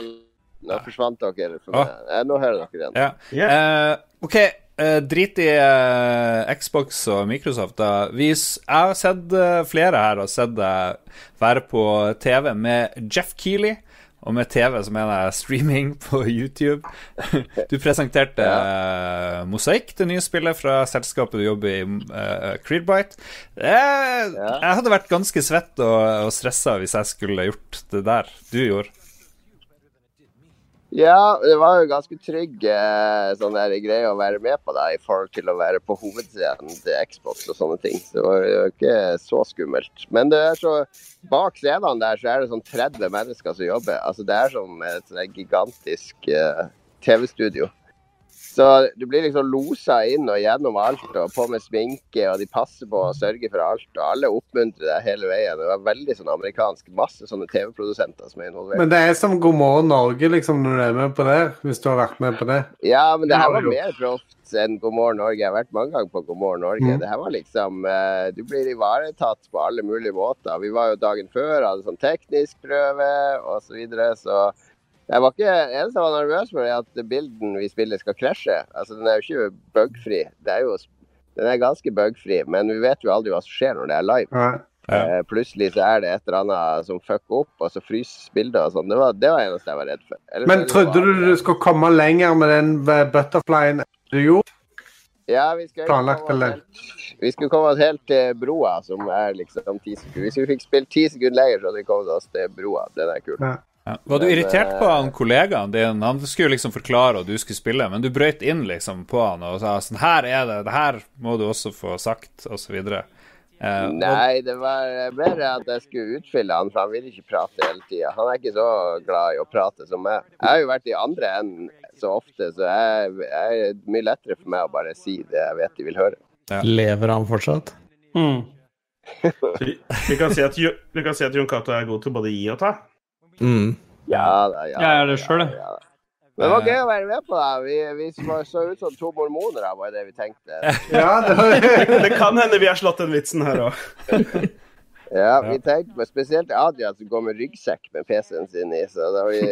S24: Nå forsvant dere. For meg. Eh, Nå hører dere igjen.
S3: Ja. Eh, ok, eh, drit i eh, Xbox og Microsoft. Da. Vi, s- jeg har sett eh, flere her og sett deg være på TV med Jeff Keeley. Og med TV så mener jeg streaming på YouTube. Du presenterte eh, Mosaikk, det nye spillet fra selskapet du jobber i, uh, Creedbite. Eh, Jeg hadde vært ganske svett og, og stressa hvis jeg skulle gjort det der du gjorde.
S24: Ja, det var jo ganske trygg eh, sånn der greie å være med på da, i forhold til å være på hovedscenen til Xbox og sånne ting. Så det var jo ikke så skummelt. Men det er så, bak scenene der så er det sånn 30 mennesker som jobber. Altså Det er som et sånn der gigantisk eh, TV-studio. Så du blir liksom losa inn og gjennom alt, og på med sminke, og de passer på og sørger for alt. Og alle oppmuntrer deg hele veien. Det var veldig sånn amerikansk. Masse sånne TV-produsenter som er involvert.
S14: Men det er som God morgen Norge, liksom, når du er med på det. Hvis du har vært med på det.
S24: Ja, men det her
S14: Ja,
S24: var
S14: jo.
S24: mer proft enn God morgen Norge. Jeg har vært mange ganger på God morgen Norge.
S14: Mm.
S24: Det her var liksom eh, Du blir ivaretatt på alle mulige måter. Vi var jo dagen før, hadde sånn teknisk prøve osv. Så, videre, så jeg var ikke eneste jeg var nervøs for, er at bilden vi spiller, skal krasje. Altså, den er jo ikke bugfri. Det er jo, den er ganske bugfri, men vi vet jo aldri hva som skjer når det er live. Eh, Plutselig så er det et eller annet som fucker opp, og så fryses bildet og sånn. Det var det var det eneste jeg var redd for. Ellers er
S14: Men
S24: det jo
S14: trodde du du skulle komme lenger med den eh, butterflyen du gjorde?
S24: Ja, vi skal
S14: Planlagt, eller?
S24: Vi skulle komme oss helt til broa, som er liksom ti sekunder. Hvis vi fikk spilt ti sekunder lenger, så hadde vi kommet oss til broa. Den er kul.
S3: Ja. Var du
S24: Men,
S3: irritert på
S24: eh,
S3: han kollegaen din? Han skulle liksom forklare, og du skulle spille, men du brøyt inn liksom på han og sa sånn Her er det, det her må du også få sagt, og så videre. Eh, og-
S24: Nei, det var mer at jeg skulle utfylle han, for han vil ikke prate hele tida. Han er ikke så glad i å prate som meg. Jeg har jo vært i andre enden så ofte, så jeg, jeg er mye lettere for meg å bare si det jeg vet de vil høre.
S15: Lever han fortsatt?
S3: Mm.
S16: Vi kan si at, Jo- vi kan si at Jon Cato er god til både å gi og ta.
S15: Mm.
S24: Ja da, ja.
S13: Jeg er det sjøl, jeg.
S24: Men det var gøy å være med på det. Vi, vi var så ut som to mormonere, var det vi tenkte.
S16: det, kan hende vi har slått den vitsen her òg.
S24: Ja, vi tenkte på spesielt Adrian som går med ryggsekk med PC-en sin i. Så da vi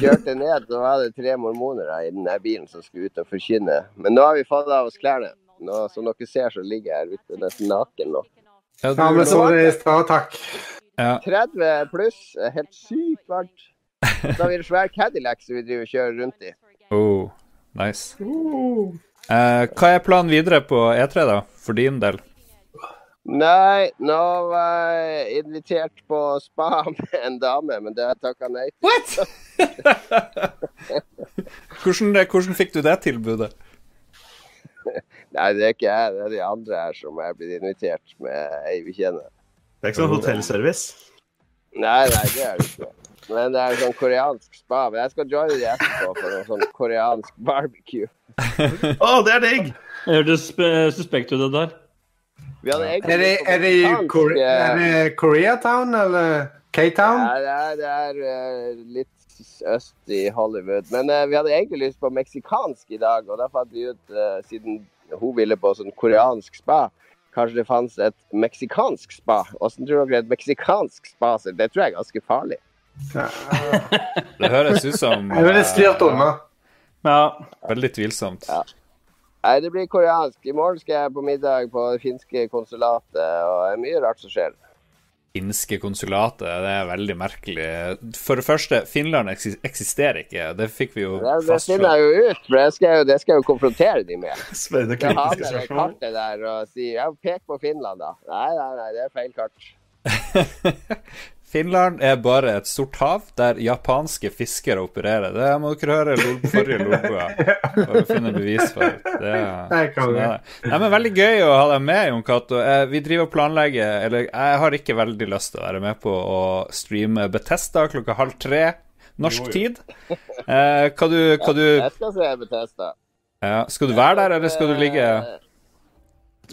S24: kjørte ned, så var det tre mormonere i den der bilen som skulle ut og forkynne. Men nå har vi fått av oss klærne. Nå, som dere ser, så ligger jeg her ute nesten naken nå.
S3: Ja,
S14: Ja, men så det i stad, takk.
S24: 30 pluss, er helt sykt varmt. Så har vi en svær Cadillac som vi driver og kjører rundt i.
S3: Oh, nice.
S24: Oh.
S3: Eh, hva er planen videre på E3, da? For din del?
S24: Nei, nå var jeg invitert på spa med en dame, men det har jeg takka nei til.
S3: Hvordan, hvordan fikk du det tilbudet?
S24: Nei, det er ikke jeg. Det er de andre her som er blitt invitert med ei vi kjenner.
S16: Det er ikke sånn hotellservice.
S24: Nei, nei, det er det ikke. Men det er sånn koreansk spa. Men jeg skal joine de etterpå for noe sånn koreansk barbecue.
S16: Å, det er digg!
S13: Det hørtes eh, suspekt ut, det der.
S24: Vi hadde egentlig
S14: Er det,
S24: lyst på
S14: er det, i
S24: meksikansk,
S14: Kore-
S24: eh,
S14: er det Koreatown eller K-Town?
S24: Nei, det er, det er eh, litt øst i Hollywood. Men eh, vi hadde egentlig lyst på meksikansk i dag, og da fant vi ut, eh, siden hun ville på sånn koreansk spa, kanskje det fantes et meksikansk spa. Åssen tror dere et meksikansk spa ser Det tror jeg er ganske farlig.
S3: Det høres ut som
S24: Jeg ville styrt unna.
S3: Ja. Veldig tvilsomt.
S24: Nei, det blir koreansk. I morgen skal jeg på middag på det finske konsulatet, og det er mye rart som skjer.
S3: finske konsulatet, det er veldig merkelig. For det første, Finland eksis- eksisterer ikke. Det fikk vi jo
S24: Det, det finner
S3: fastslått.
S24: jeg jo ut, for det skal jeg jo, det skal jeg jo konfrontere de med.
S16: Spør det
S24: Jeg har med
S3: kritiske
S24: det
S3: spørsmålet.
S24: kartet der og sier ja, pek på Finland, da. Nei, nei, nei, det er feil kart.
S3: Finland er bare et sort hav der japanske fiskere opererer. Det må dere høre i lol- forrige Lolbua for å finne bevis for. Det er,
S14: Nei, kan
S3: sånn
S14: vi.
S3: er det. Nei, men Veldig gøy å ha deg med, Jon Cato. Eh, Vi driver og planlegger Eller jeg har ikke veldig lyst til å være med på å streame Betesta klokka halv tre norsk
S24: Jo, jo.
S3: tid. Eh, hva du, hva du
S24: Jeg skal se Betesta.
S3: ja, Skal du være der, eller skal du ligge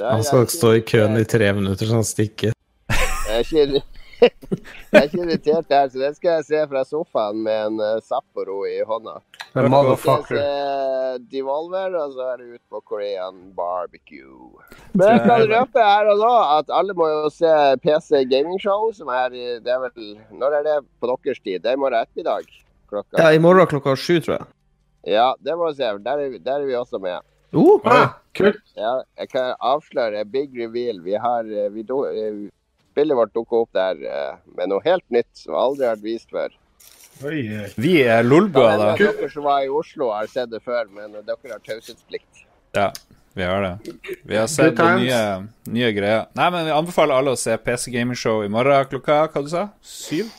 S15: Han skal stå i køen i tre minutter, så han stikker.
S24: Jeg er ikke, irri- jeg er ikke irritert der, så det skal jeg se fra sofaen med en eh, Sapporo i hånda.
S14: The motherfucker.
S24: Jeg skal se Devolver, og så er det ut på Korean barbecue. Men jeg kan røpe her og nå at alle må jo se PC Gaming Show, som er i det er vel, Når er det på deres tid? Det er i morgen ettermiddag. Klokka.
S10: Ja, I morgen klokka sju, tror jeg.
S24: Ja, det må vi se. for Der er, vi- der er vi også med.
S13: Uh,
S10: Oh, kult.
S24: Ja, jeg kan avsløre big reveal. Vi har eh, vi do, eh, Spillet vårt dukka opp der eh, med noe helt nytt som aldri har vært vist før.
S3: Vi er Lolbua,
S24: Ja,
S3: da.
S24: Dere som var i Oslo, har sett det før, men eh, dere har taushetsplikt.
S3: Ja, vi har det. Vi har sett
S24: Good times.
S3: nye, nye greier. Nei, men jeg anbefaler alle å se PC Gaming Show i morgen klokka hva du sa? Syv?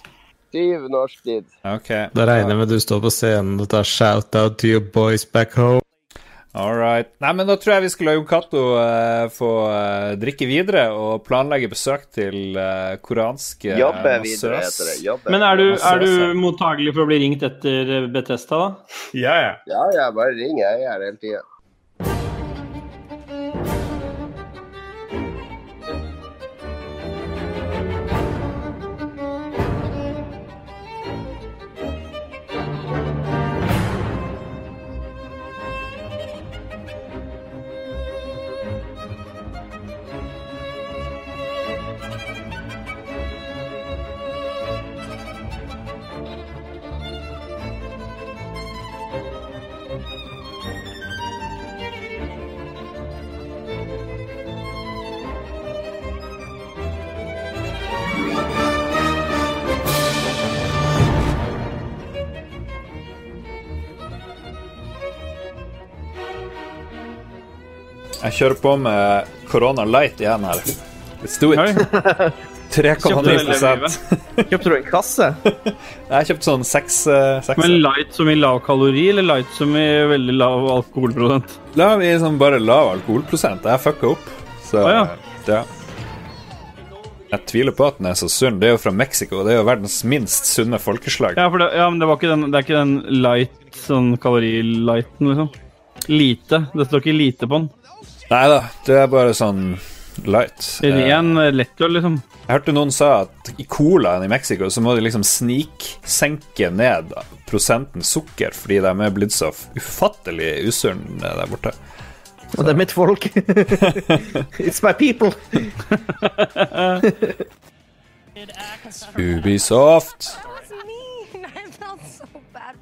S24: Syv norsk tid.
S3: Ok.
S8: Da regner jeg med du står på scenen og tar shout-out to your boys back home.
S3: All right. Nei, men da tror jeg vi skal la Jon Cato eh, få eh, drikke videre og planlegge besøk til eh, koranske
S24: Jobbe videre, heter det. Jobbe.
S10: eh,
S13: Men er du, er du mottagelig for å bli ringt etter Betesta, da?
S16: Ja, ja.
S24: Ja, ja, bare ring. Jeg er her hele tida.
S3: Jeg kjører på med Corona Light igjen her. Let's do it. 3,9
S10: Kjøpte du en kasse?
S3: Jeg kjøpte sånn seks. eh, seks.
S13: Men light som i lav kalori, eller light som i veldig lav alkoholprosent?
S3: Lav i sånn bare lav alkoholprosent. Jeg fucka opp. Så
S13: Ah,
S3: ja. Jeg tviler på at den er så sunn. Det er jo fra Mexico. Det er jo verdens minst sunne folkeslag.
S13: Ja, for det, ja men det, var ikke den, det er ikke den light, sånn kalori-lighten, liksom. Lite. Det står ikke lite på den.
S3: Nei da, det er bare sånn light.
S13: Ren eh, lettøl, liksom.
S3: Jeg hørte noen sa at i colaen i Mexico så må de liksom sniksenke ned prosenten sukker fordi de er blitt så ufattelig usunne der borte.
S10: Og det er mitt folk. It's my people.
S3: Ubisoft.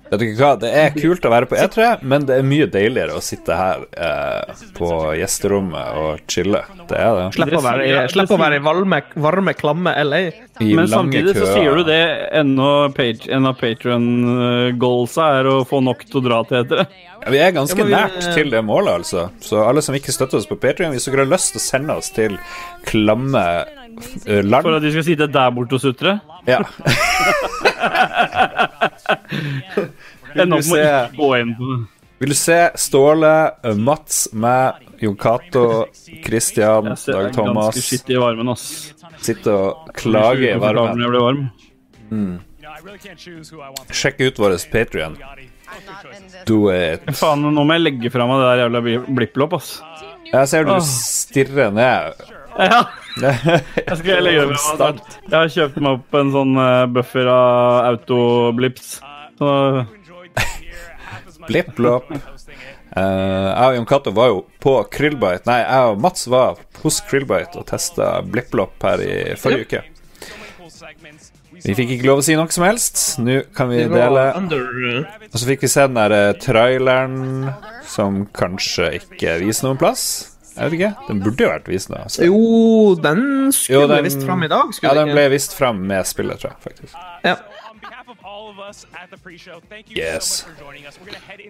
S3: Vet dere hva, det er kult å være på E3, men det er mye deiligere å sitte her eh, på gjesterommet og chille. Det er det.
S10: Slipp å være, i- slipp å være i varme, varme klamme LA.
S3: I
S13: Men
S3: lange
S13: samtidig så
S3: køer.
S13: sier du det ennå page- en av Patrion-goalsa er å få nok til å dra til etter det.
S3: Ja, Vi er ganske
S13: Ja, men vi-
S3: nært til det målet, altså. Så alle som ikke støtter oss på Patreon hvis dere har lyst til å sende oss til klamme eh, land
S13: For at de skal sitte der borte og sutre?
S3: Ja.
S13: Ender opp med å
S3: se-
S13: ikke gå inn på det.
S3: Vil du se Ståle, eh, Mats, meg, Jon Cato, Christian,
S13: Jeg ser det
S3: Dag
S13: er
S3: Thomas
S13: ganske skitt i varmen, ass.
S3: sitte og klage i
S13: Ukomfortabel når jeg blir varm.
S3: varmen? Mm. Sjekk ut vår Patreon. Do it.
S13: Faen, nå må jeg legge fra meg det der jævla bli- blipplopp, ass.
S3: Jeg ser du
S13: Åh.
S3: stirrer ned.
S13: Ah. Ja. Jeg skal legge det med meg.
S3: Konstant.
S13: Jeg har kjøpt meg opp en sånn eh, buffer av autoblips. Så
S3: Blipp-blopp. Eh, jeg og Jon Cato var jo på Krillbite. Nei, jeg og Mats var hos Krillbite og testa Blipp-blopp her i forrige uke. Vi fikk ikke lov å si noe som helst. Nå kan vi
S10: Det var
S3: dele.
S10: under, eh,
S3: Og så fikk vi se den der eh, traileren som kanskje ikke viser noen plass. Jeg vet ikke. Den burde jo vært vist nå. altså.
S10: Jo, den skulle
S3: Jo, den-
S10: visst fram i dag.
S3: Ja,
S10: Skulle
S3: den
S10: ikke?
S3: ble vist fram med spillet, tror jeg. faktisk.
S10: Ja.
S3: Yes.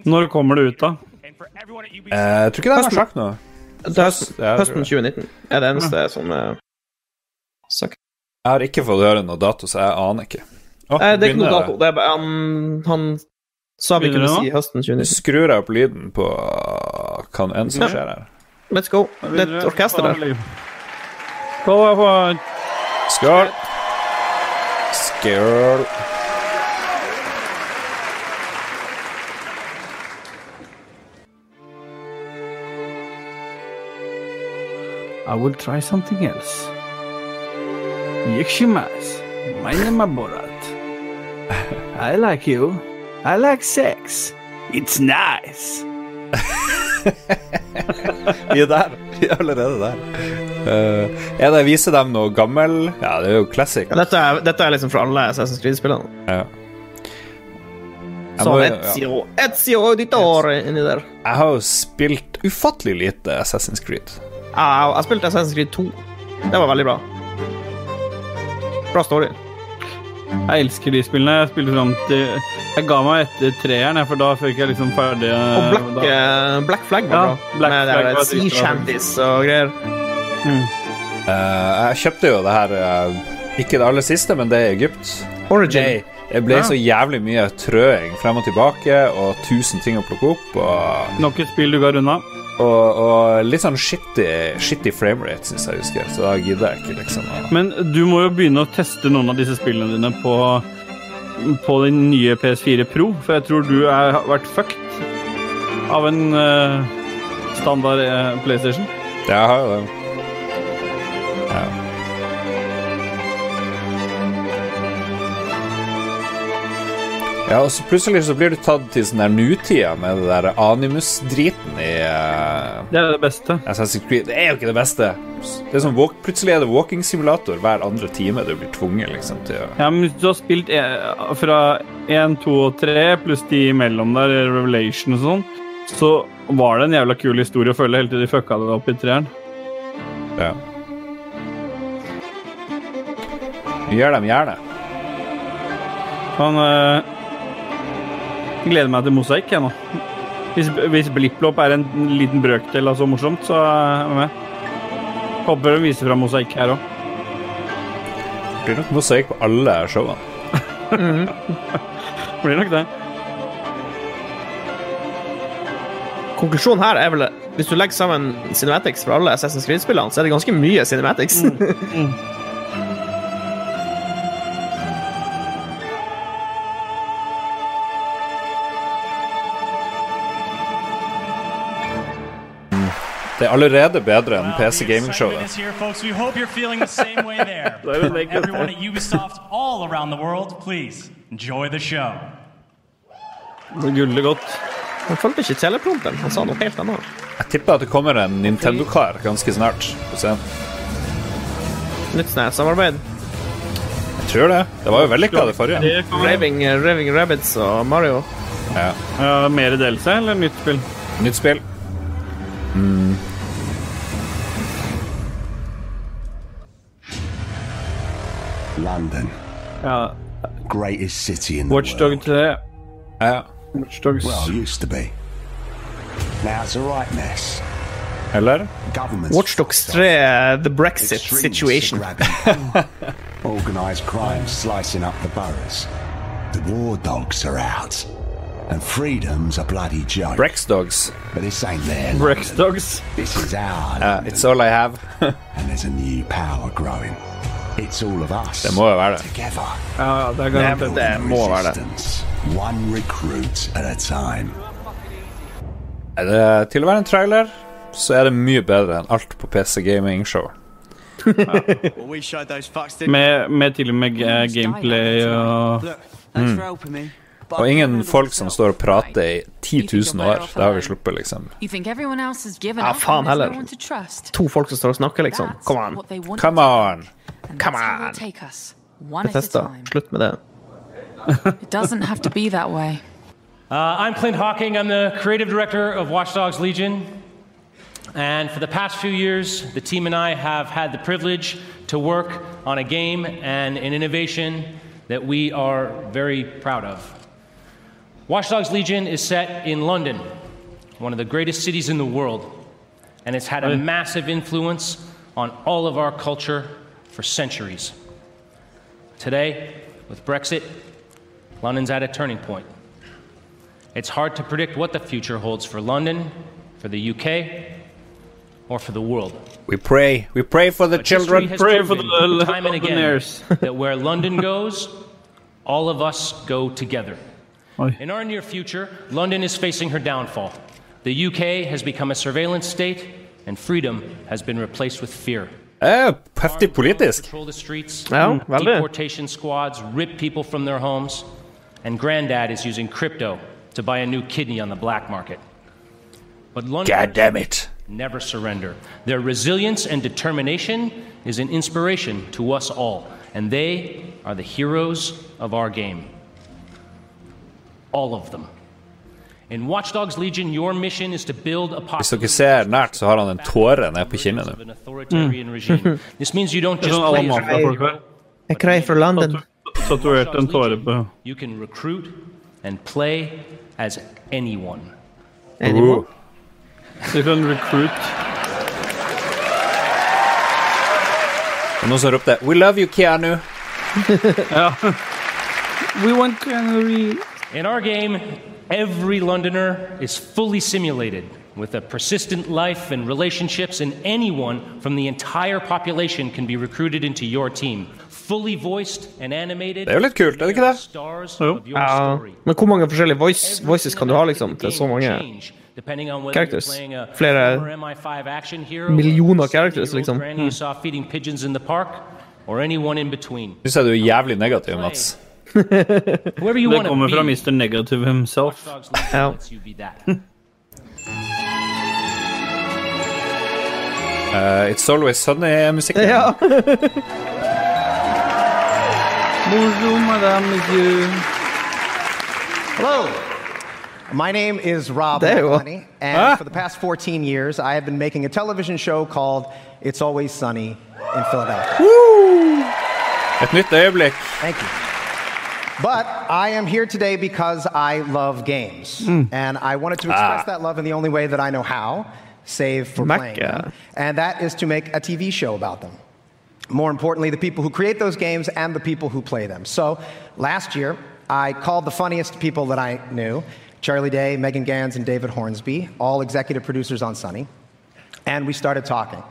S13: når kommer det ut, da?
S3: Eh, jeg tror ikke den har sagt noe.
S10: Det er høsten,
S3: Ja, jeg tror
S10: høsten
S3: det.
S10: 2019 er det eneste som eh, er sagt.
S3: Jeg har ikke fått høre noe dato, så jeg aner ikke. Å,
S10: Nei, det er ikke noe
S3: begynner
S10: dato. Det er bare han, han sa vi kunne si høsten 2019.
S3: Skrur jeg opp lyden på eh, hva enn som
S10: Ja.
S3: skjer her.
S10: Let's go. Det er et orkester der.
S3: Skål! Skål.
S13: I will try something else. Yikshimais. My name is Borat. I like you. I like sex. It's nice.
S3: Vi er der. Vi er allerede der. Eh, er det Viser dem noe gammel? Ja, det er jo classic.
S10: Dette er, dette er liksom fra alle Assassin's Creed-spillene.
S3: Ja. Jeg
S10: Som
S3: må- ja.
S10: Ezio, Ezio Auditore inni der.
S3: Jeg har jo spilt ufattelig lite Assassin's Creed.
S10: Ja, jeg spilte Assassin's Creed 2. Det var veldig bra. Bra story.
S13: Jeg elsker de spillene. Jeg spilte fram til Jeg ga meg etter treeren, jeg, for da fikk jeg liksom ferdig
S10: Og Black, eh, Black Flag var
S13: Ja,
S10: bra.
S13: Black
S10: Med
S13: Flag
S10: det
S13: var
S10: der eh, Sea
S13: dritbra.
S10: Shanties og greier.
S13: Mm.
S3: Eh, jeg kjøpte jo det her eh, Ikke det aller siste, men det i Egypt.
S10: Origin.
S3: Nei, det ble
S10: Ja.
S3: så jævlig mye trøing frem og tilbake, og tusen ting å plukke opp. Og,
S13: Nok et spill du går unna.
S3: Og, og litt sånn shitty, shitty framerate, syns jeg husker, så da gidder jeg ikke, liksom. å-
S13: Men du må jo begynne å teste noen av disse spillene dine på, på den nye PS4 Pro, for jeg tror du er, har vært fucked av en eh, standard eh, PlayStation.
S3: Jeg har jo det. Ja. Ja, og så plutselig så blir du tatt til sånn der nutida med det der animus-driten i eh,
S13: Det er det beste.
S3: Assassin's Creed. Det er jo ikke det beste. Det er sånn, walk- plutselig er det walking simulator hver andre time du blir tvunget liksom til å
S13: Ja, men hvis du har spilt eh, fra 1, 2 og 3, pluss de imellom der, Revelation og sånn, så var det en jævla kul historie å følge helt til de fucka det opp i treeren.
S3: Ja. Gjør dem gjerne.
S13: Han øh, gleder meg til mosaikk, jeg nå. Hvis, hvis Blipplopp er en liten brøkdel av så morsomt, så er jeg med. Håper de viser fram mosaikk her òg.
S3: Blir nok mosaikk på alle showene.
S10: Mhm.
S13: Blir nok det.
S10: Konklusjonen her er vel hvis du legger sammen cinematics fra alle Assassin's Creed-spillene, så er det ganske mye cinematics.
S3: Mm.
S19: mm.
S3: Det er allerede bedre enn PC Gaming Showet.
S5: This here, folks. We hope you're feeling the same way there.
S3: That would make good
S5: Everyone at
S3: sense.
S5: Ubisoft all around the world, please enjoy the show.
S13: Det guller godt.
S10: Han fulgte ikke teleprompten. Han sa noe helt annet.
S3: Jeg tipper at det kommer en Nintendo-kar ganske snart. Få se.
S10: Nytt sånn her samarbeid.
S3: Jeg tror det. Det var jo vellykka, det forrige.
S10: Raving, eh, Raving Rabbits og Mario.
S3: Ja.
S13: mer delelse eller nytt spill?
S3: Nytt spill. Hmm.
S11: London,
S13: Ja,
S11: greatest city in the world.
S13: Watchdog 3.
S3: Ja.
S11: Well, used to be. Now it's a right mess.
S3: Eller?
S11: Governments.
S10: Watchdogs 3, uh, The Brexit Situation.
S11: Organised crime slicing up the boroughs. The war dogs are out. And freedom's a bloody joke.
S3: Brex dogs.
S11: But this ain't there.
S13: Brex dogs.
S11: This is ours.
S3: Ja, it's all I have.
S11: and there's a new power growing. It's all of us.
S3: Det må jo være det.
S11: Together.
S13: Ja, det er
S11: Never
S13: garantert.
S3: må være det.
S11: resistance. One recruit at a time.
S3: Er det til å være en trailer, så er det mye bedre enn alt på PC Gaming Show.
S22: Well, we showed those fucks, didn't
S13: Med, med til og med eh, gameplay og
S22: Thanks
S3: Mm.
S22: for helping me.
S3: Og ingen folk som står og prater i 10 000 år. Det har vi sluppet, liksom.
S7: You think everyone else has given
S10: Ja,
S7: up
S10: faen
S7: and
S10: Ah,
S7: there's
S10: heller.
S7: no one to trust.
S10: To folk som står og snakker, liksom.
S7: That's
S10: Come on.
S7: what they want
S3: Come
S7: to
S3: on!
S7: do, and
S10: Come
S7: that's where they'll
S10: on.
S7: Take us one at a
S10: Bethesda,
S7: time.
S10: slutt med det.
S7: It doesn't have to be that way.
S25: Uh, I'm Clint Hawking. I'm the creative director of Watch Dogs Legion. And for the past few years, the team and I have had the privilege to work on a game and an innovation that we are very proud of. Watch Dogs Legion is set in London, one of the greatest cities in the world, and it's had a massive influence on all of our culture for centuries. Today, with Brexit, London's at a turning point. It's hard to predict what the future holds for London, for the UK, or for the world.
S3: We pray. We pray for the
S25: But
S3: children.
S25: history has proven time and again that where London goes, all of us go together. In our near future, London is facing her downfall. The UK has become a surveillance state, and freedom has been replaced with fear.
S3: Eh, heftig politisk.
S25: Patrol the streets,
S3: Ja, veldig.
S25: Mm, deportation squads rip people from their homes, and Granddad is using crypto to buy a new kidney on the black market. But London
S3: God damn it.
S25: never surrender. Their resilience and determination is an inspiration to us all, and they are the heroes of our game. All of them. In Watch Dogs Legion, your mission is to build a
S3: Hvis dere ser nært, så har han en tåre ned på kinnet nå.
S25: authoritarian regime. This means you don't
S13: Det er
S25: just
S13: sånn
S25: play
S13: alle
S25: as a
S13: mafia-folk
S25: hero,
S13: her.
S10: Jeg kreier fra London.
S13: Statuert en tåre på
S25: you can recruit and play as anyone.
S3: Uh,
S13: Anyone? Du kan recruit.
S3: Og noen som ropte 'We love you, Keanu'.
S13: Ja. We want Canary.
S25: In our game, every Londoner is fully simulated with a persistent life and relationships, and anyone from the entire population can be recruited into your team. Fully voiced and animated.
S3: Det er jo litt kult, er det ikke det?
S25: Jo.
S10: Ja. Men hvor mange forskjellige voice, voices kan du ha, liksom? Til så mange
S25: Depending on whether you're
S10: characters?
S25: playing a former
S10: Flere
S25: MI5 action hero,
S10: millioner characters, liksom.
S25: granny you saw feeding pigeons in the park, or anyone in between.
S3: Syns jeg du er jævlig negativ, Mats.
S25: Whoever you
S13: Det
S25: wanna
S13: kommer fra
S25: be.
S13: Mr. Negative himself.
S10: Ja.
S25: You be that.
S3: Eh, it's Always Sunny-musikk.
S13: Ja. Bonjour, madame, monsieur.
S26: Hello. My name is Rob
S10: There you are.
S26: Money, and
S10: Ah.
S26: for the past 14 years, I have been making a television show called It's Always Sunny in Philadelphia.
S3: Et nytt øyeblikk.
S26: Thank you. But I am here today because I love games, and I wanted to express
S2: Ah.
S26: that love in the only way that I know how, save for
S2: Mac,
S26: playing
S2: yeah.
S26: them, and that is to make a TV show about them. More importantly, the people who create those games and the people who play them. So last year, I called the funniest people that I knew Charlie Day, Megan Gans, and David Hornsby, all executive producers on Sunny, and we started talking.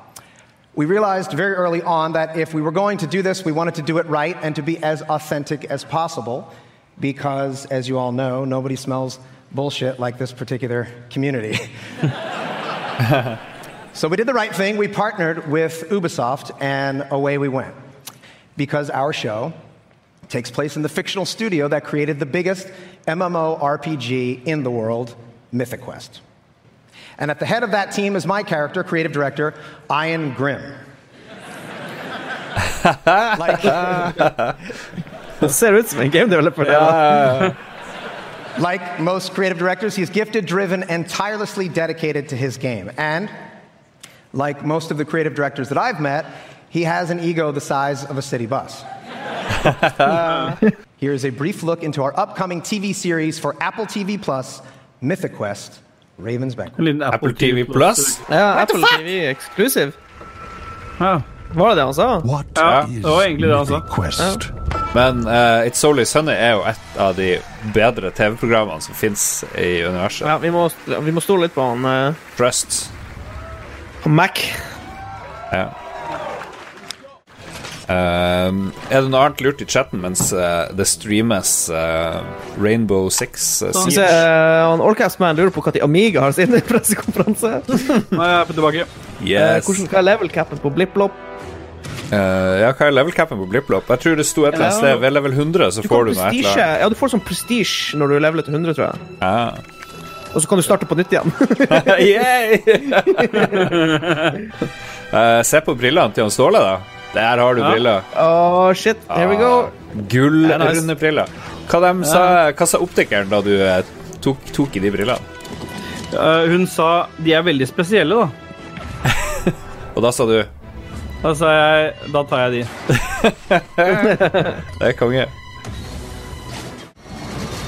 S26: We realized very early on that if we were going to do this, we wanted to do it right and to be as authentic as possible because, as you all know, nobody smells bullshit like this particular community. so we did the right thing. We partnered with Ubisoft, and away we went. Because our show takes place in the fictional studio that created the biggest MMORPG in the world, Mythic Quest. And at the head of that team is my character, creative director, Ian Grimm.
S10: Det ser ut som en game developer. det, da.
S26: Like most creative directors, he's gifted, driven, and tirelessly dedicated to his game. And like most of the creative directors that I've met, he has an ego the size of a city bus. Here is a brief look into our upcoming TV series for Apple TV Plus, Mythic Quest, Raven's Banquet. Uh,
S3: Apple TV Plus?
S10: Ja, Apple TV Exclusive. Var det det han sa?
S3: Ja,
S10: det var egentlig det han sa.
S3: Men eh, It's Only Sunny er jo et av de bedre TV-programmene som fins i universet.
S10: Ja, vi må, vi må stole litt på han eh,
S3: Trust.
S10: på Mac.
S3: Ja. Ehm, er det noe annet lurt i chatten mens eh, det streames eh, Rainbow Six eh,
S10: Så,
S3: Siege?
S10: eh, han Orcastman lurer på når Amiga har sin pressekonferanse.
S13: Nei, jeg er på tilbake.
S10: Eh,
S3: Yes.
S10: hvordan skal level-cappen på BlippLopp?
S3: Eh, ja, hva er level capen på Blipplopp? Jeg tror det sto et eller annet
S10: Ja.
S3: sted ved level 100, så
S10: Du
S3: får
S10: får
S3: du noe et eller
S10: prestige.
S3: annet.
S10: Ja, du får sånn prestige når du leveler til 100, tror jeg.
S3: Ja.
S10: Og så kan du starte på nytt igjen.
S3: Eh, se på brillene til han Ståle, da. Der har du
S10: Ja.
S3: briller.
S10: Åh, Ah, shit. Here we go. Ja, nice.
S3: Gullrunde Ah, briller. Hva, dem sa, hva sa optikeren da du eh, tok, tok i de brillene?
S13: Eh, hun sa de er veldig spesielle, da.
S3: Og da sa du
S13: Da sa jeg da tar jeg de.
S3: Det er konge.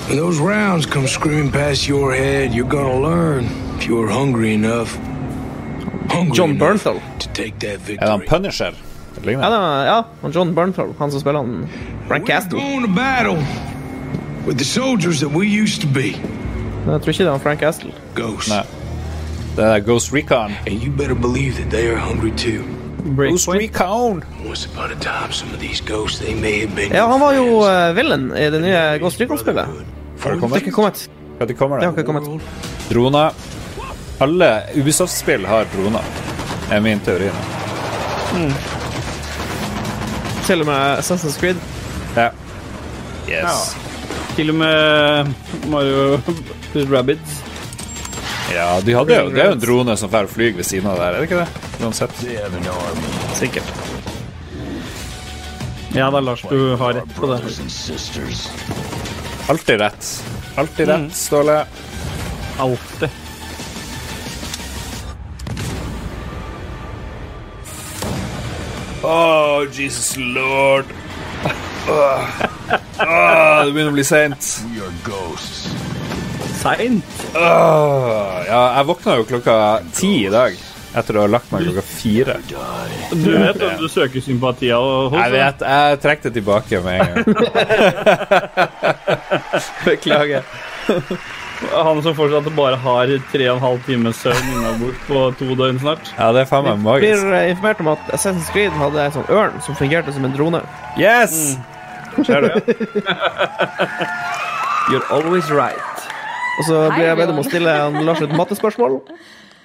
S18: When those rounds come screaming past your head, you're gonna learn if you're hungry enough. Hungry
S10: John
S18: enough
S10: Bernthal.
S18: To take that victory.
S3: Er han Punisher? Det ligner.
S10: Ja, da, ja, han John Bernthal, han som spiller han Frank Castle.
S18: Going to battle with the soldiers that we used to be.
S10: Jeg tror ikke det er han Frank Castle.
S18: Ghosts.
S3: Det er Ghost Recon.
S18: And you better believe that they are hungry too.
S3: Ghost Recon.
S18: Once upon a time, some of these ghosts, they may have been
S10: Ja, han var jo eh, villain i det nye Ghost Recon-spillet.
S3: Har det
S10: Det er
S3: kommet?
S10: ikke kommet.
S3: Hva det kommer,
S10: Det har
S3: da?
S10: ikke kommet.
S3: Droner. Alle Ubisoft-spill har droner. Det er min teori. nå.
S10: Mm. Til og med Assassin's Creed.
S3: Ja. Yes.
S13: Til og med Mario Rabbits.
S3: Ja, de hadde jo, det er jo en drone som får fly ved siden av der, er det ikke det? Uansett. Sikkert.
S13: Ja da, Lars, du har rett på det.
S3: Alltid rett.
S13: Mm.
S3: Alltid rett, Ståle.
S13: Alltid.
S3: Oh, Jesus lord. Åh. Åh, Ah, det begynner å bli seint.
S13: Seint?
S3: Ah, ja, jeg våkna jo klokka ti i dag. Jeg etter å ha lagt meg klokka fire.
S13: Du vet at du søker sympati hos
S3: Jeg vet, jeg trekk det tilbake med en gang. Beklager.
S13: Han som fortsatt bare har tre og en halv times søvn innabord på to døgn snart.
S3: Ja, det er faen meg
S10: Vi
S3: magisk.
S10: blir eh, informert om at Assassin's Creed hadde en sånn ørn som fungerte som en drone.
S3: Yes!
S13: Ser du?
S10: You're always right. Og så
S2: Hi,
S10: blir jeg bedt om å
S2: everyone.
S10: stille han Lars et mattespørsmål. Eh,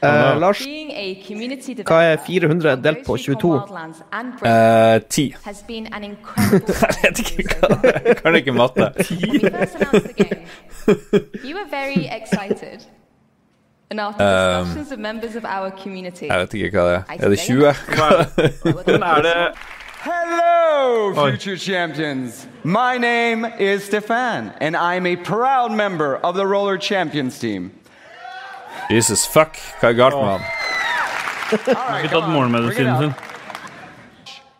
S3: Oh, no.
S10: Lars,
S2: Being a community
S10: hva er 400 delt på 22?
S2: wildlands and
S3: Eh, ti.
S2: has been an incredible
S3: Kan ikke matte.
S2: You were very excited. And after
S3: Um,
S2: discussions of members of our community.
S3: Jeg vet ikke hva det er. Er det 20?
S27: Men er det- Hello,
S3: Oi.
S27: future champions. My name is Stefan, and I'm a proud member of the Roller Champions team.
S3: Jesus fuck, hva er galt med han?
S13: Ikke tatt morgenmedisinen sin.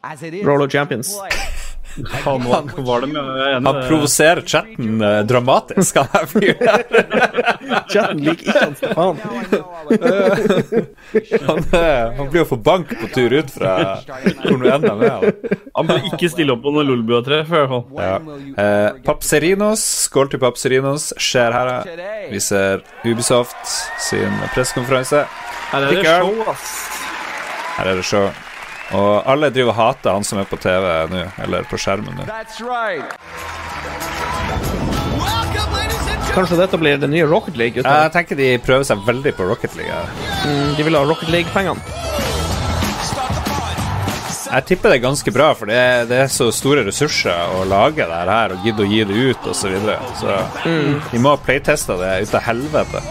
S27: As it is.
S3: Roller Champions.
S13: Han var, var det med jeg er enig,
S3: Han
S10: eh,
S13: det-
S3: provoserer chatten eh, dramatisk, han her fyren.
S10: Chatten liker ikke han Stefan.
S3: han, eh, han blir jo for bank på tur ut fra hvor nå enn han er. han.
S13: Han bør ikke stille opp på noe Lolbua-tre, for i hvert fall.
S3: Ja. Eh, Papserinos, skål til Papserinos. Skjer her, ja. Vi ser Ubisoft sin pressekonferanse.
S13: Her er det
S3: Pickle.
S13: show, ass.
S3: Her er det show. Og alle driver og hater han som er på TV nå, eller på skjermen nå.
S27: That's right.
S10: Kanskje dette blir den nye Rocket League?
S3: Jeg tenker de prøver seg veldig på Rocket League. her.
S10: Mm, de vil ha Rocket League-pengene.
S3: Jeg tipper det er ganske bra, for det er, det er så store ressurser å lage det her og gidde å gi det ut og Så, videre. så
S27: Mm.
S3: de må playteste det ut av helvete.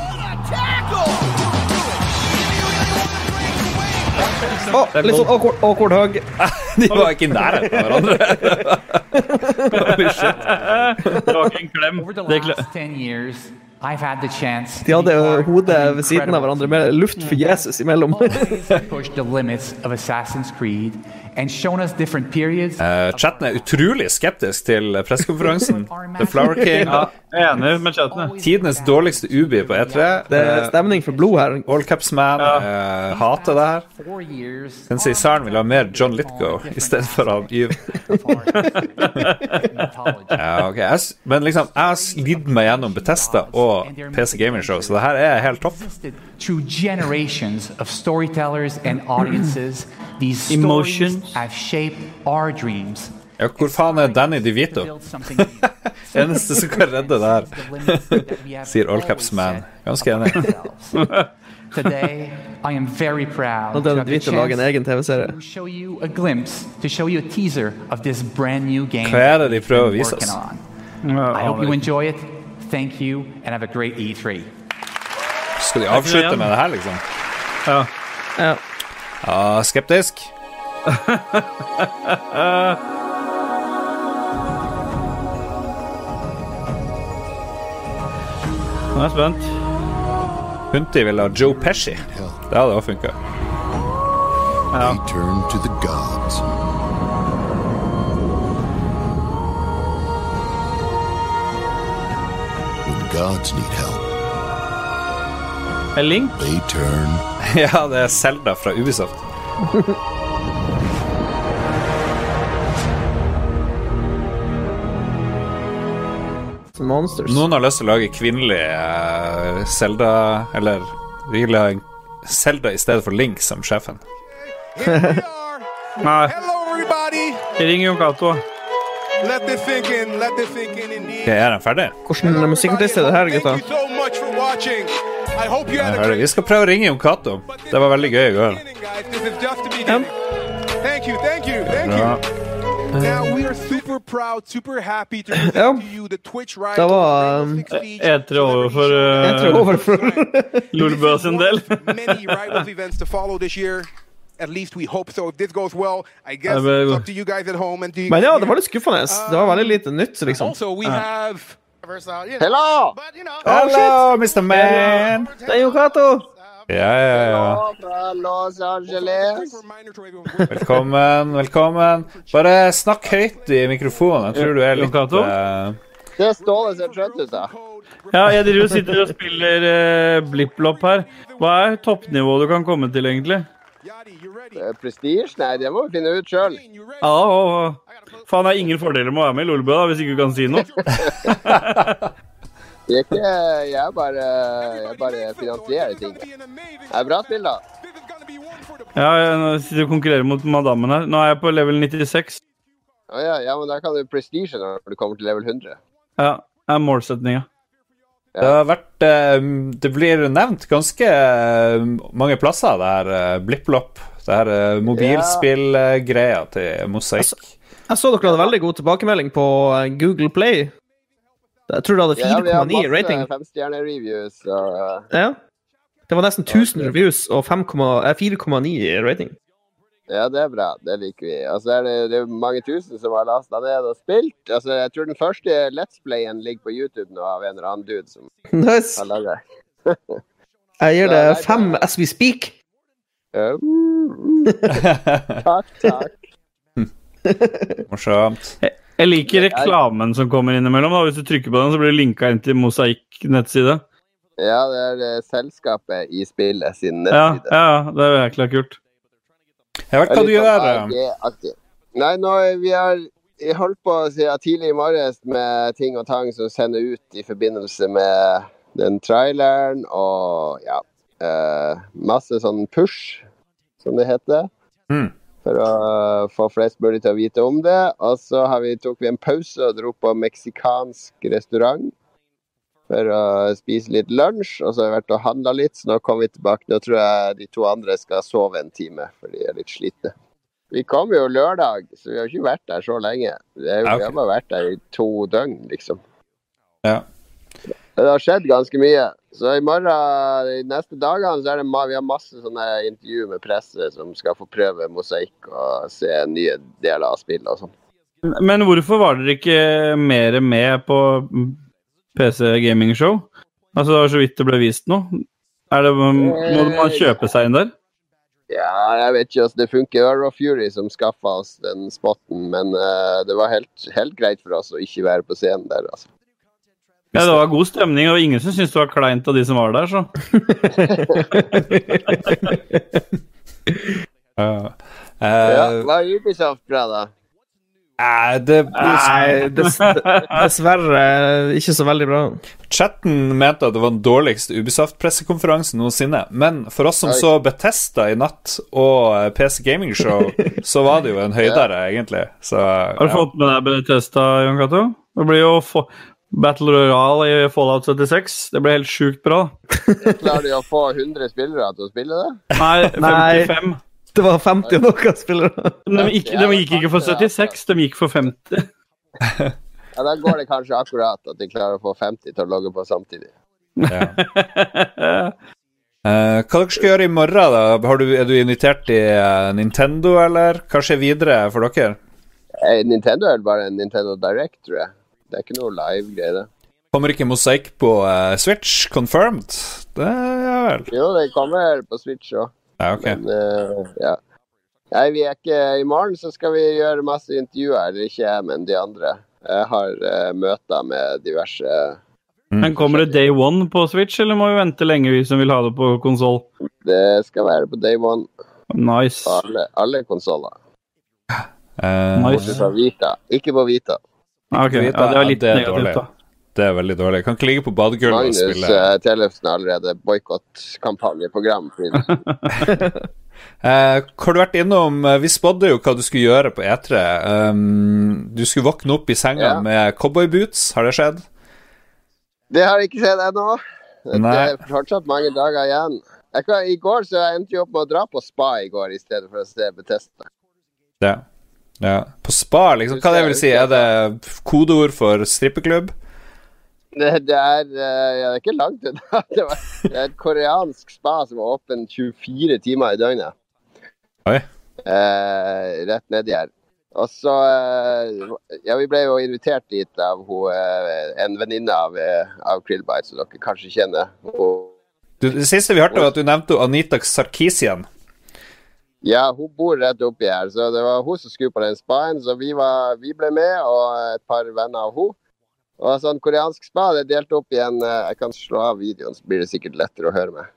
S10: Å, litt sånn awkward, awkward hug.
S3: De var ikke i nærheten av
S10: Holy shit.
S13: Det var ikke en klem.
S27: Over the
S13: Det er kle-
S27: last 10 years, I've had the chance
S10: De hadde eh, hodet ved siden av hverandre med luft for Jesus imellom.
S27: to push the limits of Assassin's Creed and shown us different periods.
S3: Eh, chatten er utrolig skeptisk til pressekonferansen. The Flower King.
S13: Ja, jeg er enig med chatten.
S3: Tidenes dårligste UB på E E3.
S27: Det er
S3: stemning for blod her. All Caps Man eh, hater det her.
S27: Four years
S3: Den sier Saren vil ha mer John Lithgow i stedet for han Yv. ja, ok. Jeg, s- men liksom, jeg har slidd meg gjennom Betesta og PC Gaming Show, så det her er helt topp.
S27: through generations of storytellers and audiences, these stories
S3: Emotions.
S27: have shaped our dreams.
S3: Ja, hvor faen er Danny DeVito? Eneste som kan redde det her, sier All Caps Man. Ganske enig.
S27: Today, I am very proud
S10: Og
S27: to
S10: den
S27: have the
S10: dritten lager en
S27: chance
S10: egen TV-serie.
S27: to show you a glimpse, to show you a teaser of this brand new game
S3: Hva er det de
S27: we've
S3: prøver å
S27: been
S3: vise
S27: working
S3: oss?
S27: on. I hope you enjoy it. Thank you, and have a great E E3.
S3: Skal de avslutte med det her, liksom?
S13: Ja.
S3: ja. skeptisk.
S13: Nå er jeg spent.
S3: Hunti vil ha Joe Pesci. Det hadde også funka.
S11: They turn to the gods. When gods need help,
S13: Er Link?
S11: they turn.
S3: Ja, det er Selda fra Ubisoft.
S10: Monsters.
S3: Noen har lyst til å lage kvinnelig eh, Zelda Eller de vil ha en Zelda i stedet for Link som sjefen.
S13: Nei.
S19: Everybody,
S13: Ring Jon Cato.
S19: let this sink in. Let this sink in. Indeed.
S3: Okay, er den ferdig?
S10: Hvordan musikkortist er det her, gutta?
S19: Thank you so much for watching. I hope you
S3: Den
S19: had
S3: er
S19: a
S3: ferdig. Vi skal prøve å ringe Jon Cato. Det var veldig gøy i går.
S19: guys. This is just the beginning. Thank you, thank you, thank
S3: Bra.
S19: you. Now we are super proud, super happy to present
S10: Ja.
S19: to you the Twitch
S10: Det
S19: rival.
S10: var um,
S13: E3 overfor eh,
S27: E3 overfor.
S13: Lolbua sin del.
S19: Many rivals events to follow this year. At least we hope so. If this goes well, I guess
S10: Ja, men-
S19: it's up to you guys at home and to you
S10: Men ja, det var litt skuffende. Det var veldig lite nytt, liksom.
S19: So Um, we have. Oh,
S24: Hello!
S3: Hello, Mr. Man!
S19: uh,
S10: Det er jo Cato!
S3: Ja, ja, ja.
S24: Fra Los Angeles.
S3: Velkommen, velkommen. Bare snakk høyt i mikrofonen. Jeg tror du er
S13: Jon
S3: litt
S13: Cato?
S3: eh,
S24: Det er Ståle ser trøtt ut, da.
S13: Ja, jeg driver og sitter og spiller uh, blipplopp her. Hva er toppnivået du kan komme til, egentlig?
S24: Eh, Prestige? Nei, det må vi finne ut sjøl.
S13: Ja, og, faen, det er ingen fordeler med å være med i Lolbø, da, hvis ikke du kan si noe.
S24: Jeg, er ikke, jeg, bare, jeg bare finansierer ting. Det er bra spill, da.
S13: Ja, jeg nå sitter og konkurrerer mot madammen her. Nå er jeg på level 96.
S24: Å ja, ja, men da kan du prestige når du kommer til level 100.
S13: Ja, det er målsetninga.
S3: Det har vært eh, Det blir nevnt ganske eh, mange plasser, det her eh, blipplopp. Det her eh, mobilspillgreia til Mosaikk.
S10: Jeg så dere hadde veldig god tilbakemelding på eh, Google Play. Jeg tror det hadde
S24: Ja, vi
S10: 4,9
S24: har
S10: rating.
S24: masse uh, femstjerne-reviews. og, eh,
S10: Ja. Det var nesten 1000 reviews og 5,0 eh, 4,9 rating.
S24: Ja, det er bra. Det liker vi. Og så er det, det er mange tusen som har lasta ned og spilt. Altså, jeg tror den første Let's Playen ligger på YouTube nå av en eller annen dude som
S10: Nice.
S24: har laga
S10: Jeg gir det fem as we speak.
S24: Takk, takk.
S3: Morsomt.
S13: Jeg, jeg liker reklamen som kommer innimellom. da. Hvis du trykker på den, så blir du linka inn til Mosaikk-nettside.
S24: Ja, det er det selskapet i spillet sin
S13: Ja,
S24: nettside.
S13: ja, det er jækla kult. Jeg
S24: Det er
S13: eh.
S24: litt sånn ARG-aktig. Nei, nå, er vi har jeg holdt på siden tidlig i morges med ting og tang som sender ut i forbindelse med den traileren og ja, eh, masse sånn push, som det heter.
S3: Mm.
S24: For å få flest mulig til å vite om det. Og så har vi, tok vi en pause og dro på meksikansk restaurant for å spise litt lunsj. Og så har jeg vært og handla litt, så nå kommer vi tilbake. Nå tror jeg de to andre skal sove en time, for de er litt slitne. Vi kom jo lørdag, så vi har ikke vært der så lenge. Vi har
S3: Ja,
S24: jo
S3: ok.
S24: vi har bare vært der i to døgn, liksom.
S3: Ja.
S24: Men det har skjedd ganske mye. Så i morgen, de neste dagene, så er det ma vi har masse sånne intervju med presse som skal få prøve mosaikk og se nye deler av spillet og sånn.
S13: Men hvorfor var dere ikke mer med på PC Gaming Show? Altså, det var så vidt det ble vist noe. Er det, må man kjøpe seg inn der?
S24: Ja, jeg vet ikke. Altså, det funker. Det var Raw Fury som skaffa oss den spotten, men eh, det var helt, helt greit for oss å ikke være på scenen der, altså.
S13: Ja, det var god stemning, og ingen som syntes det var kleint av de som var der, så.
S3: Ja. Eh,
S24: ja, var Ubisoft bra, da?
S3: Nei, det
S10: Nei, dess, dessverre ikke så veldig bra.
S3: Chatten mente at det var den dårligste Ubisoft-pressekonferansen noensinne. Men for oss som
S10: Oi.
S3: så Betesta i natt og eh, PC Gaming Show, så var det jo en høydere, egentlig. Så
S13: Har du
S3: ja.
S13: fått med deg Bethesda, Jon Cato? Det blir jo få- Battle Royale i Fallout 76. Det blir helt sjukt bra.
S24: Klarer de å få 100 spillere til å spille det?
S13: Nei, 55.
S10: Det var 50 og noe spillere.
S13: De gikk, de gikk ikke for 76, de gikk for 50.
S24: Ja, Da går det kanskje akkurat at de klarer å få 50 til å logge på samtidig.
S3: Ja. Eh, hva dere skal gjøre i morgen, da? Har du, er du invitert i eh, Nintendo, eller? Hva skjer videre for dere?
S24: Eh, Nintendo er vel bare en Nintendo Direct, tror jeg. Det er ikke noe live-greie, det.
S3: Kommer ikke Mosaikk på eh, Switch? Confirmed? Det ja vel.
S24: Jo, det kommer på Switch òg.
S3: Ja, ok.
S24: Men, eh, ja. Nei, vi er ikke I morgen så skal vi gjøre masse intervjuer. Eller ikke jeg, men de andre. Jeg har eh, møter med diverse
S10: Mm.
S13: Men kommer det day one på Switch, eller må vi vente lenge, vi som vil ha det på konsoll?
S24: Det skal være på day one
S13: Nice.
S24: på alle, alle konsoller.
S3: Eh,
S24: Bortsett fra Vita. Ikke på Vita.
S13: Ah, ok.
S3: Vita,
S13: Ja, det var litt
S3: er
S13: negativt,
S3: dårlig.
S13: da.
S3: Det er veldig dårlig. Kan ikke ligge på badegulvet og
S24: Magnus
S3: spille
S24: eh, Tellefsen har allerede boikottkampanjeprogram.
S3: Eh, har du vært innom eh, Vi spådde jo hva du skulle gjøre på E3. Um, du skulle våkne opp i senga
S24: Ja.
S3: med cowboyboots. Har det skjedd?
S24: Det har ikke skjedd ennå. Det
S3: Nei.
S24: er fortsatt mange dager igjen. Jeg kan, I går så jeg endte jeg opp med å dra på spa i går i stedet for å se Betesta.
S3: Ja. ja. På spa, liksom. Hva det vil si? Er det kodeord for strippeklubb?
S24: Det, det er eh, ja, det er ikke langt unna. Det, var, det er et koreansk spa som er åpen 24 timer i døgnet.
S3: Oi.
S24: Eh, rett nedi her. Og så eh, Ja, vi ble jo invitert dit av hun, eh, en venninne av, eh, av Krillbite, som dere kanskje kjenner. Hun
S3: Du, det siste vi hørte, var at du nevnte Anita Sarkisian.
S24: Ja, hun bor rett oppi her, så det var hun som skulle på den spaen. Så vi, var, vi ble med, og et par venner av hun. Og sånn koreansk spa det er delt opp i en eh, Jeg kan slå av videoen, så blir det sikkert lettere å høre meg.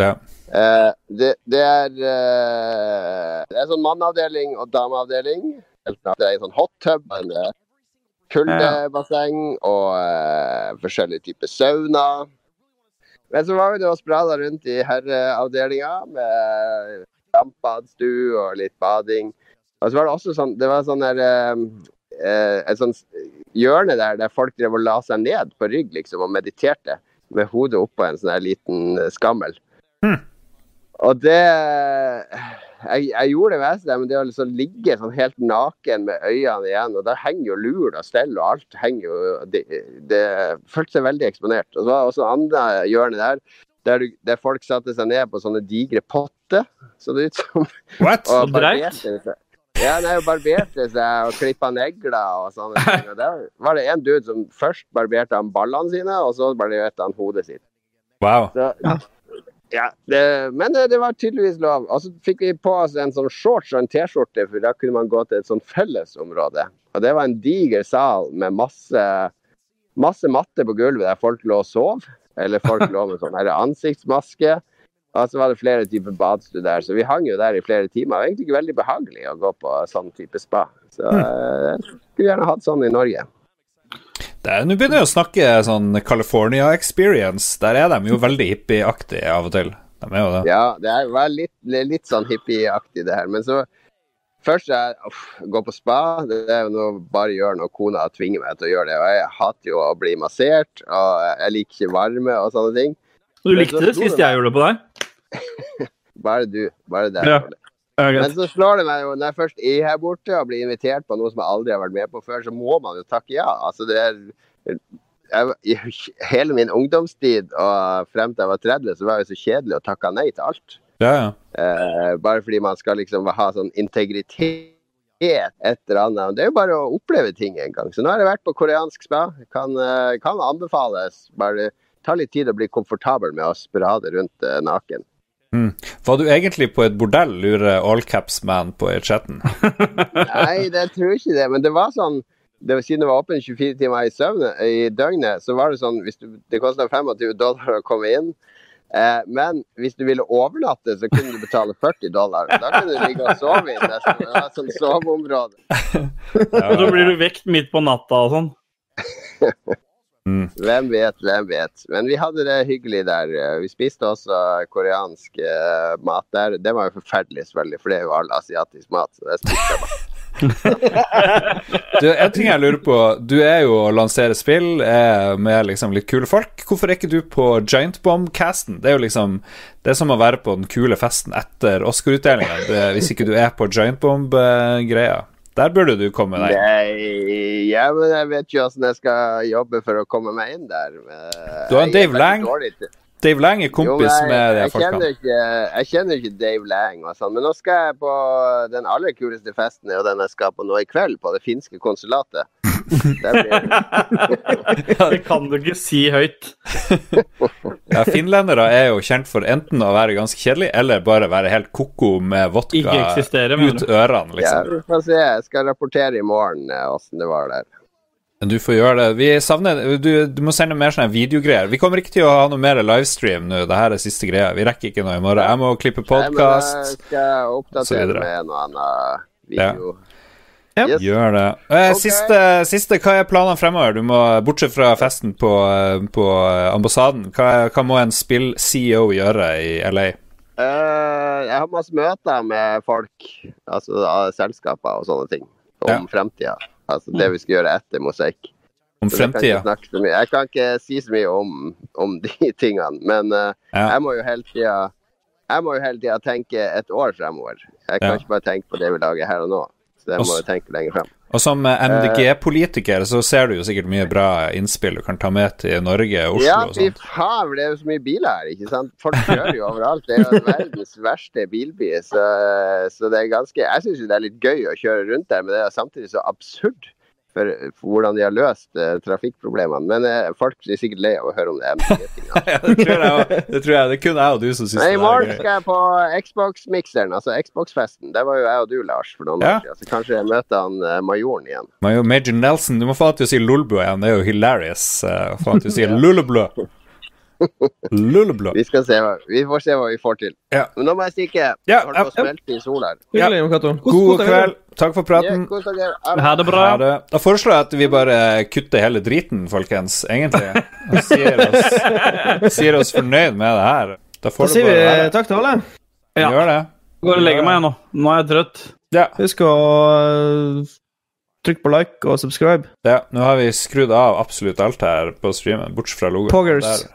S3: Ja.
S24: Eh, det, det er eh, Det er sånn mannavdeling og dameavdeling. Det er en sånn hot tub, en eh, kuldebasseng og eh, forskjellige typer sauna. Men så var vi da og sprada rundt i herreavdelinga med dampbadstue og litt bading. Og så var det også sånn Det var sånn der eh, eh, Et sånn hjørne der der folk drev og la seg ned på rygg liksom og mediterte med hodet oppå en sånn her liten eh, skammel. Og det jeg, jeg gjorde det meste, men det å liksom ligge sånn helt naken med øynene igjen, og der henger jo lur og stell og alt henger jo Det, det føltes seg veldig eksponert. Og så var det også en andre hjørne der, der, du, der folk satte seg ned på sånne digre potter, så det ut som.
S25: What?
S24: Og
S25: Så dreit?
S24: barberte seg. Ja, nei, og barberte seg og klippa negler og sånne ting. Og der var det en dude som først barberte han ballene sine, og så barberte han hodet sitt.
S3: Wow.
S24: Så, ja, det, men det, det var tydeligvis lov. Og så fikk vi på oss en sånn shorts og en T-skjorte, for da kunne man gå til et sånn fellesområde. Og det var en diger sal med masse, masse matte på gulvet der folk lå og sov. Eller folk lå med sånn her ansiktsmaske. Og så var det flere typer badstue der, så vi hang jo der i flere timer. Det var egentlig ikke veldig behagelig å gå på sånn type spa. Så eh, jeg skulle gjerne hatt sånn i Norge.
S3: Det er- Nå begynner jeg å snakke sånn California experience. Der er de jo veldig hippieaktige av og til. De er jo det.
S24: Ja, det er- var litt, litt sånn hippieaktig det her. Men så først er uff, gå på spa. Det er jo noe bare gjør når kona tvinger meg til å gjøre det. Og jeg hater jo å bli massert, og jeg liker ikke varme og sånne ting.
S13: Du likte det sist jeg gjorde det på deg?
S24: Bare du. Bare deg.
S13: Ja. Ja,
S24: Men
S13: greit.
S24: så slår det meg jo, når jeg først er her borte og blir invitert på noe som jeg aldri har vært med på før, så må man jo takke ja. Altså det er jeg, i Hele min ungdomstid og frem til jeg var 30, så var jeg jo så kjedelig og takka nei til alt.
S3: Ja, ja.
S24: Eh, bare fordi man skal liksom ha sånn integritet et eller annet. Det er jo bare å oppleve ting en gang. Så nå har jeg vært på koreansk spa. Kan, eh, kan anbefales. Bare ta litt tid å bli komfortabel med å sprade rundt eh, naken.
S3: Mm. Var du egentlig på et bordell, lurer allcaps-man på i chatten.
S24: Nei, det tror jeg ikke det. Men det var sånn det var, Siden det var åpent 24 timer i, søvne, i døgnet, så var det sånn hvis du, Det kosta 25 dollar å komme inn. Eh, men hvis du ville overnatte, så kunne du betale 40 dollar. Da kunne du ligge og sove i nesten. Det var sånn et sånt soveområde.
S13: Og så blir du vekt midt på natta og sånn.
S24: Hvem vet, hvem vet. Men vi hadde det hyggelig der. Vi spiste også koreansk eh, mat der. Det var jo forferdelig, selvfølgelig, for det er jo all asiatisk mat. Så det spiste jeg bare.
S3: Du, en ting jeg lurer på. Du er jo å lansere spill er med liksom litt kule folk. Hvorfor er ikke du på Giant Bomb-casten? Det er jo liksom Det er som å være på den kule festen etter Oscar-utdelinga, det- hvis ikke du er på Giant Bomb-greia. Der burde du komme deg.
S24: Nei, ja, men jeg vet jo åssen jeg skal jobbe for å komme meg inn der. Men eh,
S3: Du har en
S24: jeg er
S3: Dave Lang.
S24: veldig dårlig til-
S3: Dave Lang er
S24: Jo,
S3: kompis
S24: men jeg-
S3: med de
S24: jeg kjenner
S3: folkene.
S24: ikke- Jeg kjenner ikke Dave Lang og sånn, men nå skal jeg på den aller kuleste festen, og den jeg skal på nå i kveld, på det finske konsulatet. Der blir
S13: Det kan du ikke si høyt.
S3: Ja, finlendere er jo kjent for enten å være ganske kjedelig eller bare være helt ko-ko med vodka
S13: Ikke eksistere, mener
S3: ut
S13: du?
S3: ørene, liksom.
S24: Ja, vi får se. Jeg skal rapportere i morgen åssen det var der.
S3: Men Du får gjøre det. Vi savner Du, du må sende mer sånne videogreier. Vi kommer ikke til å ha noe mer livestream nå. Det her er siste greia. Vi rekker ikke noe i morgen. Jeg må klippe
S24: Nei, men
S3: podkast.
S24: Jeg skal
S3: så videre.
S24: oppdatere med noe annet
S3: Ja.
S24: video.
S3: Gjør det. Eh, siste, siste, hva er planene fremover? Du må, bortsett fra festen på, eh, på eh, ambassaden, hva, hva må en spill-CEO gjøre i LA?
S24: Eh, jeg har masse møter med folk, altså da, selskaper og sånne ting, om fremtida. Altså det vi skal gjøre etter mosaikk.
S3: Mm. Om
S24: Så det kan
S3: fremtida.
S24: Jeg, ikke snakke så mye- jeg kan ikke si så mye om, om de tingene, men eh,
S3: Ja.
S24: jeg må jo hele tida jeg må jo hele tida tenke et år fremover. Jeg kan
S3: Ja.
S24: ikke bare tenke på det vi lager her og nå. Så jeg må
S3: Også-
S24: jo tenke lenger frem.
S3: Og som eh, MDG-politiker så ser du jo sikkert mye bra innspill du kan ta med til Norge, Oslo
S24: ja,
S3: og sånn.
S24: fy
S3: sånt.
S24: faen, det er jo så mye biler her, ikke sant? Folk kjører jo overalt. Det er jo verdens verste bilby, så, så det er ganske Jeg syns jo det er litt gøy å kjøre rundt der, men det er samtidig så absurd. for, for hvordan de har løst eh, trafikkproblemene. Men eh, folk blir sikkert lei av å høre om det. MDG -tinga.
S3: Ja, det tror jeg også. Det tror jeg. Det er kun jeg og du som eh, syns det
S24: Nei, I
S3: er
S24: morgen
S3: gøy.
S24: skal jeg på Xbox-mikseren, altså Xbox-festen. Der var jo jeg og du, Lars, for noen
S3: Ja.
S24: år siden. Så kanskje jeg møter han eh, majoren igjen.
S3: Major Major Nelson, du må faen til å si Lulbu igjen, det er jo hilarious. eh, Faen til å si Lulleblø. Lulleblø.
S24: Vi skal se hva Vi får se hva vi får til.
S3: Ja.
S24: Men nå må jeg stikke.
S3: Ja,
S24: Holder på å smelte i sol her.
S3: Ja. God kveld. Takk for praten.
S24: Ja, kos dere. Ha det.
S3: Ha det bra. Da foreslår jeg at vi bare kutter hele driten, folkens, egentlig. Og sier oss, sier oss fornøyd med det her. Da
S10: Da
S3: får det
S10: sier vi
S3: bare være.
S10: takk til alle.
S3: Ja. Gjør det.
S13: Går og legger meg nå. Nå er jeg trøtt.
S10: Husk å øh, trykke på like og subscribe.
S3: Ja, nå har vi skrudd av absolutt alt her på streamen, bortsett fra logoen.
S10: Poggers.
S3: Der,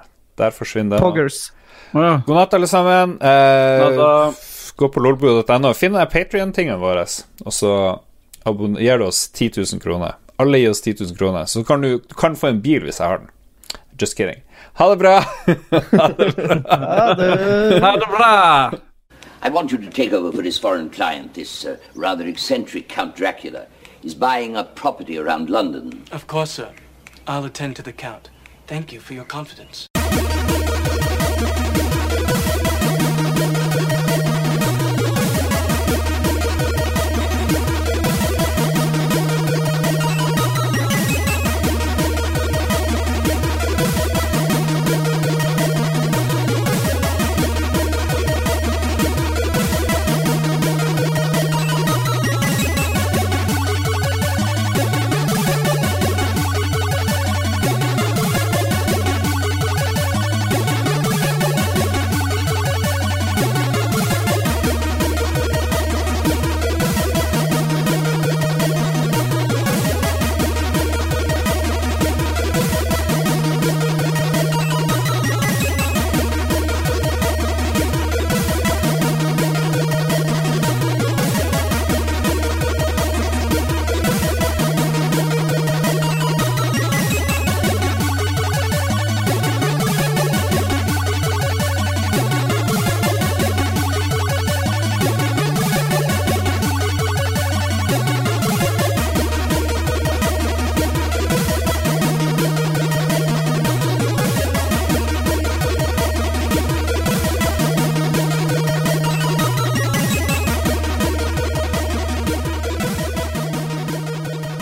S3: der forsvinner det. nå.
S10: Poggers.
S3: God natt, alle sammen. Eh,
S10: Natta.
S3: f- gå på lolbua.no. Finn den Patrion-tingen vår, og så abon- gir du oss 10 000 kroner. Alle gir oss 10 000 kroner, så kan du, du kan få en bil hvis jeg har den. Just kidding. Ha det bra! ha det bra!
S14: I want you to take over for this foreign client, this uh, rather eccentric Count Dracula. He's buying up property around London.
S11: Of course, sir. I'll attend to the count. Thank you for your confidence.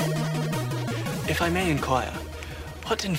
S11: If I may inquire, what in